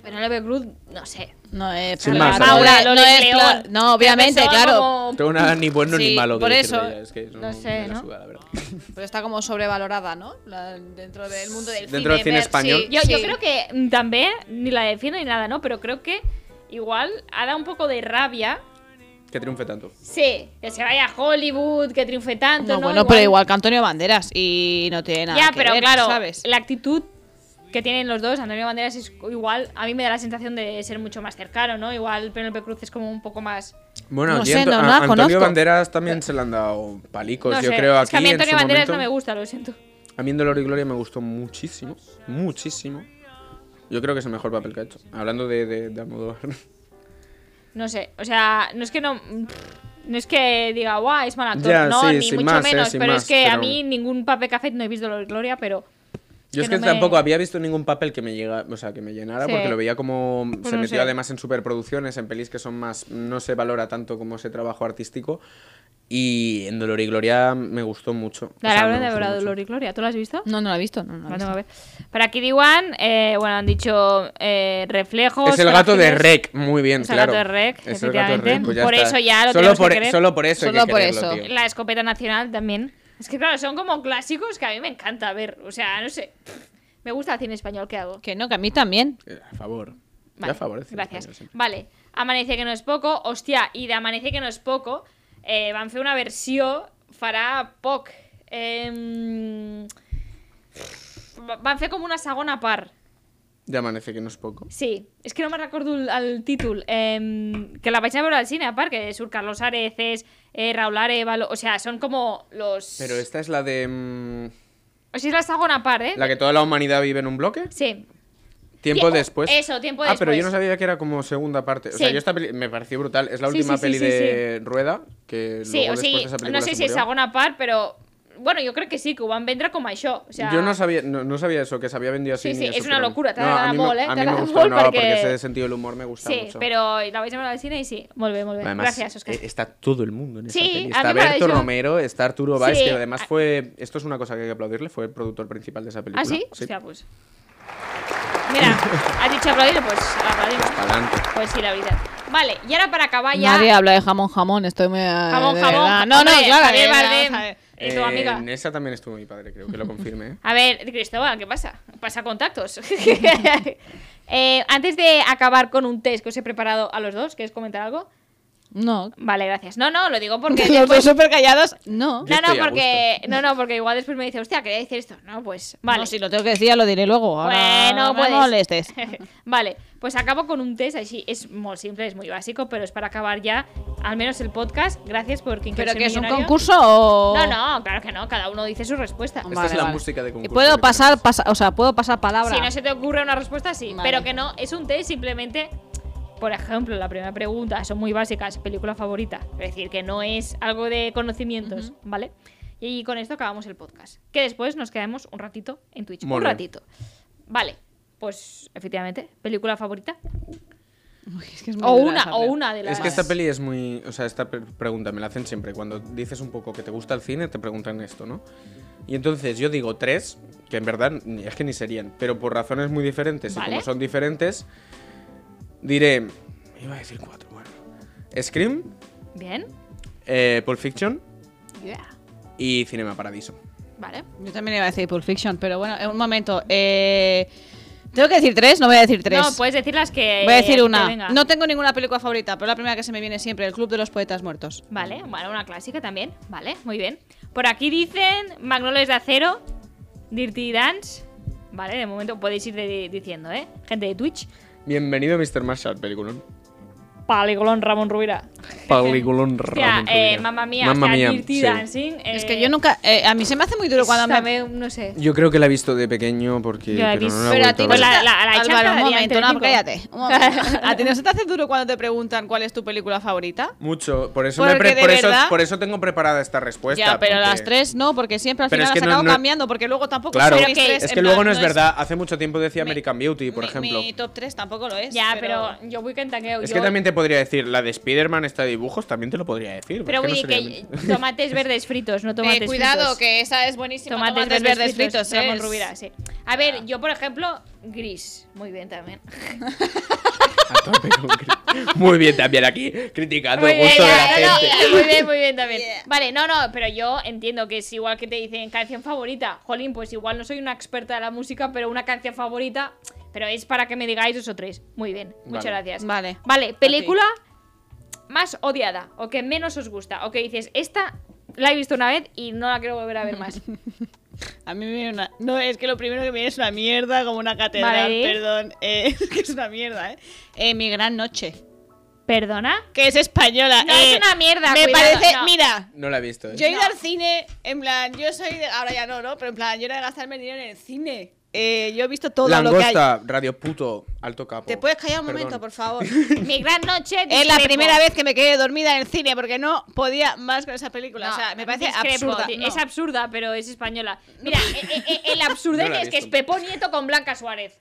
Speaker 1: Pero Penélope Cruz, no sé.
Speaker 6: No
Speaker 4: eh,
Speaker 6: es
Speaker 3: Sin
Speaker 6: plan-
Speaker 3: más,
Speaker 4: Ah,
Speaker 6: no
Speaker 3: Laura,
Speaker 6: es-
Speaker 1: lo
Speaker 6: no,
Speaker 1: del
Speaker 6: es
Speaker 1: león.
Speaker 6: plan- no, obviamente,
Speaker 1: Empezó
Speaker 6: claro.
Speaker 1: como-
Speaker 3: Tengo nada ni bueno
Speaker 4: Sí,
Speaker 3: ni malo que
Speaker 4: por
Speaker 3: decir de
Speaker 4: eso.
Speaker 3: ella, Es que no,
Speaker 1: No sé,
Speaker 3: me la
Speaker 1: ¿no?
Speaker 3: suda, la verdad. (laughs)
Speaker 4: Pero está como sobrevalorada, ¿no? La- dentro del mundo del
Speaker 3: Dentro del
Speaker 4: cine.
Speaker 3: cine
Speaker 4: ver-
Speaker 3: español.
Speaker 4: sí,
Speaker 1: Yo, yo
Speaker 4: sí.
Speaker 1: creo que mm, también ni la defiendo ni nada, ¿no? Pero creo que igual ha dado un poco de rabia.
Speaker 3: Que triunfe tanto.
Speaker 1: Sí, que se vaya a Hollywood, que triunfe tanto.
Speaker 4: No,
Speaker 1: No,
Speaker 4: bueno, pero igual que Antonio Banderas y no tiene nada
Speaker 1: Ya,
Speaker 4: que
Speaker 1: pero
Speaker 4: ver,
Speaker 1: claro,
Speaker 4: ¿sabes?
Speaker 1: la actitud que tienen los dos, Antonio Banderas es igual, a mí me da la sensación de ser mucho más cercano, ¿no? Igual Penélope Cruz es como un poco más...
Speaker 3: Bueno,
Speaker 4: No
Speaker 3: aquí
Speaker 4: sé,
Speaker 3: Anto-
Speaker 4: no-
Speaker 3: a-
Speaker 4: no la
Speaker 3: Antonio
Speaker 4: conozco.
Speaker 3: Banderas también se le han dado palicos,
Speaker 1: no
Speaker 3: Pues yo
Speaker 1: sé,
Speaker 3: creo. Aquí,
Speaker 1: es que a mí Antonio
Speaker 3: en su
Speaker 1: Banderas
Speaker 3: momento,
Speaker 1: no me gusta, lo siento.
Speaker 3: A mí en Dolor y Gloria me gustó muchísimo, muchísimo. Yo creo que es el mejor papel que ha hecho. Hablando de, de, de Almodóvar. (laughs)
Speaker 1: No sé, o sea, no es que no... No es que diga, guau, es mal actor.
Speaker 3: Ya,
Speaker 1: no,
Speaker 3: sí,
Speaker 1: ni
Speaker 3: sin
Speaker 1: mucho
Speaker 3: más, eh,
Speaker 1: menos.
Speaker 3: sin
Speaker 1: pero
Speaker 3: más,
Speaker 1: es que a
Speaker 3: pero-
Speaker 1: mí ningún papel café no he visto Dolor y Gloria, pero
Speaker 3: Yo es
Speaker 1: que
Speaker 3: que
Speaker 1: no me-
Speaker 3: tampoco había visto ningún papel que me llega, o sea, que me
Speaker 1: Sí.
Speaker 3: llenara,
Speaker 1: Pues
Speaker 3: porque lo veía como se
Speaker 1: no
Speaker 3: metió
Speaker 1: sé.
Speaker 3: además en superproducciones, en pelis que son más, no se valora tanto como ese trabajo artístico. Y en Dolor y Gloria me gustó mucho. O
Speaker 1: La
Speaker 3: sea,
Speaker 1: Laura
Speaker 3: me
Speaker 1: de
Speaker 3: gustó
Speaker 1: verdad,
Speaker 3: mucho.
Speaker 1: Dolor y Gloria, ¿tú la has visto?
Speaker 6: No, no la he visto. No, no la he
Speaker 1: La
Speaker 6: visto.
Speaker 1: tengo que ver. Para Kiddy One, eh, bueno, han dicho eh, reflejos.
Speaker 3: Es el gato de
Speaker 1: frágiles.
Speaker 3: Rec, muy bien,
Speaker 1: Es el
Speaker 3: claro.
Speaker 1: gato de Rec,
Speaker 3: Es el gato de Rec,
Speaker 1: efectivamente.
Speaker 3: pues ya
Speaker 1: Por
Speaker 3: está.
Speaker 1: eso ya lo
Speaker 3: solo
Speaker 1: tenemos que
Speaker 3: por, e-
Speaker 1: querer.
Speaker 3: Solo por eso hay que
Speaker 6: Solo por
Speaker 3: quererlo,
Speaker 6: eso.
Speaker 3: tío.
Speaker 1: La escopeta nacional también. Es que claro, son como clásicos que a mí me encanta ver. O sea, no sé. Me gusta el cine español que hago.
Speaker 4: Que no, que a mí también.
Speaker 3: Eh, A favor.
Speaker 1: Vale,
Speaker 3: Ya a favor. decir
Speaker 1: Gracias.
Speaker 3: español siempre.
Speaker 1: Vale. Amanece que no es poco. Hostia, i d'Amanece que no és poco eh, van fer una versió farà poc. Eh, van fer com una segona part.
Speaker 3: Ya amanece que no es poco.
Speaker 1: Sí, és que no me'n recordo el, el títol. Eh, que la vaig a veure al cine, a part, que surt Carlos Areces, eh, Raúl Arevalo... O sea, son como los...
Speaker 3: Pero esta es la de. mm,
Speaker 1: O sigui, és la segona part, eh?
Speaker 3: La que toda la humanidad vive en un bloque.
Speaker 1: Sí.
Speaker 3: Tiempo
Speaker 1: Tie-
Speaker 3: después.
Speaker 1: eso, tiempo
Speaker 3: Ah, pero yo no
Speaker 1: después.
Speaker 3: sabía que era como segunda parte. O sea,
Speaker 1: Sí.
Speaker 3: yo esta peli me pareció brutal. Es la
Speaker 1: Sí, sí,
Speaker 3: última
Speaker 1: sí,
Speaker 3: peli
Speaker 1: sí,
Speaker 3: de Rueda. Que
Speaker 1: Sí,
Speaker 3: luego
Speaker 1: o
Speaker 3: después
Speaker 1: sigui,
Speaker 3: de esa
Speaker 1: no
Speaker 3: película
Speaker 1: sé
Speaker 3: se
Speaker 1: si és
Speaker 3: murió.
Speaker 1: segona part, però... Bueno, jo crec que sí, que ho van vendre com això. O sea,
Speaker 3: Yo no sabía, no, no sabía eso, que se había vendido así.
Speaker 1: Sí,
Speaker 3: ni
Speaker 1: sí,
Speaker 3: eso,
Speaker 1: es una
Speaker 3: pero-
Speaker 1: locura, te
Speaker 3: no,
Speaker 1: agrada
Speaker 3: a mí me-
Speaker 1: mol, ¿eh?
Speaker 3: A
Speaker 1: Te
Speaker 3: mí me
Speaker 1: agrada
Speaker 3: gustó,
Speaker 1: mol
Speaker 3: no, porque...
Speaker 1: porque-
Speaker 3: ese sentido del humor me gusta
Speaker 1: Sí,
Speaker 3: mucho.
Speaker 1: però la vaig a veure al cine i sí, molt bé, molt bé.
Speaker 3: Además,
Speaker 1: Gràcies, Òscar.
Speaker 3: eh, está todo el mundo en esa
Speaker 1: Pues Sí,
Speaker 3: peli.
Speaker 1: a
Speaker 3: Está
Speaker 1: mí me
Speaker 3: Berto
Speaker 1: pareció-
Speaker 3: Romero, está Arturo Valls,
Speaker 1: Sí.
Speaker 3: que además fue. Esto es una cosa que hay que aplaudirle, fue el productor principal de esa película.
Speaker 1: ¿Ah, sí? Hostia, pues. Mira, has dicho aplaudir, pues aplaudimos.
Speaker 3: Adelante.
Speaker 1: Pues sí, la verdad. Vale, y ahora para acabar Ah, ya.
Speaker 6: Nadie habla de jamón, jamón. Estoy
Speaker 4: eh,
Speaker 6: muy.
Speaker 1: Jamón,
Speaker 6: de
Speaker 1: jamón.
Speaker 6: verdad. No, no,
Speaker 1: hombre,
Speaker 6: claro.
Speaker 1: Javier
Speaker 6: eh,
Speaker 1: Bardem.
Speaker 6: vamos a ver.
Speaker 1: Y tu
Speaker 3: Eh,
Speaker 1: amiga.
Speaker 3: En esa también estuvo mi padre, creo que lo confirme. ¿eh?
Speaker 1: A ver, Cristóbal, ¿qué pasa? Pasa contactos. (laughs) Eh, antes de acabar con un test que os he preparado a los dos, ¿queréis comentar algo?
Speaker 6: No.
Speaker 1: Vale, gracias. No, no, lo digo
Speaker 6: (laughs)
Speaker 1: porque.
Speaker 4: (laughs) Los
Speaker 1: después-
Speaker 4: dos súper callados. No.
Speaker 3: Yo
Speaker 1: No, no,
Speaker 3: estoy a
Speaker 1: porque. No, no, porque igual después me dice, hostia, quería decir esto. No, pues. Vale.
Speaker 4: No, si lo tengo que decir, ya lo diré luego. Ahora
Speaker 1: Bueno, pues,
Speaker 4: no
Speaker 1: puedes.
Speaker 4: me molestes.
Speaker 1: (laughs) vale, pues acabo con un test así. Es muy simple, es muy básico, pero es para acabar ya al menos el podcast. Gracias por quien quiera
Speaker 4: ¿Pero
Speaker 1: ser
Speaker 4: que es un
Speaker 1: millonario.
Speaker 4: concurso o.?
Speaker 1: No, no, claro que no. Cada uno dice su respuesta.
Speaker 3: Esta es
Speaker 4: Vale,
Speaker 3: la
Speaker 4: vale. Eh,
Speaker 3: música de concurso.
Speaker 4: Puedo
Speaker 3: que
Speaker 4: pasar,
Speaker 3: tenemos.
Speaker 4: pasa- o sea, puedo pasar palabra.
Speaker 1: Si no se te ocurre una respuesta, sí.
Speaker 4: Vale.
Speaker 1: Pero que no, es un test simplemente. Por ejemplo, la primera pregunta, son muy básicas, película favorita. Es decir, que no es algo de conocimientos, ¿vale? Y con esto acabamos el podcast. Que después nos quedamos un ratito en Twitch.
Speaker 3: Muy
Speaker 1: un
Speaker 3: bien.
Speaker 1: ratito. Vale, pues efectivamente, película favorita.
Speaker 4: Es que es muy
Speaker 1: O
Speaker 4: dura
Speaker 1: una,
Speaker 4: esa
Speaker 1: o
Speaker 4: peli.
Speaker 1: una (laughs) de las.
Speaker 3: Es que esta peli es muy. O sea, esta pe- pregunta me la hacen siempre. Cuando dices un poco que te gusta el cine, te preguntan esto, ¿no? Y entonces yo digo tres, que en verdad ni- es que ni serían, pero por razones muy diferentes. Y
Speaker 1: Vale.
Speaker 3: como son diferentes, diré. Iba a decir cuatro, bueno. Scream,
Speaker 1: Bien.
Speaker 3: eh, Pulp Fiction y Cinema Paradiso.
Speaker 1: Vale.
Speaker 4: Yo también iba a decir Pulp Fiction, pero bueno, eh, un momento. Eh, ¿Tengo que decir tres? No pues, eh, voy a decir tres.
Speaker 1: No, puedes decir las que.
Speaker 4: Voy a decir
Speaker 1: te
Speaker 4: una.
Speaker 1: venga.
Speaker 4: No tengo ninguna película favorita, pero la primera que se me viene siempre, El Club de los Poetas Muertos.
Speaker 1: Vale, bueno, una clásica también. Vale, muy bien. Por aquí dicen Magnolias de Acero, Dirty Dance. Vale, de momento podéis ir de- diciendo, ¿eh? Gente de Twitch.
Speaker 3: Bienvenido, Mr. Marshall, peliculón.
Speaker 1: Palicolón Ramón Rubira.
Speaker 3: Peliculón
Speaker 1: Hostia,
Speaker 3: raro.
Speaker 1: eh, mamma mía,
Speaker 3: Mamma
Speaker 1: o sea,
Speaker 3: mía,
Speaker 1: Dirty
Speaker 3: sí.
Speaker 1: Dancing. eh,
Speaker 4: es que yo nunca. eh, a mí se me hace muy duro cuando
Speaker 1: esta
Speaker 4: me.
Speaker 1: veo, no sé.
Speaker 3: Yo creo que la he visto de pequeño porque.
Speaker 1: Yo la he
Speaker 3: pero
Speaker 1: visto.
Speaker 3: no la he
Speaker 1: Pero a
Speaker 3: vuelto
Speaker 1: ti
Speaker 3: a
Speaker 1: no
Speaker 3: ver.
Speaker 1: la-
Speaker 4: Pues
Speaker 1: la- la echan
Speaker 4: Álvaro,
Speaker 1: cada
Speaker 4: un
Speaker 1: día en
Speaker 4: momento,
Speaker 1: Telecinco.
Speaker 4: no, cállate. un momento. (laughs) ¿A ti no se te hace duro cuando te preguntan cuál es tu película favorita?
Speaker 3: Mucho, por eso, me
Speaker 4: Porque
Speaker 3: pre-
Speaker 4: de
Speaker 3: por, eso,
Speaker 4: verdad-
Speaker 3: por eso tengo preparada esta respuesta.
Speaker 4: ya, pero
Speaker 3: porque-
Speaker 4: las tres no, porque siempre al
Speaker 3: Pero
Speaker 4: final
Speaker 3: es que
Speaker 4: las
Speaker 3: no-
Speaker 4: acabo
Speaker 3: no-
Speaker 4: cambiando, porque luego tampoco
Speaker 3: Claro,
Speaker 4: son
Speaker 1: Pero
Speaker 4: mis
Speaker 1: que-
Speaker 4: tres,
Speaker 3: es
Speaker 4: en
Speaker 3: que
Speaker 4: plan,
Speaker 3: luego no es verdad.
Speaker 4: Mi-
Speaker 3: Hace mucho tiempo decía American Beauty, por
Speaker 4: mi-
Speaker 3: ejemplo.
Speaker 4: Mi top 3 tampoco lo es. eh,
Speaker 1: Ya, pero yo voy cantanqueo.
Speaker 3: Es
Speaker 1: yo-
Speaker 3: que también te podría decir, la de Spider-Man está de dibujos, también te lo podría decir.
Speaker 1: Pero
Speaker 3: es
Speaker 1: Willy,
Speaker 3: no
Speaker 1: que
Speaker 3: sería mi-
Speaker 1: tomates verdes fritos, no tomates
Speaker 4: Eh, cuidado,
Speaker 1: fritos.
Speaker 4: que esa es buenísima.
Speaker 1: Tomates,
Speaker 4: Tomates, verdes fritos, eh,
Speaker 1: Ramón
Speaker 4: es-
Speaker 1: Ah. (laughs) Rubira, sí. A ver, yo por ejemplo, gris. Muy bien también.
Speaker 3: (laughs) A tope con cri- Muy bien también aquí, criticando
Speaker 1: Muy
Speaker 3: el
Speaker 1: bien,
Speaker 3: gusto de la
Speaker 1: ya, no,
Speaker 3: gente.
Speaker 1: no, muy bien, muy bien
Speaker 4: (laughs)
Speaker 1: también. Vale, no, no, pero yo entiendo que es igual que te dicen canción favorita. Jolín, pues igual no soy una experta de la música, pero una canción favorita, pero es para que me digáis dos o tres. Muy bien, muchas
Speaker 3: Vale.
Speaker 1: gracias.
Speaker 4: Vale.
Speaker 1: Vale, película más odiada o que menos os gusta o que dices, esta la he visto una vez y no la quiero volver a ver
Speaker 4: (laughs)
Speaker 1: más.
Speaker 4: A mí me viene una. No, es que lo primero que me viene es una mierda, como una catedral,
Speaker 1: Vale.
Speaker 4: perdón. Eh, (laughs) es que es una mierda, ¿eh? Eh, Mi Gran Noche.
Speaker 1: ¿Perdona?
Speaker 4: Que es española.
Speaker 1: No,
Speaker 4: eh,
Speaker 1: es una mierda,
Speaker 4: Me
Speaker 1: cuidado,
Speaker 4: parece.
Speaker 1: no.
Speaker 4: Mira,
Speaker 3: No la he visto, ¿eh?
Speaker 4: yo he ido al cine, en plan, yo soy de. Ahora ya no, ¿no? Pero en plan, yo era de gastarme el dinero en el cine. Eh, yo he visto todo lo que hay.
Speaker 3: Langosta, radio puto, alto capo.
Speaker 4: ¿Te puedes callar un
Speaker 3: Perdón.
Speaker 4: momento, por favor?
Speaker 3: (laughs)
Speaker 1: Mi gran noche.
Speaker 4: Es la
Speaker 1: discrepo.
Speaker 4: primera vez que me quedé dormida en el cine porque no podía más con esa película.
Speaker 1: No,
Speaker 4: o sea, me parece
Speaker 1: discrepo,
Speaker 4: absurda.
Speaker 1: tío.
Speaker 4: No.
Speaker 1: Es absurda, pero es española. Mira, eh, eh, eh, el absurdez
Speaker 3: No la he
Speaker 1: es que es
Speaker 3: visto.
Speaker 1: Pepo Nieto con Blanca Suárez.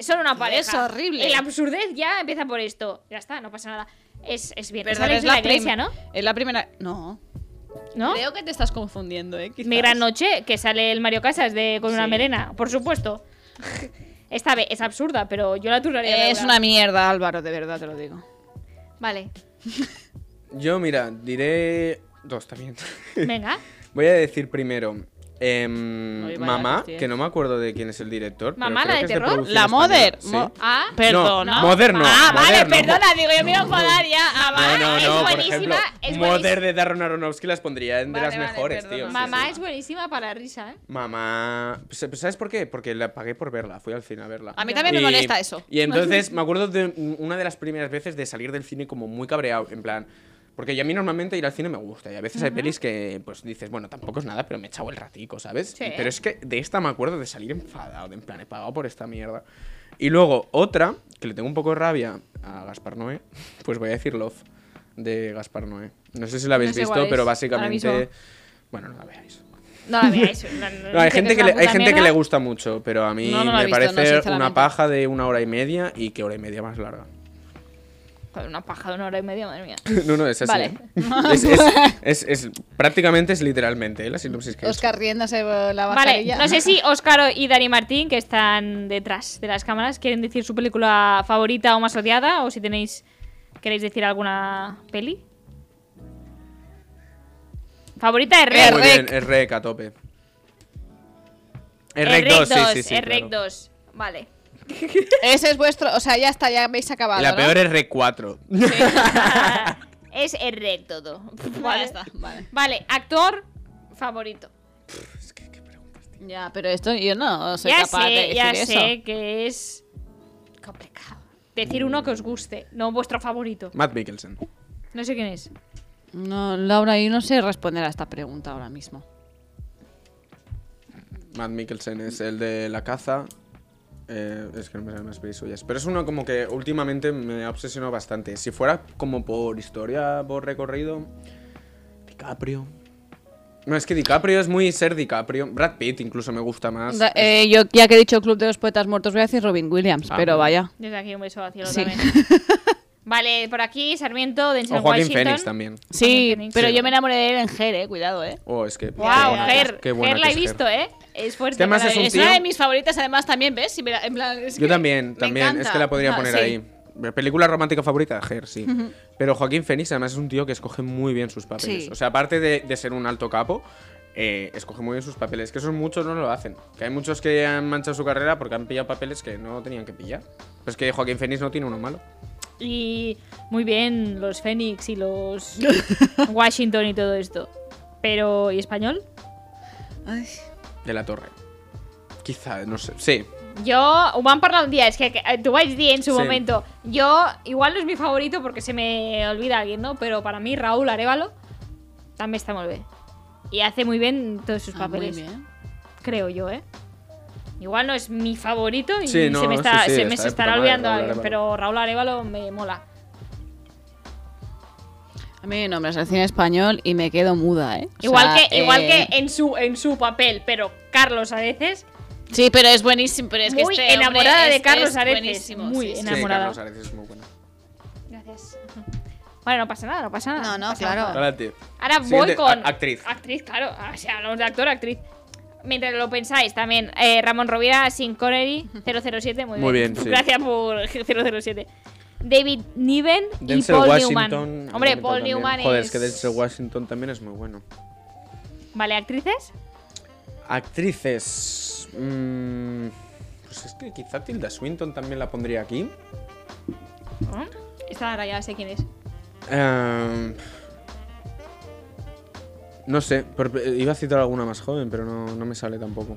Speaker 1: Son una pareja.
Speaker 4: es horrible.
Speaker 1: El absurdez ya empieza por esto. Ya está, no pasa nada. Es, es bien.
Speaker 4: Perdón,
Speaker 1: Sales
Speaker 4: es
Speaker 1: de
Speaker 4: la,
Speaker 1: la iglesia,
Speaker 4: prim-
Speaker 1: ¿no?
Speaker 4: Es la primera. No.
Speaker 1: ¿No?
Speaker 4: Creo que te estás confundiendo, ¿eh?
Speaker 1: Mi gran noche, que sale el Mario Casas de, con una
Speaker 4: Sí.
Speaker 1: melena, por supuesto. Esta vez es absurda, pero yo la turraría. de
Speaker 4: Es
Speaker 1: verdad.
Speaker 4: una mierda, Álvaro, de verdad te lo digo.
Speaker 1: Vale,
Speaker 3: Yo, mira, diré dos también. (laughs)
Speaker 1: venga.
Speaker 3: Voy a decir primero. em,
Speaker 4: Oye, vaya
Speaker 3: mamá,
Speaker 4: cuestión.
Speaker 3: que no me acuerdo de quién es el director. pero
Speaker 1: Mamá,
Speaker 3: creo
Speaker 1: la
Speaker 3: que
Speaker 1: de
Speaker 3: es
Speaker 1: terror.
Speaker 3: producción
Speaker 4: La
Speaker 3: española,
Speaker 4: Mother.
Speaker 3: sí.
Speaker 4: Mo-
Speaker 1: Ah,
Speaker 4: Perdona.
Speaker 3: Moderno.
Speaker 4: Ah, vale,
Speaker 3: moderno.
Speaker 4: perdona, digo, yo me iba a enfadar ya. Ah,
Speaker 3: No,
Speaker 4: vale.
Speaker 3: no,
Speaker 1: es
Speaker 3: no, por
Speaker 1: buenísima,
Speaker 3: ejemplo,
Speaker 1: es
Speaker 3: Mother
Speaker 1: buenísima.
Speaker 3: de Darren Aronofsky las pondría en de
Speaker 4: Vale,
Speaker 3: las
Speaker 4: vale,
Speaker 3: mejores,
Speaker 4: perdona.
Speaker 3: tío. sí,
Speaker 1: Mamá
Speaker 3: sí.
Speaker 1: es buenísima para la risa, ¿eh?
Speaker 3: Mamá. pues, pues, ¿Sabes por qué? Porque la pagué por verla, fui al cine a verla.
Speaker 4: A mí también me molesta eso.
Speaker 3: Y entonces me acuerdo de una de las primeras veces de salir del cine como muy cabreado, en plan. Porque ya a mí normalmente ir al cine me gusta y a veces hay pelis que pues dices, bueno, tampoco es nada, pero me he echado el ratico, ¿sabes?
Speaker 1: Sí.
Speaker 3: Pero es que de esta me acuerdo de salir enfadado, de en plan, he pagado por esta mierda. Y luego otra, que le tengo un poco de rabia a Gaspar Noé, (laughs) pues voy a decir Love de Gaspar Noé. No sé si la habéis
Speaker 1: sé cuál
Speaker 3: visto,
Speaker 1: es,
Speaker 3: pero
Speaker 1: ahora
Speaker 3: básicamente...
Speaker 1: mismo.
Speaker 3: Bueno, no la veáis.
Speaker 1: No la veáis. no, no,
Speaker 3: No, hay
Speaker 1: dice
Speaker 3: gente
Speaker 1: es
Speaker 3: que,
Speaker 1: una
Speaker 3: le, hay
Speaker 1: puta
Speaker 3: gente que
Speaker 1: mierda.
Speaker 3: le gusta mucho, pero a mí
Speaker 4: No, no lo he visto,
Speaker 3: me
Speaker 4: no,
Speaker 3: parece una
Speaker 4: sinceramente.
Speaker 3: paja de una hora y media y que hora y media más larga. (laughs)
Speaker 1: Joder, una paja de una hora y media, madre mía.
Speaker 3: No, no, es así.
Speaker 1: Vale.
Speaker 3: ¿eh? Es, es- es- es- prácticamente es literalmente ¿eh? la sinopsis que he hecho.
Speaker 4: Oscar riéndose eh, la
Speaker 1: Vale,
Speaker 4: mascarilla.
Speaker 1: no sé
Speaker 4: (laughs)
Speaker 1: si Óscar y Dani Martín, que están detrás de las cámaras, quieren decir su película favorita o más odiada, o si tenéis queréis decir alguna peli. Favorita es Rec.
Speaker 3: Eh, Muy bien, es rec a tope. Es rec 2, sí, sí, sí.
Speaker 1: es Rec
Speaker 3: claro.
Speaker 1: 2. Vale.
Speaker 3: (laughs)
Speaker 4: Ese es vuestro. O sea, ya está, ya habéis acabado.
Speaker 3: La
Speaker 4: ¿no?
Speaker 3: peor es rec 4.
Speaker 1: Ah, es el Rec todo. (laughs) Vale.
Speaker 4: Vale, ya está. Vale.
Speaker 1: Vale, actor favorito.
Speaker 4: Ya, pero esto yo no soy
Speaker 1: ya
Speaker 4: capaz
Speaker 1: sé,
Speaker 4: de decir
Speaker 1: ya
Speaker 4: eso.
Speaker 1: sé que es complicado. Decir uno que os guste, no vuestro favorito.
Speaker 3: Matt Mikkelsen.
Speaker 1: No sé quién es.
Speaker 4: No, Laura, yo no sé responder a esta pregunta ahora mismo.
Speaker 3: Matt Mikkelsen es el de la caza. Eh, es que no me salen más pelis suyas. Pero es uno como que últimamente me ha obsesionado bastante. Si fuera como por historia, por recorrido. DiCaprio. No, es que DiCaprio es muy ser DiCaprio. Brad Pitt incluso me gusta más.
Speaker 4: Da- eh, yo, ya que he dicho Club de los Poetas Muertos, voy a decir Robin Williams,
Speaker 3: Ah,
Speaker 4: pero
Speaker 3: bueno.
Speaker 4: vaya.
Speaker 1: Desde aquí un beso al cielo
Speaker 4: Sí.
Speaker 1: también.
Speaker 4: (laughs)
Speaker 1: Vale, por aquí Sarmiento, Denzel
Speaker 3: o Joaquín
Speaker 1: Washington.
Speaker 3: Phoenix también.
Speaker 4: Sí,
Speaker 1: Joaquín Phoenix.
Speaker 4: pero
Speaker 3: Sí.
Speaker 4: yo me enamoré de él en Ger, eh, cuidado, eh.
Speaker 3: Oh, es que.
Speaker 1: Wow,
Speaker 3: qué buena que es-
Speaker 1: Ger,
Speaker 3: qué buena
Speaker 1: Ger
Speaker 3: que
Speaker 1: la he
Speaker 3: es Ger.
Speaker 1: visto, ¿eh? Es fuerte.
Speaker 3: que además
Speaker 1: para
Speaker 3: es un
Speaker 1: ver.
Speaker 4: Es
Speaker 3: tío-
Speaker 4: una de mis favoritas, además, también, ¿ves? Si me la- en plan, es
Speaker 3: Yo
Speaker 4: que
Speaker 3: también,
Speaker 4: me
Speaker 3: también. Es
Speaker 4: encanta.
Speaker 3: que la podría
Speaker 4: Ah,
Speaker 3: poner
Speaker 4: sí.
Speaker 3: ahí. Mi Película romántica favorita, Ger, sí. Pero Joaquín Phoenix además es un tío que escoge muy bien sus papeles.
Speaker 4: Sí.
Speaker 3: O sea, aparte de, de ser un alto capo, eh, escoge muy bien sus papeles. Que esos muchos no lo hacen. Que hay muchos que han manchado su carrera porque han pillado papeles que no tenían que pillar. Pues que Joaquín Phoenix no tiene uno malo.
Speaker 1: Y muy bien los Fénix y
Speaker 4: (laughs)
Speaker 1: los Washington y todo esto. Pero, ¿y español?
Speaker 3: De la Torre. Quizá, no sé. Sí.
Speaker 1: Yo, ho vam parlar un día, es que eh, tú vais bien en su
Speaker 3: Sí.
Speaker 1: momento. Yo, igual no es mi favorito porque se me olvida alguien, ¿no? Pero para mí Raúl Arevalo también está muy bien. Y hace muy bien todos sus
Speaker 4: Ah, muy
Speaker 1: papeles.
Speaker 4: bien.
Speaker 1: creo yo, ¿eh? Igual no es mi favorito y
Speaker 3: Sí, no,
Speaker 1: se me,
Speaker 3: sí,
Speaker 1: está,
Speaker 3: sí,
Speaker 1: se me se
Speaker 3: está de puta
Speaker 1: estará
Speaker 3: madre,
Speaker 1: olvidando
Speaker 3: Raúl
Speaker 1: alguien,
Speaker 3: Arévalo.
Speaker 1: pero Raúl Arevalo me mola.
Speaker 4: A mí me nombras el cine español y me quedo muda, ¿eh? O
Speaker 1: Igual,
Speaker 4: sea,
Speaker 1: que, igual
Speaker 4: eh,
Speaker 1: que en su, en su papel, pero Carlos a veces.
Speaker 4: Sí, pero es buenísimo. Pero es que
Speaker 1: muy
Speaker 4: este hombre
Speaker 1: enamorada
Speaker 4: es-
Speaker 1: de Carlos
Speaker 4: es
Speaker 1: Areces.
Speaker 4: buenísimo,
Speaker 1: Muy
Speaker 4: sí, sí.
Speaker 3: Sí,
Speaker 1: enamorada.
Speaker 3: Carlos Areces es muy bueno.
Speaker 1: Gracias. Bueno, no pasa nada, no pasa nada.
Speaker 4: No, no,
Speaker 1: pasa
Speaker 4: claro.
Speaker 1: nada.
Speaker 3: Ahora, tío.
Speaker 1: Ahora
Speaker 3: Siguiente,
Speaker 1: voy con.
Speaker 3: a- actriz.
Speaker 1: Actriz, claro. O sea, hablamos de actor, actriz. Mientras lo pensáis también,
Speaker 4: (laughs)
Speaker 1: eh, Ramón Rovira, Sin Connery, 007, muy bien. (laughs)
Speaker 3: Muy bien, sí.
Speaker 1: Gracias por 007. David Niven y
Speaker 3: Denzel
Speaker 1: Paul
Speaker 3: Washington.
Speaker 1: Newman.
Speaker 3: a mí
Speaker 1: Hombre,
Speaker 3: me
Speaker 1: Paul
Speaker 3: también.
Speaker 1: Newman
Speaker 3: Joder,
Speaker 1: es...
Speaker 3: es que Denzel Washington también es muy bueno.
Speaker 1: Vale, actrices.
Speaker 3: Actrices. mm, pues es que quizá Tilda Swinton también la pondría aquí.
Speaker 1: Esta ahora ya sé quién es.
Speaker 3: Em, no sé, por- eh, iba a citar alguna más joven, pero no, no me sale tampoco.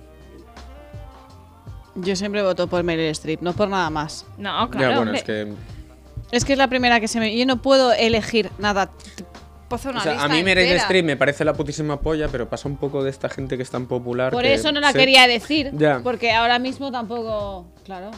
Speaker 4: Yo siempre voto por Meryl Streep, no por nada más.
Speaker 1: No, claro.
Speaker 3: ya, bueno,
Speaker 1: hombre.
Speaker 3: es que.
Speaker 4: Es que es la primera que se me. Yo no puedo elegir nada.
Speaker 3: o sea, a mí Meryl Streep me parece la putísima polla, pero pasa un poco de esta gente que es tan popular.
Speaker 4: Por
Speaker 3: que
Speaker 4: eso no la
Speaker 3: se-
Speaker 4: quería decir.
Speaker 3: Ya.
Speaker 4: Porque ahora mismo tampoco. Claro.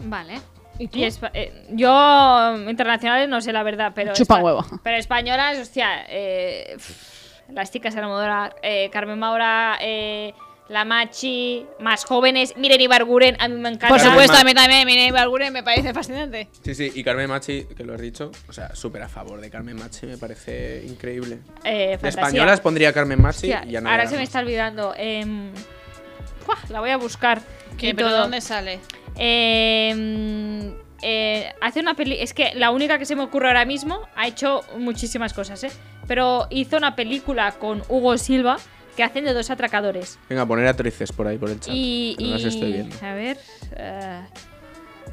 Speaker 1: Vale. Y espa- eh, yo mm, internacionales no sé la verdad, pero
Speaker 6: Chupa
Speaker 1: espa-
Speaker 6: huevo.
Speaker 1: Pero españolas, hostia, eh, pff, las chicas Almodóvar, eh, Carmen Maura, eh, La Machi, más jóvenes, Miren Ibarguren, a mí me encanta.
Speaker 4: Por
Speaker 3: Carmen
Speaker 4: supuesto,
Speaker 3: Ma-
Speaker 4: a mí también. Miren, Alguna me parece fascinante.
Speaker 3: Sí, sí, y Carmen Machi, que lo has dicho, o sea, súper a favor de Carmen Machi, me parece increíble.
Speaker 1: Eh,
Speaker 3: De
Speaker 1: fantasía.
Speaker 3: españolas pondría a Carmen Machi
Speaker 1: Hostia,
Speaker 3: y a Nadia
Speaker 1: ahora se me
Speaker 3: Ramos.
Speaker 1: está olvidando. em, ¡buah! la voy a buscar. Eh, y todo.
Speaker 4: sale?
Speaker 1: Em, eh, hace una peli. Es que la única que se me ocurre ahora mismo ha hecho muchísimas cosas, ¿eh? Pero hizo una película con Hugo Silva que hacen de dos atracadores.
Speaker 3: Venga, poner actrices por ahí, por el chat.
Speaker 1: y.
Speaker 3: que no las
Speaker 1: y-
Speaker 3: estoy viendo.
Speaker 1: A ver. eh,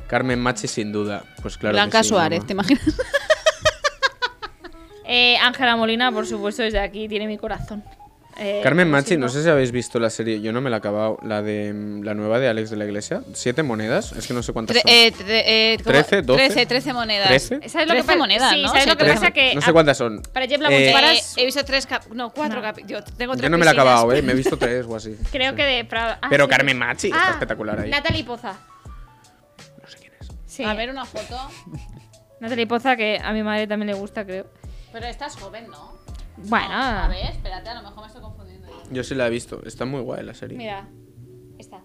Speaker 3: Carmen Machi, sin duda. Pues claro. que
Speaker 6: Blanca
Speaker 3: sí,
Speaker 6: Suárez,
Speaker 3: mamá.
Speaker 6: ¿te imaginas?
Speaker 1: eh, Ángela Molina, por supuesto, desde aquí tiene mi corazón. Eh,
Speaker 3: Carmen
Speaker 1: Hugo
Speaker 3: Machi,
Speaker 1: Silva.
Speaker 3: no sé si habéis visto la serie, yo no me la he acabado, la de mm, la nueva de Alex de la Iglesia, siete monedas, es que no sé cuántas son.
Speaker 4: eh,
Speaker 3: Trece, doce.
Speaker 4: 13, 13 monedas.
Speaker 3: ¿Trece?
Speaker 1: ¿Sabes lo eh, que
Speaker 4: Trece
Speaker 1: pasa?
Speaker 4: monedas,
Speaker 1: Sí,
Speaker 4: ¿no?
Speaker 1: ¿sabes
Speaker 4: Sí,
Speaker 1: lo que
Speaker 4: trece.
Speaker 1: pasa? Que
Speaker 3: no sé
Speaker 1: a-
Speaker 3: cuentas son.
Speaker 1: Para Jebla
Speaker 3: Eh,
Speaker 4: Eh,
Speaker 1: Muchíbaras,
Speaker 4: he visto tres cap- No, cuatro
Speaker 1: No.
Speaker 4: capítulos. Yo tengo
Speaker 3: yo
Speaker 4: tres
Speaker 3: no me la he
Speaker 4: piscinas.
Speaker 3: acabado, eh, me
Speaker 1: (laughs)
Speaker 3: he visto tres o así.
Speaker 1: Ah, creo
Speaker 3: Sí.
Speaker 1: que de. Pra- ah,
Speaker 3: Pero
Speaker 1: sí.
Speaker 3: Carmen Machi está
Speaker 1: Ah,
Speaker 3: espectacular ahí.
Speaker 1: Natalie Poza.
Speaker 3: No sé quién es.
Speaker 1: Sí.
Speaker 4: A ver una foto.
Speaker 1: Natalie Poza, que a mi madre también le gusta, creo.
Speaker 4: Pero estás joven, ¿no?
Speaker 1: Bueno.
Speaker 4: A ver, espérate, a lo mejor me estoy confundiendo. yo.
Speaker 3: Yo sí la he visto, está muy guay la serie.
Speaker 1: Mira. Esta.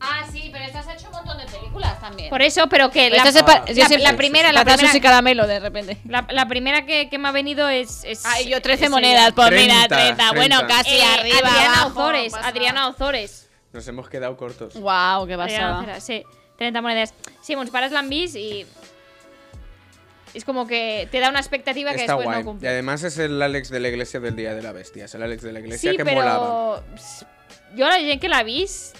Speaker 4: Ah, sí, pero estás hecho un montón de películas también.
Speaker 1: Por eso, pero que la,
Speaker 4: Esta se pa-
Speaker 1: la-
Speaker 4: yo siempre-
Speaker 1: la primera, la
Speaker 4: Patatas y
Speaker 1: primera,
Speaker 4: caramelo de repente.
Speaker 1: la, la primera que, que me ha venido es. es
Speaker 4: Ay, yo 13
Speaker 1: es
Speaker 4: monedas,
Speaker 1: ella.
Speaker 4: pues mira,
Speaker 3: 30,
Speaker 4: 30. Bueno,
Speaker 3: 30.
Speaker 4: casi
Speaker 1: Eh,
Speaker 4: arriba.
Speaker 1: Adriana
Speaker 4: abajo,
Speaker 1: Ozores.
Speaker 4: pasa.
Speaker 1: Adriana Ozores.
Speaker 3: Nos hemos quedado cortos.
Speaker 6: Guau, qué
Speaker 1: Adriana
Speaker 6: pasada.
Speaker 1: Ozores, sí. 30 monedas. Sí, mons pares l'han vist y. Es como que te da una expectativa que
Speaker 3: Está
Speaker 1: después
Speaker 3: guay.
Speaker 1: no
Speaker 3: y
Speaker 1: cumple.
Speaker 3: además es el Alex de la Iglesia del Día de la Bestia, es el Alex de la Iglesia
Speaker 1: sí,
Speaker 3: que
Speaker 1: pero
Speaker 3: molaba.
Speaker 1: ps, yo la gente que la vis,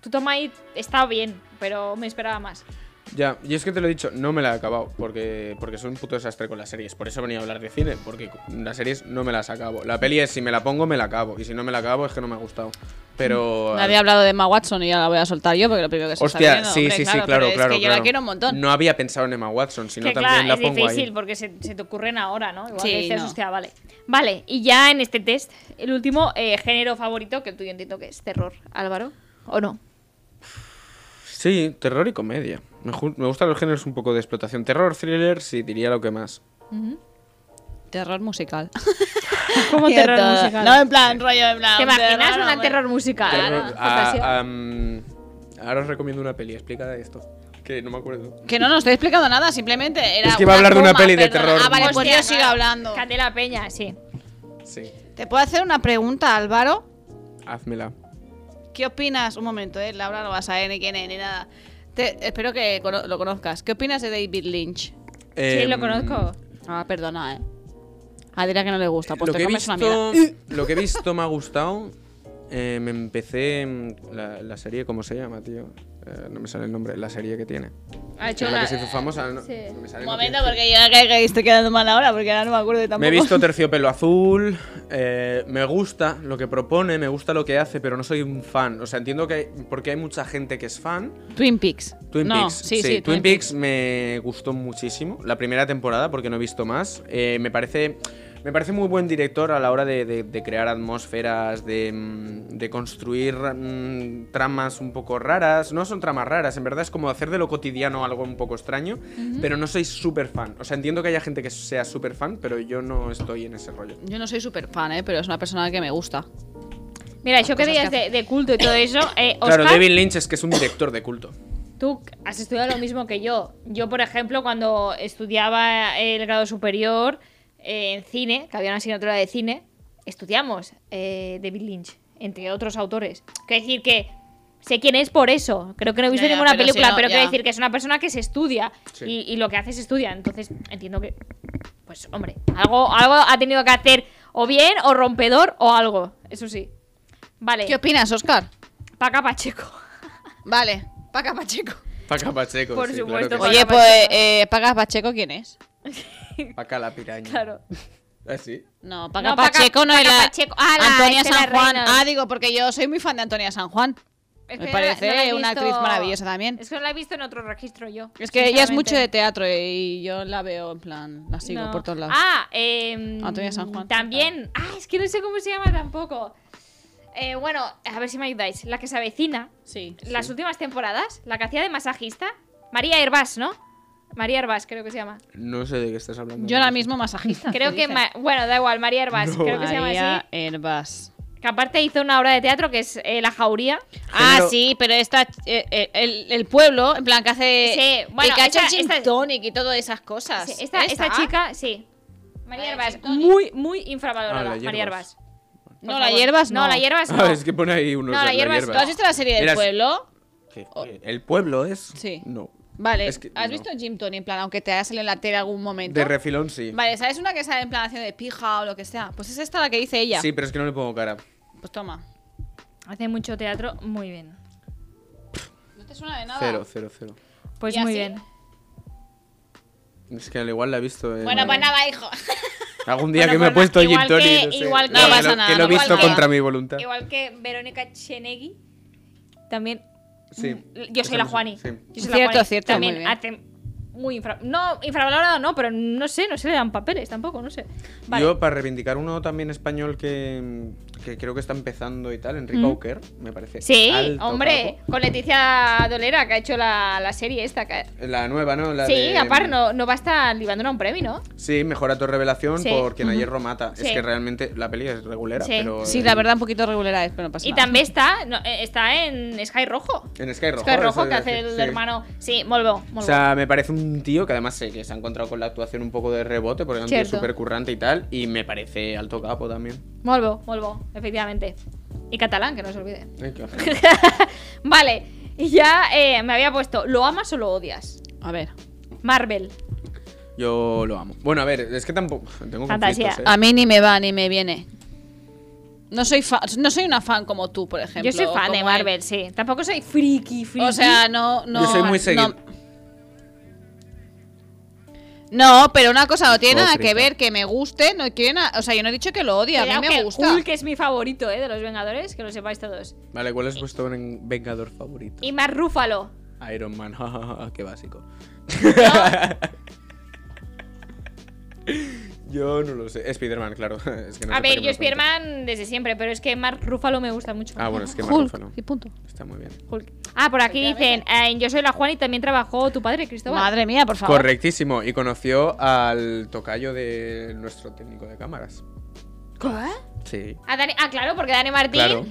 Speaker 1: tu toma ahí está bien, pero me esperaba más.
Speaker 3: Ya, y es que te lo he dicho, no me la he acabado, porque, porque soy un puto desastre con las series. Por eso venía a hablar de cine, porque co- las series no me las acabo. La peli es, si me la pongo, me la acabo. Y si no me la acabo, es que no me ha gustado. Pero... eh,
Speaker 4: Nadie ha hablado de Emma Watson y ya la voy a soltar yo porque lo primero que se me está
Speaker 3: Hostia,
Speaker 4: viniendo,
Speaker 3: sí,
Speaker 4: hombre,
Speaker 3: sí, sí,
Speaker 4: pero
Speaker 3: claro, claro.
Speaker 4: Es que yo la
Speaker 3: claro.
Speaker 4: quiero un montón.
Speaker 3: No había pensado en Emma Watson, sino
Speaker 1: que
Speaker 3: también
Speaker 1: claro,
Speaker 3: la
Speaker 1: es
Speaker 3: pongo
Speaker 1: difícil
Speaker 3: ahí.
Speaker 1: porque se, se te ocurren ahora, ¿no? Igual
Speaker 4: Sí,
Speaker 1: que dices,
Speaker 4: no.
Speaker 1: hostia, vale. Vale, y ya en este test, el último eh, género favorito, que el tuyo entiendo que es terror, Álvaro, ¿o no?
Speaker 3: Sí, terror y comedia. Me, ju- me gustan los géneros un poco de explotación. Terror, thriller, sí, diría lo que más.
Speaker 1: (laughs)
Speaker 4: Terror musical. (laughs)
Speaker 1: Como terror musical.
Speaker 4: No, en plan, rollo, en plan.
Speaker 1: ¿Te imaginas
Speaker 4: terror,
Speaker 1: una
Speaker 4: Ah, hombre.
Speaker 1: terror musical?
Speaker 3: Terror-
Speaker 1: Fantasía.
Speaker 3: ah, am, ahora os recomiendo una peli, explica esto. Que no me acuerdo.
Speaker 4: Que no, no estoy explicando nada, simplemente era.
Speaker 3: Es que iba a
Speaker 4: una
Speaker 3: hablar de una
Speaker 4: broma,
Speaker 3: peli de
Speaker 4: perdona.
Speaker 3: terror.
Speaker 4: Ah, vale, pues
Speaker 1: Hostia,
Speaker 4: yo sigo hablando.
Speaker 1: Candela Peña, sí.
Speaker 3: Sí,
Speaker 4: ¿Te puedo hacer una pregunta, Álvaro?
Speaker 3: házmela.
Speaker 4: ¿Qué opinas? Un momento, eh, Laura no vas a ver ni quién es ni nada. Te- espero que cono- lo conozcas. ¿Qué opinas de David Lynch?
Speaker 1: Sí, lo
Speaker 3: Em,
Speaker 1: conozco.
Speaker 4: Ah, perdona, eh. Ah, dirá que no le gusta, pues
Speaker 3: lo
Speaker 4: te
Speaker 3: que, he
Speaker 4: comes una mierda.
Speaker 3: visto, lo que he visto me ha gustado. Eh, me empecé mm, la, la serie, ¿cómo se llama, tío? Eh, no me sale el nombre, la serie que tiene.
Speaker 1: Ha hecho
Speaker 3: la
Speaker 1: una-
Speaker 3: que se hizo famosa, no,
Speaker 1: sí.
Speaker 3: no me sale
Speaker 4: Un
Speaker 3: el
Speaker 4: momento,
Speaker 3: nombre.
Speaker 4: porque yo creo que estoy quedando mal ahora, porque ahora no me acuerdo de tampoco.
Speaker 3: Me he visto Terciopelo Azul, eh, me gusta lo que propone, me gusta lo que hace, pero no soy un fan. O sea, entiendo que hay- porque hay mucha gente que es fan.
Speaker 4: Twin Peaks.
Speaker 3: Twin
Speaker 4: no,
Speaker 3: Peaks,
Speaker 4: Sí, sí,
Speaker 3: Twin Peaks me gustó muchísimo. La primera temporada, porque no he visto más. Eh, me parece. Me parece muy buen director a la hora de, de- de crear atmósferas, de, mm, de construir mm, tramas un poco raras. No son tramas raras, en verdad es como hacer de lo cotidiano algo un poco extraño, pero no soy súper fan. O sea, entiendo que haya gente que sea súper fan, pero yo no estoy en ese rollo.
Speaker 4: Yo no soy súper fan, eh, pero es una persona que me gusta.
Speaker 1: Mira, yo que
Speaker 4: Cosas
Speaker 1: digas de,
Speaker 4: que
Speaker 1: de culto y todo eso, eh,
Speaker 3: Claro,
Speaker 1: Oscar,
Speaker 3: David Lynch es que es un director de culto.
Speaker 1: Tú has estudiado lo mismo que yo. Yo, por ejemplo, cuando estudiaba el grado superior eh, en cine, que había una asignatura de cine, estudiamos eh, David Lynch, entre otros autores. Quiero decir que Sé quién es por eso. Creo que no he visto
Speaker 4: Ya, ya,
Speaker 1: ninguna
Speaker 4: pero si
Speaker 1: película,
Speaker 4: no,
Speaker 1: pero quiero
Speaker 4: ya.
Speaker 1: decir que es una persona que se estudia
Speaker 3: Sí.
Speaker 1: y, y lo que hace se estudia. Entonces entiendo que, pues hombre, algo, algo ha tenido que hacer o bien o rompedor o algo. Eso sí. Vale.
Speaker 4: ¿Qué opinas, Oscar?
Speaker 1: Paca Pacheco. (laughs)
Speaker 4: Vale, Paca Pacheco.
Speaker 3: Paca Pacheco.
Speaker 1: Por
Speaker 3: sí,
Speaker 1: supuesto,
Speaker 3: claro que
Speaker 1: Paca
Speaker 4: Oye,
Speaker 1: Pacheco.
Speaker 4: pues, eh, ¿Paca Pacheco quién es?
Speaker 3: sí. Paca la piraña.
Speaker 1: Claro.
Speaker 3: Ah, sí.
Speaker 4: No, Paca
Speaker 1: No, Paca-
Speaker 4: Pacheco no
Speaker 1: Paca
Speaker 4: es la.
Speaker 1: Pacheco. Ah, la
Speaker 4: Antonia
Speaker 1: Estela
Speaker 4: San Juan.
Speaker 1: Reynolds.
Speaker 4: Ah, digo, porque yo soy muy fan de Antonia San Juan.
Speaker 1: Es
Speaker 4: Me
Speaker 1: que
Speaker 4: parece
Speaker 1: no la he
Speaker 4: una
Speaker 1: visto-
Speaker 4: actriz maravillosa también.
Speaker 1: Es que no la he visto en otro registro yo.
Speaker 4: Es que ella es
Speaker 1: sinceramente.
Speaker 4: mucho de teatro eh, y yo la veo en plan, la sigo
Speaker 1: No.
Speaker 4: por todos lados.
Speaker 1: Ah, eh,
Speaker 4: Antonia San Juan.
Speaker 1: También. Ah, es que no sé cómo se llama tampoco. Eh, bueno, a ver si me ayudáis. La que se avecina,
Speaker 4: sí.
Speaker 1: las últimas temporadas, la que hacía de masajista, María Herbás, ¿no? María Herbás, creo que se llama.
Speaker 3: No sé de qué estás hablando.
Speaker 4: Yo ahora mismo masajista.
Speaker 1: Creo
Speaker 4: Ah, ¿qué
Speaker 1: que.
Speaker 4: dices?
Speaker 1: ma- bueno, da igual, María Herbás,
Speaker 3: No.
Speaker 1: creo que se llama
Speaker 4: María
Speaker 1: así.
Speaker 4: Herbás.
Speaker 1: Que aparte hizo una obra de teatro que es eh, La Jauría.
Speaker 4: Ah,
Speaker 3: Género-
Speaker 4: sí, pero esta, eh, eh, el, el pueblo, en plan que hace.
Speaker 1: Sí, bueno,
Speaker 4: el que ha hecho
Speaker 1: esta-
Speaker 4: gin
Speaker 1: esta-
Speaker 4: tonic y todas esas cosas.
Speaker 1: Sí, esta, esta chica, sí. María
Speaker 4: Ah,
Speaker 1: Herbás,
Speaker 4: sí, Tony.
Speaker 1: muy, muy infravalorada.
Speaker 3: Ah, la
Speaker 1: María
Speaker 3: Herbás.
Speaker 1: Herbás. Por
Speaker 4: No, la
Speaker 1: favor.
Speaker 4: hierbas no.
Speaker 1: No, la hierbas no.
Speaker 3: (laughs) Ah, es que pone ahí unos.
Speaker 1: No, la hierba es-
Speaker 4: ¿Tú has visto la serie del
Speaker 3: Mira, sí.
Speaker 4: pueblo?
Speaker 3: ¿Qué? ¿El pueblo es?
Speaker 4: Sí.
Speaker 3: No.
Speaker 4: Vale.
Speaker 3: Es que-
Speaker 4: ¿Has
Speaker 3: no.
Speaker 4: visto Jim Tony en plan, aunque te haya salido en la tele algún momento?
Speaker 3: De refilón sí.
Speaker 4: Vale, ¿sabes una que sale en plan haciendo de pija o lo que sea? Pues es esta la que dice ella.
Speaker 3: Sí, pero es que no le pongo cara.
Speaker 4: Pues toma.
Speaker 1: Hace mucho teatro, muy bien.
Speaker 4: No te suena de nada.
Speaker 3: Cero, cero, cero.
Speaker 1: Pues
Speaker 4: ¿Y
Speaker 1: muy
Speaker 4: así?
Speaker 1: bien.
Speaker 3: Es que al igual la he visto. en-
Speaker 4: Bueno, pues nada,
Speaker 3: (laughs)
Speaker 4: hijo.
Speaker 3: Algún día
Speaker 1: Bueno,
Speaker 3: que me he
Speaker 1: pues
Speaker 3: puesto
Speaker 1: igual
Speaker 3: Gin Tonic.
Speaker 1: que-
Speaker 3: no sé.
Speaker 1: igual
Speaker 3: Nada,
Speaker 4: que-
Speaker 3: lo-
Speaker 4: pasa nada,
Speaker 3: Que lo he
Speaker 4: no pasa
Speaker 3: visto
Speaker 4: nada.
Speaker 3: contra mi voluntad.
Speaker 1: Igual que Verónica Chenegui, también. mm,
Speaker 3: Sí.
Speaker 1: Yo soy la Juani.
Speaker 3: Sí.
Speaker 1: Yo soy la
Speaker 4: Cierto,
Speaker 1: Juani.
Speaker 4: cierto,
Speaker 1: También
Speaker 4: muy bien.
Speaker 1: hace muy infra. No, infravalorada no, pero no sé, no se le dan papeles tampoco, no sé. Vale.
Speaker 3: Yo, para reivindicar uno también español que, que creo que está empezando y tal, Enrique Auquer, me parece.
Speaker 1: sí,
Speaker 3: alto
Speaker 1: hombre, con Leticia Dolera, que ha hecho la, la serie esta. que-
Speaker 3: capo. La nueva, ¿no? La
Speaker 1: sí,
Speaker 3: de-
Speaker 1: aparte no, no va a estar libándola un premio, ¿no?
Speaker 3: Sí, mejora tu revelación
Speaker 1: Sí.
Speaker 3: por quien ayer mata.
Speaker 1: Sí.
Speaker 3: Es que realmente la peli es regulera,
Speaker 1: Sí.
Speaker 3: pero.
Speaker 4: Sí,
Speaker 3: eh,
Speaker 4: la verdad, un poquito regular es, pero no pasa
Speaker 1: Y
Speaker 4: nada.
Speaker 1: también está, no, eh, está en Sky Rojo.
Speaker 3: En Sky Rojo.
Speaker 1: Sky Rojo,
Speaker 3: eso
Speaker 1: que
Speaker 3: iba a
Speaker 1: hace
Speaker 3: decir,
Speaker 1: el
Speaker 3: sí.
Speaker 1: hermano. Sí, muy bien, muy
Speaker 3: O
Speaker 1: bien.
Speaker 3: sea, me parece un tío que además sé que se ha encontrado con la actuación un poco de rebote, porque es un tío
Speaker 1: Cierto.
Speaker 3: súper currante y tal, y me parece alto capo también.
Speaker 1: Molt bo, molt bo, efectivamente. Y catalán, que no se olvide.
Speaker 3: Ay, qué ojo.
Speaker 1: Vale, y ya eh, me había puesto, ¿lo amas o lo odias?
Speaker 4: A ver.
Speaker 1: Marvel.
Speaker 3: Yo lo amo. Bueno, a ver, es que tampoco. Tengo
Speaker 1: Fantasía.
Speaker 3: conflictos, ¿eh?
Speaker 4: A mí ni me va ni me viene. No soy, fa- no soy una fan como tú, por ejemplo.
Speaker 1: Yo soy fan de
Speaker 4: como
Speaker 1: Marvel, sí. Tampoco soy friki,
Speaker 4: él.
Speaker 1: friki.
Speaker 4: O sea, no,
Speaker 1: Ah,
Speaker 4: no.
Speaker 3: Yo soy muy
Speaker 4: no-
Speaker 3: seguido.
Speaker 4: No, pero una cosa no tiene
Speaker 3: Oh,
Speaker 4: nada que
Speaker 3: friki.
Speaker 4: ver que me guste, no tiene nada- O sea, yo no he dicho que lo odie, a mí
Speaker 1: Cuidado
Speaker 4: me
Speaker 1: que
Speaker 4: gusta.
Speaker 1: Hulk es mi favorito, ¿eh? De los Vengadores, que lo sepáis todos.
Speaker 3: Vale, ¿cuál es vuestro ven- vengador favorito?
Speaker 1: Y más Rúfalo.
Speaker 3: Iron Man, (laughs) qué básico. (laughs) yo no lo sé. Spider-Man, claro. (laughs) Es que no
Speaker 1: A ver,
Speaker 3: sé por
Speaker 1: yo
Speaker 3: qué me lo preguntas.
Speaker 1: Spider-Man desde siempre, pero es que Mark Rúfalo me gusta mucho.
Speaker 3: Ah, bueno, es que Mark Ruffalo.
Speaker 6: Hulk y punto.
Speaker 3: Está muy bien.
Speaker 1: Hulk. Ah, por aquí dicen, eh, en Yo soy la Juan y también trabajó tu padre, Cristóbal.
Speaker 4: Madre mía, por favor.
Speaker 3: Correctísimo. Y conoció al tocayo de nuestro técnico de cámaras. Sí.
Speaker 1: A Dani- ah, claro, porque Dani Martín
Speaker 3: Claro.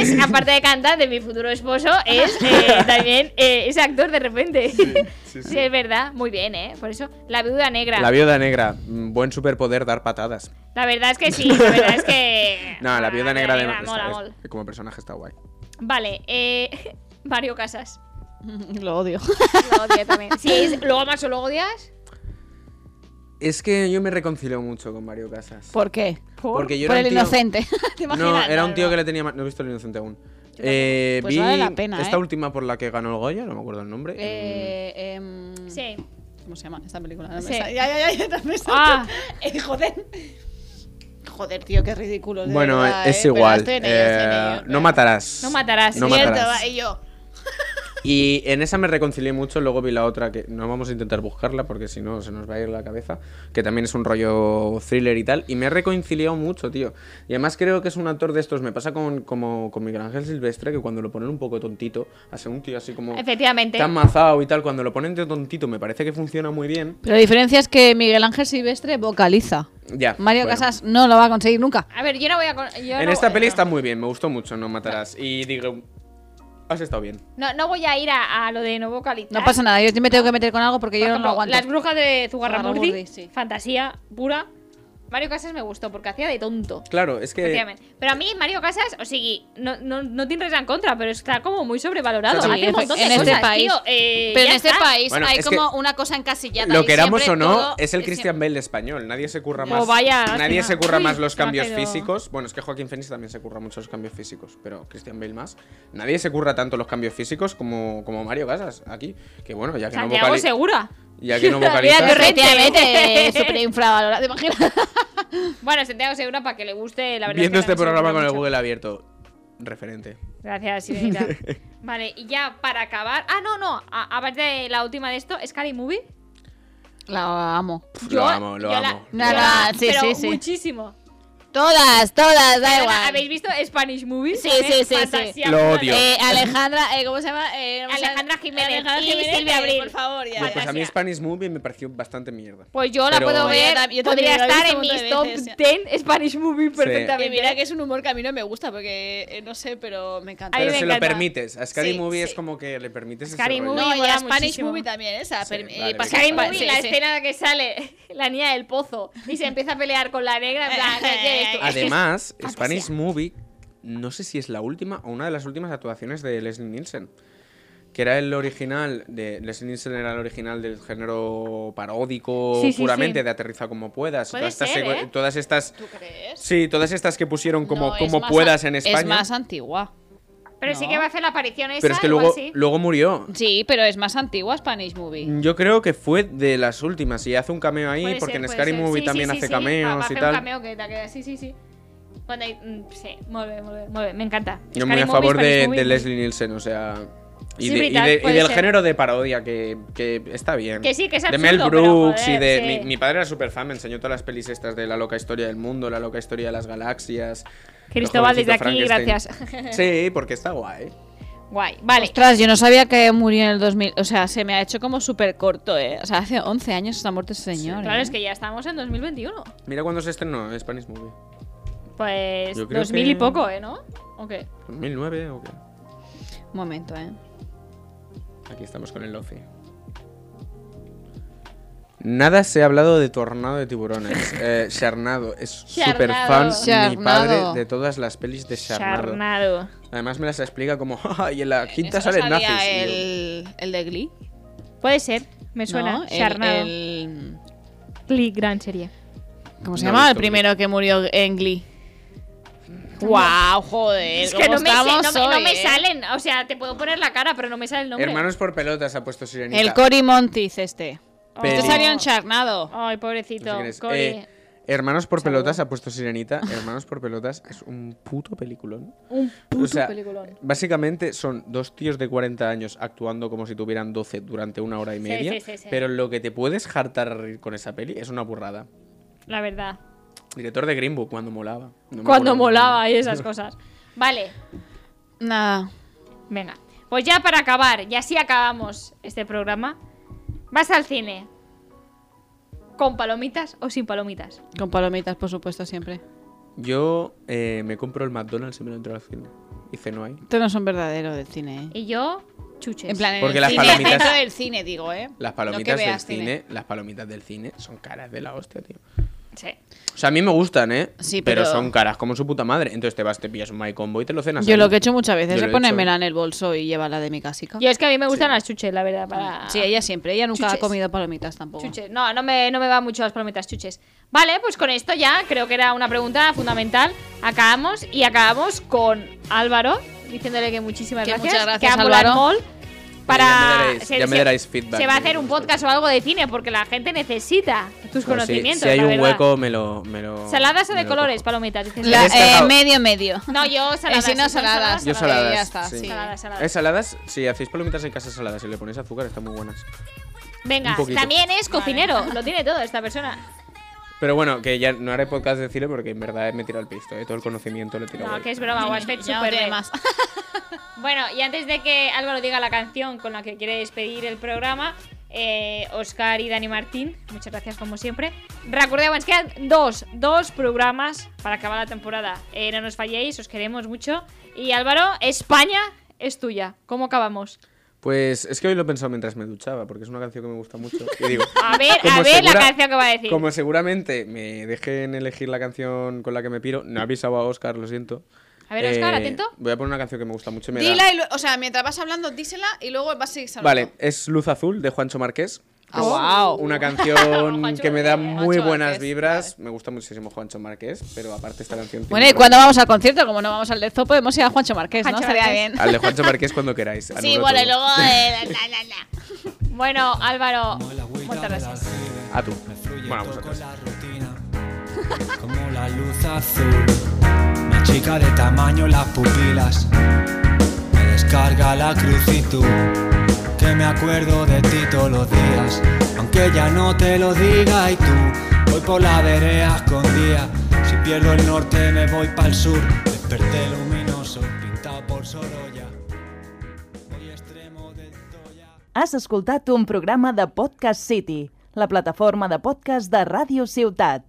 Speaker 1: es, aparte de cantante, mi futuro esposo, es
Speaker 3: (laughs)
Speaker 1: eh, también eh, es actor de repente. (laughs) Sí,
Speaker 3: sí, sí.
Speaker 1: es verdad, muy bien, ¿eh? Por eso, La Viuda Negra.
Speaker 3: La
Speaker 1: La,
Speaker 3: viuda negra. mm, Buen superpoder dar patadas.
Speaker 1: verdad es que sí, la verdad es que.
Speaker 3: (laughs) No, la viuda negra de
Speaker 1: Ah, mola, mola.
Speaker 3: como personaje está guay.
Speaker 1: Vale, eh, (laughs) Mario Casas.
Speaker 4: (laughs) Lo (laughs) odio.
Speaker 1: Lo odio también. Si es, lo amas o lo odias,
Speaker 3: Es que yo me reconcilio mucho con Mario Casas.
Speaker 4: ¿Por qué?
Speaker 3: Porque yo
Speaker 4: Por
Speaker 3: era
Speaker 4: el
Speaker 3: un tío-
Speaker 4: inocente. (laughs) ¿Te
Speaker 3: No,
Speaker 4: imaginas?
Speaker 3: era un tío que le tenía ma- No he visto el inocente aún. Eh,
Speaker 4: Pues
Speaker 3: vi
Speaker 4: vale la pena,
Speaker 3: esta
Speaker 4: ¿eh?
Speaker 3: última por la que ganó el Goya, no me acuerdo el nombre.
Speaker 4: Eh, em,
Speaker 1: sí.
Speaker 4: ¿Cómo se llama esta película?
Speaker 1: Sí.
Speaker 4: Ya, ya, ya, ya, ya me salto.
Speaker 1: Ah.
Speaker 4: (laughs) Eh, joder. Joder, tío, qué ridículo. de
Speaker 3: Mm. Bueno,
Speaker 4: verdad,
Speaker 3: es
Speaker 4: eh, pero
Speaker 3: igual.
Speaker 4: estoy en ello, estoy en
Speaker 3: eh,
Speaker 4: ello,
Speaker 3: no
Speaker 4: pero-
Speaker 3: matarás.
Speaker 1: No matarás.
Speaker 3: No
Speaker 4: Cierto,
Speaker 3: matarás.
Speaker 4: va, y yo.
Speaker 3: Y en esa me reconcilié mucho, luego vi la otra que no vamos a intentar buscarla porque si no se nos va a ir la cabeza, que también es un rollo thriller y tal, y me he reconciliado mucho, tío. Y además creo que es un actor de estos, me pasa con, como con Miguel Ángel Silvestre, que cuando lo ponen un poco tontito, hace un tío así como...
Speaker 1: Efectivamente.
Speaker 3: Tan mazao y tal, cuando lo ponen de tontito me parece que funciona muy bien.
Speaker 4: Pero la diferencia es que Miguel Ángel Silvestre vocaliza.
Speaker 3: Ya.
Speaker 4: Mario
Speaker 3: bueno.
Speaker 4: Casas no lo va a conseguir nunca.
Speaker 1: A ver, yo no voy a. con- yo
Speaker 3: En
Speaker 1: no-
Speaker 3: esta peli
Speaker 1: no.
Speaker 3: está muy bien, me gustó mucho, no matarás. Y digo, has estado bien.
Speaker 1: No, no voy a ir a, a lo de no vocalizar.
Speaker 4: No pasa nada, yo me tengo que meter con algo porque
Speaker 1: Por
Speaker 4: yo no
Speaker 1: ejemplo,
Speaker 4: lo aguanto.
Speaker 1: Las brujas de Zugarramurdi,
Speaker 4: Zugarramurdi, sí.
Speaker 1: fantasía pura. Mario Casas me gustó porque hacía de tonto.
Speaker 3: Claro, es que.
Speaker 1: efectivamente. Pero a mí, Mario Casas, o sigui, no, no, no tiene res en contra, pero está como muy sobrevalorado.
Speaker 3: Sí,
Speaker 1: Hace un montón de
Speaker 4: en este
Speaker 1: cosas,
Speaker 4: país.
Speaker 1: tío. Eh,
Speaker 4: Pero
Speaker 1: ya
Speaker 4: en este
Speaker 1: está.
Speaker 4: país
Speaker 3: Bueno,
Speaker 4: hay
Speaker 3: es
Speaker 4: como
Speaker 3: que
Speaker 4: una cosa encasillada.
Speaker 3: Lo
Speaker 4: y
Speaker 3: queramos o
Speaker 4: siempre
Speaker 3: no,
Speaker 4: todo-
Speaker 3: es el
Speaker 4: siempre-
Speaker 3: Christian Bale español. Nadie se curra
Speaker 1: Oh,
Speaker 3: más.
Speaker 1: vaya,
Speaker 3: nadie
Speaker 1: lástima.
Speaker 3: se curra
Speaker 1: Uy,
Speaker 3: más los
Speaker 1: me ha
Speaker 3: cambios
Speaker 1: caído.
Speaker 3: físicos. Bueno, es que Joaquín Phoenix también se curra mucho los cambios físicos, pero Christian Bale más. Nadie se curra tanto los cambios físicos como, como Mario Casas aquí. Que bueno, ya que no
Speaker 1: Santiago
Speaker 3: vocali-
Speaker 1: Segura.
Speaker 3: Ya que no vocaliza.
Speaker 1: (laughs) Mira, qué rete.
Speaker 6: Efectivamente,
Speaker 4: (laughs)
Speaker 6: súper infravalorado. ¿Te imaginas?
Speaker 1: Bueno, Santiago Segura, para que le guste, la verdad.
Speaker 3: Viendo
Speaker 1: es que
Speaker 3: este
Speaker 1: a mí se me
Speaker 3: programa
Speaker 1: ocurre
Speaker 3: con el
Speaker 1: mucho.
Speaker 3: Google abierto. Referente.
Speaker 1: Gracias,
Speaker 3: (laughs)
Speaker 1: Sirenita. vale, y ya para acabar. Ah, no, no. a- Aparte de la última de esto, Scary Movie.
Speaker 6: La amo.
Speaker 3: Pff, lo amo, lo
Speaker 1: yo
Speaker 3: amo.
Speaker 6: No, no, sí,
Speaker 1: pero
Speaker 6: sí, sí.
Speaker 1: Muchísimo.
Speaker 6: Todas, todas, da
Speaker 1: Perdona,
Speaker 6: igual.
Speaker 1: ¿Habéis visto Spanish Movie?
Speaker 6: Sí,
Speaker 1: ¿Sabes?
Speaker 6: sí, sí, sí.
Speaker 1: Fantasía
Speaker 3: Lo
Speaker 1: pura
Speaker 3: odio.
Speaker 1: de-
Speaker 6: Eh, Alejandra, eh, ¿cómo se llama? Eh, ¿cómo se llama?
Speaker 1: Alejandra Jiménez,
Speaker 6: Alejandra
Speaker 1: y
Speaker 6: Jiménez,
Speaker 1: Silvia
Speaker 6: eh,
Speaker 1: Abril.
Speaker 6: por favor, ya.
Speaker 3: Pues a mí Spanish Movie me pareció bastante mierda.
Speaker 1: Pues yo la
Speaker 3: Pero-
Speaker 1: puedo
Speaker 3: Yo
Speaker 1: ver.
Speaker 2: tam- yo
Speaker 1: podría
Speaker 2: también la he
Speaker 1: estar
Speaker 2: visto
Speaker 1: en
Speaker 2: un montón
Speaker 1: mis
Speaker 2: de
Speaker 1: top
Speaker 2: veces.
Speaker 1: 10 Spanish Movie
Speaker 2: Y
Speaker 1: perfectamente.
Speaker 2: mira que es un humor que a mí no me gusta porque eh, no sé, pero me encanta.
Speaker 1: A mí
Speaker 3: Pero
Speaker 1: me
Speaker 3: se lo
Speaker 1: encanta.
Speaker 3: permites. A Scary
Speaker 2: Sí,
Speaker 3: Movie es
Speaker 2: sí.
Speaker 3: como que le permites ese
Speaker 1: Scary
Speaker 3: rollo.
Speaker 1: Movie.
Speaker 2: No, y
Speaker 1: mola
Speaker 2: la Spanish
Speaker 1: muchísimo.
Speaker 2: Movie también esa.
Speaker 3: Sí,
Speaker 2: per- eh,
Speaker 3: vale,
Speaker 2: pasa-
Speaker 1: Scary
Speaker 3: Sí,
Speaker 1: Movie,
Speaker 3: sí,
Speaker 1: la
Speaker 2: sí.
Speaker 1: escena en la que sale la niña del pozo y se empieza a pelear con la negra. En plan, ¿qué quieres tú?
Speaker 3: Además, Spanish Movie, no sé si es la última o una de las últimas actuaciones de Leslie Nielsen. Que era el original de. Leslie Nielsen era el original del género paródico,
Speaker 1: Sí, sí,
Speaker 3: puramente,
Speaker 1: sí.
Speaker 3: de aterriza como puedas.
Speaker 1: Puede
Speaker 3: todas, estas
Speaker 1: ser,
Speaker 3: secue-
Speaker 1: ¿eh?
Speaker 3: todas estas.
Speaker 2: ¿Tú crees?
Speaker 3: Sí, todas estas que pusieron como,
Speaker 4: No, es
Speaker 3: como
Speaker 4: más
Speaker 3: puedas
Speaker 4: an-
Speaker 3: en España.
Speaker 4: Es más antigua.
Speaker 1: Pero sí que va a hacer la aparición esa.
Speaker 3: pero es que
Speaker 1: igual
Speaker 3: luego,
Speaker 1: sí.
Speaker 3: luego murió.
Speaker 4: Sí, pero es más antigua Spanish Movie.
Speaker 3: Yo creo que fue de las últimas. Y hace un cameo ahí,
Speaker 1: Puede
Speaker 3: porque
Speaker 1: ser,
Speaker 3: en
Speaker 1: puede
Speaker 3: Scary
Speaker 1: ser.
Speaker 3: Movie
Speaker 1: Sí,
Speaker 3: también
Speaker 1: sí, sí,
Speaker 3: hace
Speaker 1: sí. Va- va
Speaker 3: cameos
Speaker 1: a
Speaker 3: y
Speaker 1: fer
Speaker 3: tal.
Speaker 1: un cameo que te queda- Sí, sí, sí. Cuando hay- mm, sí, molt bé, molt bé, molt bé, me encanta.
Speaker 3: Yo
Speaker 1: Scary
Speaker 3: muy
Speaker 1: Movie,
Speaker 3: a favor
Speaker 1: Spanish
Speaker 3: de,
Speaker 1: Movie,
Speaker 3: de
Speaker 1: muy-
Speaker 3: Leslie Nielsen, o sea. Y,
Speaker 1: Sí,
Speaker 3: de- y
Speaker 1: veritat,
Speaker 3: de- y
Speaker 1: puede
Speaker 3: del
Speaker 1: ser.
Speaker 3: género de parodia, que, que está bien.
Speaker 1: Que sí, que es
Speaker 3: De
Speaker 1: absurdo,
Speaker 3: Mel
Speaker 1: pero,
Speaker 3: Brooks y
Speaker 1: joder,
Speaker 3: de.
Speaker 1: sí.
Speaker 3: Mi, mi padre era súper fan, me enseñó todas las pelis estas de la loca historia del mundo, la loca historia de las galaxias.
Speaker 1: Cristóbal,
Speaker 3: el jovencito
Speaker 1: desde aquí,
Speaker 3: Frankenstein. Sí, porque está guay.
Speaker 1: Guay, vale.
Speaker 4: Ostras, yo no sabía que murió en el 2000. O sea, se me ha hecho como súper corto, ¿eh? O sea, hace 11 años está muerto ese señor.
Speaker 1: Claro,
Speaker 4: ¿eh?
Speaker 1: es que ya estamos en 2021.
Speaker 3: Mira cuando se estrenó Spanish Movie.
Speaker 1: Pues
Speaker 3: Yo creo
Speaker 1: 2000 y
Speaker 3: que-
Speaker 1: poco, ¿eh? ¿No? ¿O qué?
Speaker 3: 2009 o qué.
Speaker 4: Un momento, ¿eh?
Speaker 3: Aquí estamos con el Lofi. Nada se ha hablado de Tornado
Speaker 4: (laughs)
Speaker 3: de Tiburones. Eh, Charnado es súper fan mi
Speaker 6: Charnado.
Speaker 3: padre de todas las pelis de Charnado.
Speaker 1: Charnado.
Speaker 3: Además me las explica como, (laughs) y en la quinta
Speaker 4: Eso
Speaker 3: salen nazis.
Speaker 4: salía
Speaker 3: Y yo,
Speaker 4: el, el de Glee.
Speaker 1: Puede ser, me suena.
Speaker 4: ¿no? El-
Speaker 1: Charnado.
Speaker 4: el-
Speaker 1: Click, gran serie.
Speaker 4: ¿Cómo se
Speaker 3: No he
Speaker 4: llama? El
Speaker 3: visto Glee.
Speaker 4: primero que murió en Glee. ¡Guau, joder!
Speaker 1: Es que
Speaker 4: ¿cómo
Speaker 1: no me, sé,
Speaker 4: estamos
Speaker 1: no, me- no
Speaker 4: hoy,
Speaker 1: me
Speaker 4: eh?
Speaker 1: salen. O sea, te puedo poner la cara, pero no me sale el nombre.
Speaker 3: Hermanos por pelotas ha puesto Sirenita.
Speaker 4: El Cory Montis este.
Speaker 3: Peli.
Speaker 4: Este salió en Charnado.
Speaker 1: Ay,
Speaker 3: No sé
Speaker 1: pobrecito.
Speaker 3: quién es.
Speaker 1: Cory.
Speaker 3: Eh, Hermanos por pelotas ha puesto Sirenita. Hermanos por pelotas es un puto peliculón.
Speaker 1: un
Speaker 3: o sea, Básicamente son dos tíos de 40 años actuando como si tuvieran 12 durante una hora y media.
Speaker 1: sí, sí, sí.
Speaker 3: Pero lo que te puedes jartar a reír con esa peli es una burrada.
Speaker 1: La verdad.
Speaker 3: Director de Green Book, cuando molaba. No me
Speaker 1: Cuando
Speaker 3: acuerdo.
Speaker 1: molaba eh. y esas cosas. Vale,
Speaker 4: Nada.
Speaker 1: venga. Pues ya para acabar, y así acabamos este programa. ¿Vas al cine? ¿Con palomitas o sin palomitas?
Speaker 4: Con palomitas, por supuesto, siempre.
Speaker 3: Yo eh, me compro el McDonald's y me lo entro al cine. Y ceno ahí.
Speaker 4: Estos no son verdaderos del cine, ¿eh?
Speaker 1: Y yo, chuches.
Speaker 4: En plan, en
Speaker 3: Porque
Speaker 4: el
Speaker 3: las
Speaker 4: cine,
Speaker 3: palomitas-
Speaker 4: dentro del cine, digo, ¿eh?
Speaker 3: Las
Speaker 4: No
Speaker 3: palomitas
Speaker 4: que
Speaker 3: del
Speaker 4: veas
Speaker 3: cine, las palomitas del cine son caras de la hostia, tío.
Speaker 1: Sí.
Speaker 3: O sea, a mí me gustan, ¿eh?
Speaker 4: Sí,
Speaker 3: pero...
Speaker 4: pero-
Speaker 3: son caras como su puta madre. Entonces te vas, te pillas un My Combo y te lo cenas.
Speaker 4: Yo
Speaker 3: ahí.
Speaker 4: lo que he hecho muchas
Speaker 3: Yo
Speaker 4: veces
Speaker 3: lo
Speaker 4: es
Speaker 3: he
Speaker 4: ponérmela
Speaker 3: hecho.
Speaker 4: en el bolso y llevarla de mi casica.
Speaker 1: Yo es que a mí me gustan las chuches, la verdad. Para...
Speaker 4: Sí, ella siempre. Ella nunca
Speaker 1: Chuches.
Speaker 4: ha comido palomitas tampoco.
Speaker 1: Chuches. No, no me, no me van mucho las palomitas chuches. Vale, pues con esto ya creo que era una pregunta fundamental. Acabamos y acabamos con Álvaro, diciéndole que muchísimas
Speaker 4: Que
Speaker 1: gracias.
Speaker 4: muchas gracias,
Speaker 1: que ha molado
Speaker 4: Álvaro.
Speaker 1: molt Para...
Speaker 3: Ya me daréis- ya me daréis feedback
Speaker 1: Se va a
Speaker 3: de
Speaker 1: hacer un
Speaker 3: vosotros.
Speaker 1: podcast o algo de cine porque la gente necesita tus
Speaker 3: Bueno, si-
Speaker 1: conocimientos.
Speaker 3: Pues Si, hay
Speaker 1: la
Speaker 3: un
Speaker 1: verdad.
Speaker 3: hueco, me lo. Me lo
Speaker 1: ¿Saladas o
Speaker 3: me
Speaker 1: de
Speaker 3: lo
Speaker 1: colores,
Speaker 3: cojo.
Speaker 1: palomitas? Dices,
Speaker 4: La-
Speaker 3: Yo
Speaker 4: eh,
Speaker 3: salado.
Speaker 4: medio, medio.
Speaker 1: No, yo saladas.
Speaker 4: si no,
Speaker 1: son
Speaker 4: saladas.
Speaker 3: Yo
Speaker 4: Eh,
Speaker 3: saladas.
Speaker 4: ya está,
Speaker 3: sí.
Speaker 4: sí.
Speaker 1: Saladas, saladas.
Speaker 3: Eh, saladas, si hacéis palomitas en casa saladas y le ponéis azúcar, están muy buenas.
Speaker 1: Venga,
Speaker 3: Un poquito.
Speaker 1: también es cocinero.
Speaker 4: (laughs)
Speaker 1: Lo tiene todo esta persona.
Speaker 3: Pero bueno, que ya no haré podcast de cine porque en verdad me tiro al pisto, eh, todo el conocimiento lo tiro.
Speaker 1: No,
Speaker 3: ahí.
Speaker 1: que es broma,
Speaker 4: (laughs)
Speaker 1: Wattpad
Speaker 4: Ya no
Speaker 1: super
Speaker 4: tiene
Speaker 1: B.
Speaker 3: (laughs)
Speaker 4: más.
Speaker 1: Bueno, y antes de que Álvaro diga la canción con la que quiere despedir el programa, eh, Oscar y Dani Martín, muchas gracias como siempre. Recordeu, ens quedan dos, dos programas para acabar la temporada. Eh, no nos falléis, os queremos mucho. Y Álvaro, España es tuya. ¿Cómo acabamos?
Speaker 3: Pues es que hoy lo he pensado mientras me duchaba, porque es una canción que me gusta mucho. Y digo,
Speaker 1: (laughs) A ver, a
Speaker 3: Como
Speaker 1: ver la
Speaker 3: segura-
Speaker 1: canción que va a decir.
Speaker 3: como seguramente me dejen elegir la canción con la que me piro, no he avisado a Oscar, lo siento.
Speaker 1: A ver, Óscar,
Speaker 3: Eh,
Speaker 1: atento.
Speaker 3: Voy a poner una canción que me gusta mucho y me da-
Speaker 4: Dila y lue- o sea, mientras vas hablando, dísela y luego vas a seguir hablando.
Speaker 3: Vale, es Luz Azul de Juancho Marqués.
Speaker 4: Ah, guau.
Speaker 6: (laughs)
Speaker 3: Una canción que me da muy
Speaker 4: Juancho
Speaker 3: buenas
Speaker 4: Marqués,
Speaker 3: vibras. Me gusta muchísimo Juancho Marqués, pero aparte esta canción. tiene
Speaker 6: Bueno, ¿y
Speaker 3: otro-
Speaker 6: cuándo vamos al concierto? Como no vamos al Lezo, podemos ir a Juancho Marqués, ¿no?
Speaker 1: Juancho
Speaker 6: Estaría
Speaker 1: Marqués.
Speaker 6: bien.
Speaker 3: (laughs) Al de Juancho Marqués cuando queráis.
Speaker 6: Sí,
Speaker 3: anulo
Speaker 6: bueno, y
Speaker 3: todo.
Speaker 6: luego... eh, la, la, la, la.
Speaker 1: Bueno, Álvaro, muchas gracias.
Speaker 3: A Ah, tú.
Speaker 7: Me fluye
Speaker 3: Bueno,
Speaker 7: poco
Speaker 3: vosotros.
Speaker 7: la rutina, (laughs) como la luz azul. Una chica de tamaño las pupilas, me descarga la cruz y tú, que me acuerdo de ti todos los días, aunque ya no te lo diga y tú. Voy por la vereda escondida, si pierdo el norte me voy para el sur. Desperté luminoso, pintado por Sorolla, voy extremo del Toya.
Speaker 8: Has escoltat un programa de Podcast City, la plataforma de podcast de Ràdio Ciutat.